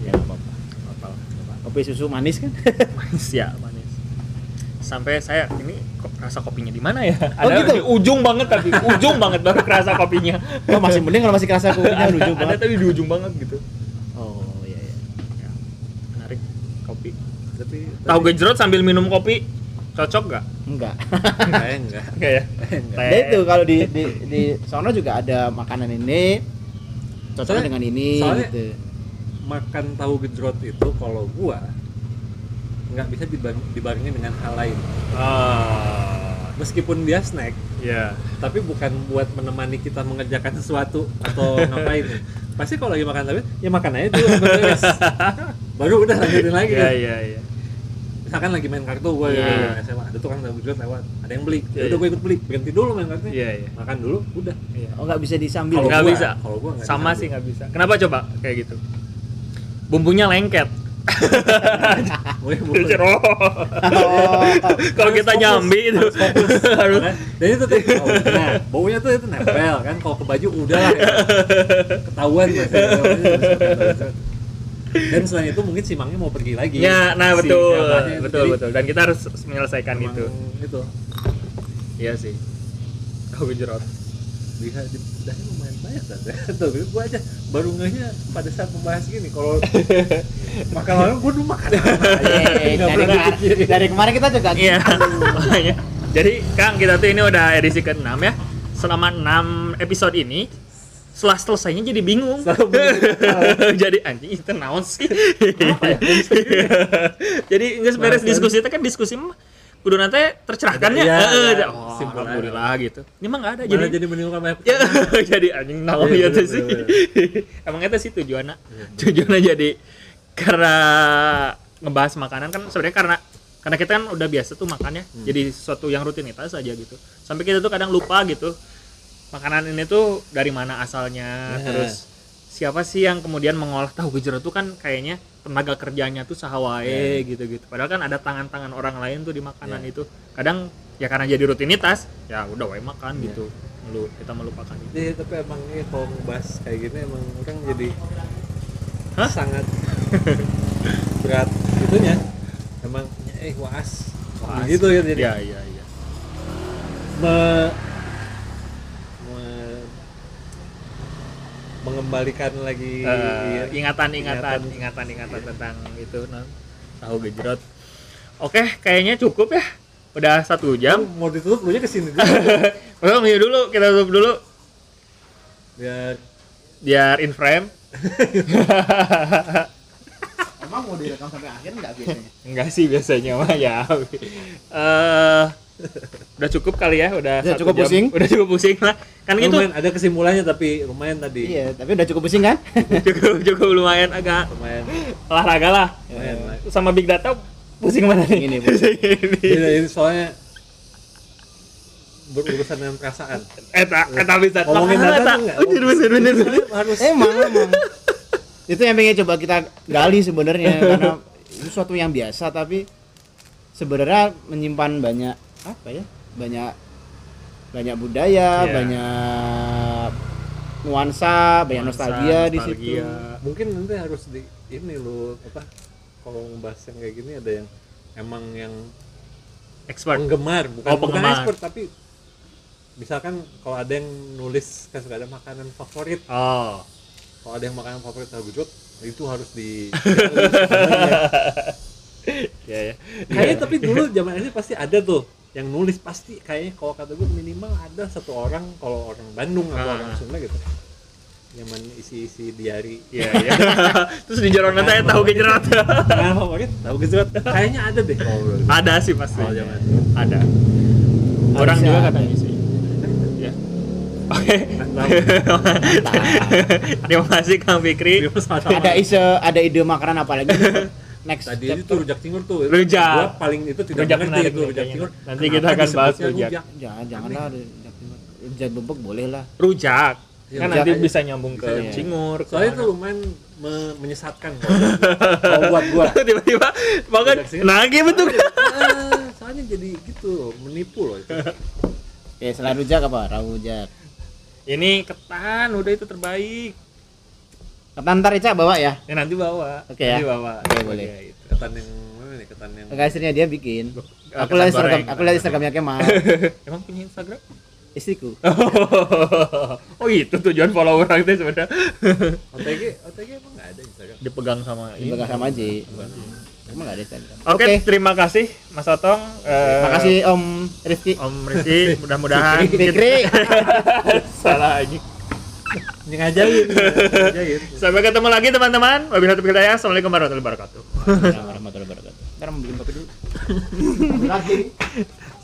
Speaker 2: Ya nggak apa-apa.
Speaker 3: apa
Speaker 2: Kopi susu manis kan?
Speaker 1: manis ya manis sampai saya ini kok rasa kopinya di mana ya
Speaker 2: Oh, gitu?
Speaker 1: di ujung banget tapi ujung banget baru kerasa kopinya
Speaker 2: Oh, masih mending kalau masih kerasa kopinya lucu
Speaker 1: ada
Speaker 2: banget.
Speaker 1: tapi di ujung banget gitu Ya,
Speaker 2: Oh iya iya.
Speaker 1: menarik kopi
Speaker 3: tapi
Speaker 1: tahu gejrot sambil minum kopi cocok gak?
Speaker 2: Enggak.
Speaker 3: kayaknya enggak
Speaker 1: enggak ya
Speaker 2: Ya itu kalau di di di sono juga ada makanan ini cocoknya
Speaker 3: Soalnya-
Speaker 2: dengan ini
Speaker 3: soalnya-
Speaker 2: gitu.
Speaker 3: makan tahu gejrot itu kalau gua nggak bisa dibar- dibarengin dengan hal lain
Speaker 1: ah
Speaker 3: meskipun dia snack
Speaker 1: ya
Speaker 3: tapi bukan buat menemani kita mengerjakan sesuatu atau ngapain pasti kalau lagi makan tapi ya makan aja dulu sampai beres. baru udah lanjutin lagi
Speaker 2: Iya,
Speaker 1: ya ya ya
Speaker 3: misalkan lagi main kartu gue
Speaker 1: Iya.
Speaker 3: SMA ada tukang tahu gejrot lewat ada yang beli
Speaker 1: Iya,
Speaker 3: ya udah
Speaker 1: iya.
Speaker 3: gue ikut beli berhenti dulu main kartunya
Speaker 1: Iya, iya.
Speaker 3: makan dulu udah
Speaker 1: Iya.
Speaker 2: Oh nggak bisa disambil.
Speaker 1: Kalau
Speaker 2: ya?
Speaker 1: nggak
Speaker 3: gua-
Speaker 1: bisa.
Speaker 3: kalau gua nggak
Speaker 1: sama
Speaker 3: bisa.
Speaker 1: sih nggak bisa kenapa coba kayak gitu bumbunya lengket
Speaker 3: Gue mulai.
Speaker 1: Jeruk. kalau kita
Speaker 3: Harus fokus.
Speaker 1: nyambi itu harus
Speaker 3: Kan? dan itu tuh baunya baunya tuh itu nempel kan kalau ke baju udah lah ya. ketahuan
Speaker 1: Iya.
Speaker 3: gue dan selain itu mungkin simangnya mau pergi lagi
Speaker 1: ya nah
Speaker 3: Si
Speaker 1: betul
Speaker 3: jawabannya itu.
Speaker 1: betul
Speaker 3: Jadi,
Speaker 1: betul Kan gitu. dan kita harus menyelesaikan
Speaker 3: emang
Speaker 1: itu
Speaker 3: itu
Speaker 1: iya sih kau jerot
Speaker 3: Lihat di bedahnya lumayan banyak kan Tuh gue aja baru ngehnya pada saat membahas gini Kalau makan orang gue dulu makan
Speaker 2: Eh,
Speaker 3: Nggak
Speaker 2: dari,
Speaker 3: pernah dipikirin.
Speaker 2: dari kemarin kita juga
Speaker 1: Iya. Makanya. Jadi Kang kita tuh ini udah edisi ke-6 ya. Selama 6 episode ini setelah selesainya jadi bingung. jadi anjing itu naon sih. jadi nggak beres diskusi itu kan diskusi mah kudu nanti tercerahkan ya.
Speaker 3: Iya,
Speaker 1: Heeh,
Speaker 3: iya.
Speaker 1: oh,
Speaker 3: Simpel.
Speaker 1: alhamdulillah gitu. Ini mah nggak ada
Speaker 3: Jadi,
Speaker 1: jadi
Speaker 3: jadi menimbulkan banyak
Speaker 1: ya, jadi anjing naon
Speaker 3: Iya,
Speaker 1: ya tuh
Speaker 3: bener,
Speaker 1: sih. Emang itu sih tujuannya. Tujuannya jadi karena ngebahas makanan kan sebenarnya karena karena kita kan udah biasa tuh makannya. Jadi sesuatu yang rutinitas aja gitu. Sampai kita tuh kadang lupa gitu. Makanan ini tuh dari mana asalnya terus siapa sih yang kemudian mengolah tahu gejrot itu kan kayaknya tenaga kerjanya tuh sahawae
Speaker 3: Iya.
Speaker 1: gitu-gitu. Padahal kan ada tangan-tangan orang lain tuh di makanan itu. Kadang ya karena jadi rutinitas, ya udah wae makan gitu. Melu, kita melupakan itu.
Speaker 3: Iya, tapi emang ya, kalau ngebahas kayak gini emang orang jadi
Speaker 1: Hah?
Speaker 3: sangat berat itunya emang eh waas gitu ya jadi
Speaker 1: Iya, iya, iya.
Speaker 3: me- me- mengembalikan lagi
Speaker 1: Eh,
Speaker 3: iya.
Speaker 1: ingatan-ingatan ingatan-ingatan tentang itu non tahu gejrot oke kayaknya cukup ya udah satu jam
Speaker 3: Kan mau ditutup lu nya kesini dulu
Speaker 1: belum yuk dulu kita tutup dulu
Speaker 3: biar
Speaker 1: biar in frame
Speaker 2: Emang mau direkam sampai akhir nggak biasanya?
Speaker 1: enggak sih biasanya mah ya Eh, udah cukup kali ya udah
Speaker 2: Udah
Speaker 1: satu
Speaker 2: cukup
Speaker 1: jam.
Speaker 2: pusing.
Speaker 1: udah cukup pusing lah kan gitu
Speaker 3: lumayan ada kesimpulannya tapi lumayan tadi
Speaker 2: iya, tapi udah cukup pusing kan?
Speaker 1: cukup cukup lumayan agak
Speaker 3: lumayan
Speaker 1: olahraga lah
Speaker 3: lumayan lah
Speaker 1: sama big data pusing mana nih
Speaker 2: Ini, pusing.
Speaker 1: Ini.
Speaker 3: ini, ini soalnya berurusan dengan perasaan
Speaker 1: eta eta bisa
Speaker 3: Ngomongin
Speaker 1: Makanan
Speaker 3: data
Speaker 1: eta.
Speaker 3: tuh nggak?
Speaker 1: Bener, bener, bener, bener. Eh.
Speaker 3: harus
Speaker 2: emang, emang. Eh, Itu yang pengen coba kita gali sebenarnya karena itu suatu yang biasa tapi sebenarnya menyimpan banyak apa ya? Banyak banyak budaya,
Speaker 1: Iya.
Speaker 2: banyak nuansa, banyak
Speaker 1: Nuansa,
Speaker 2: nostalgia, di situ.
Speaker 1: nostalgia.
Speaker 3: mungkin nanti harus di ini lu apa kalau ngebahas yang kayak gini ada yang emang yang
Speaker 1: expert
Speaker 3: penggemar bukan,
Speaker 1: Oh, penggemar.
Speaker 3: bukan expert tapi misalkan kalau ada yang nulis kan suka ada makanan favorit
Speaker 1: oh
Speaker 3: kalau ada yang makanan favorit tahu gejot itu harus di
Speaker 1: ya ya
Speaker 3: kayaknya tapi dulu zaman ini pasti ada tuh yang nulis pasti kayaknya kalau kata gue minimal ada satu orang kalau orang Bandung atau
Speaker 1: Ah.
Speaker 3: orang Sunda gitu zaman isi-isi diari
Speaker 1: Iya, iya. Terus di jorong nanti tahu gejrot.
Speaker 3: makanan favorit tahu gitu, Oh, gejot kayaknya ada deh kalau menurut gue.
Speaker 1: Ada sih pasti.
Speaker 3: Kalau zaman
Speaker 1: Ada. Orang
Speaker 2: Oh, iya, Harusnya
Speaker 1: juga
Speaker 2: ada.
Speaker 1: katanya sih. Ya. Oke. Terima kasih Kang Fikri.
Speaker 2: Ada ise ada ide makanan apa lagi? Next
Speaker 3: tadi itu
Speaker 2: chapter.
Speaker 3: tuh rujak cingur tuh
Speaker 1: Rujak.
Speaker 3: Gua paling itu tidak
Speaker 1: Rujak
Speaker 3: mengerti
Speaker 1: menarik
Speaker 3: itu
Speaker 1: nih
Speaker 3: rujak
Speaker 1: kayaknya.
Speaker 3: cingur
Speaker 1: Nanti kita akan bahas rujak.
Speaker 2: Jangan, janganlah rujak cingur. Rujak bebek boleh lah.
Speaker 1: Rujak.
Speaker 3: Iya,
Speaker 1: Kan
Speaker 3: rujak
Speaker 1: nanti
Speaker 3: aja.
Speaker 1: bisa nyambung ke
Speaker 3: Bisa nyambung.
Speaker 1: cingur. ke
Speaker 3: soalnya
Speaker 1: mana.
Speaker 3: itu lumayan me- menyesatkan kalau buat gua. kalau buat gua
Speaker 1: tiba-tiba banget
Speaker 3: Rujak cingur.
Speaker 1: nagih betul.
Speaker 3: Ah, soalnya jadi gitu loh, menipu loh itu
Speaker 2: Ya, selain rujak apa? Rujak.
Speaker 1: Ini ketan udah itu terbaik.
Speaker 2: Ketan ntar Ica bawa ya.
Speaker 1: Ya nanti bawa.
Speaker 2: Oke ya.
Speaker 1: Nanti bawa.
Speaker 2: Oke, boleh.
Speaker 1: Ya, itu.
Speaker 3: ketan yang mana nih ketan yang
Speaker 2: Ke istrinya dia bikin.
Speaker 1: Eh, ketan
Speaker 2: Aku lihat Instagram,
Speaker 1: goreng.
Speaker 2: aku lihat Instagramnya Kemal.
Speaker 1: Emang punya Instagram?
Speaker 2: Istriku.
Speaker 1: oh itu tujuan follower orang itu sebenarnya
Speaker 3: OTG OTG emang nggak ada Instagram
Speaker 1: dipegang sama ini.
Speaker 2: Dipegang sama Ji. Emang gak ada Instagram.
Speaker 1: Oke, terima kasih Mas Otong. Eh,
Speaker 2: Makasih Om Rifki.
Speaker 1: Om Rizky. Mudah-mudahan
Speaker 2: Fikri.
Speaker 1: salah aja.
Speaker 3: ini ngajarin ngajarin
Speaker 1: Sampai ketemu lagi teman-teman. Wabillahi taufiq hidayah. Assalamualaikum warahmatullahi wabarakatuh.
Speaker 2: Assalamualaikum warahmatullahi wabarakatuh. Ntar mau beli kopi dulu. Lagi.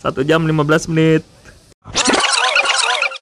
Speaker 1: Satu jam 15 menit.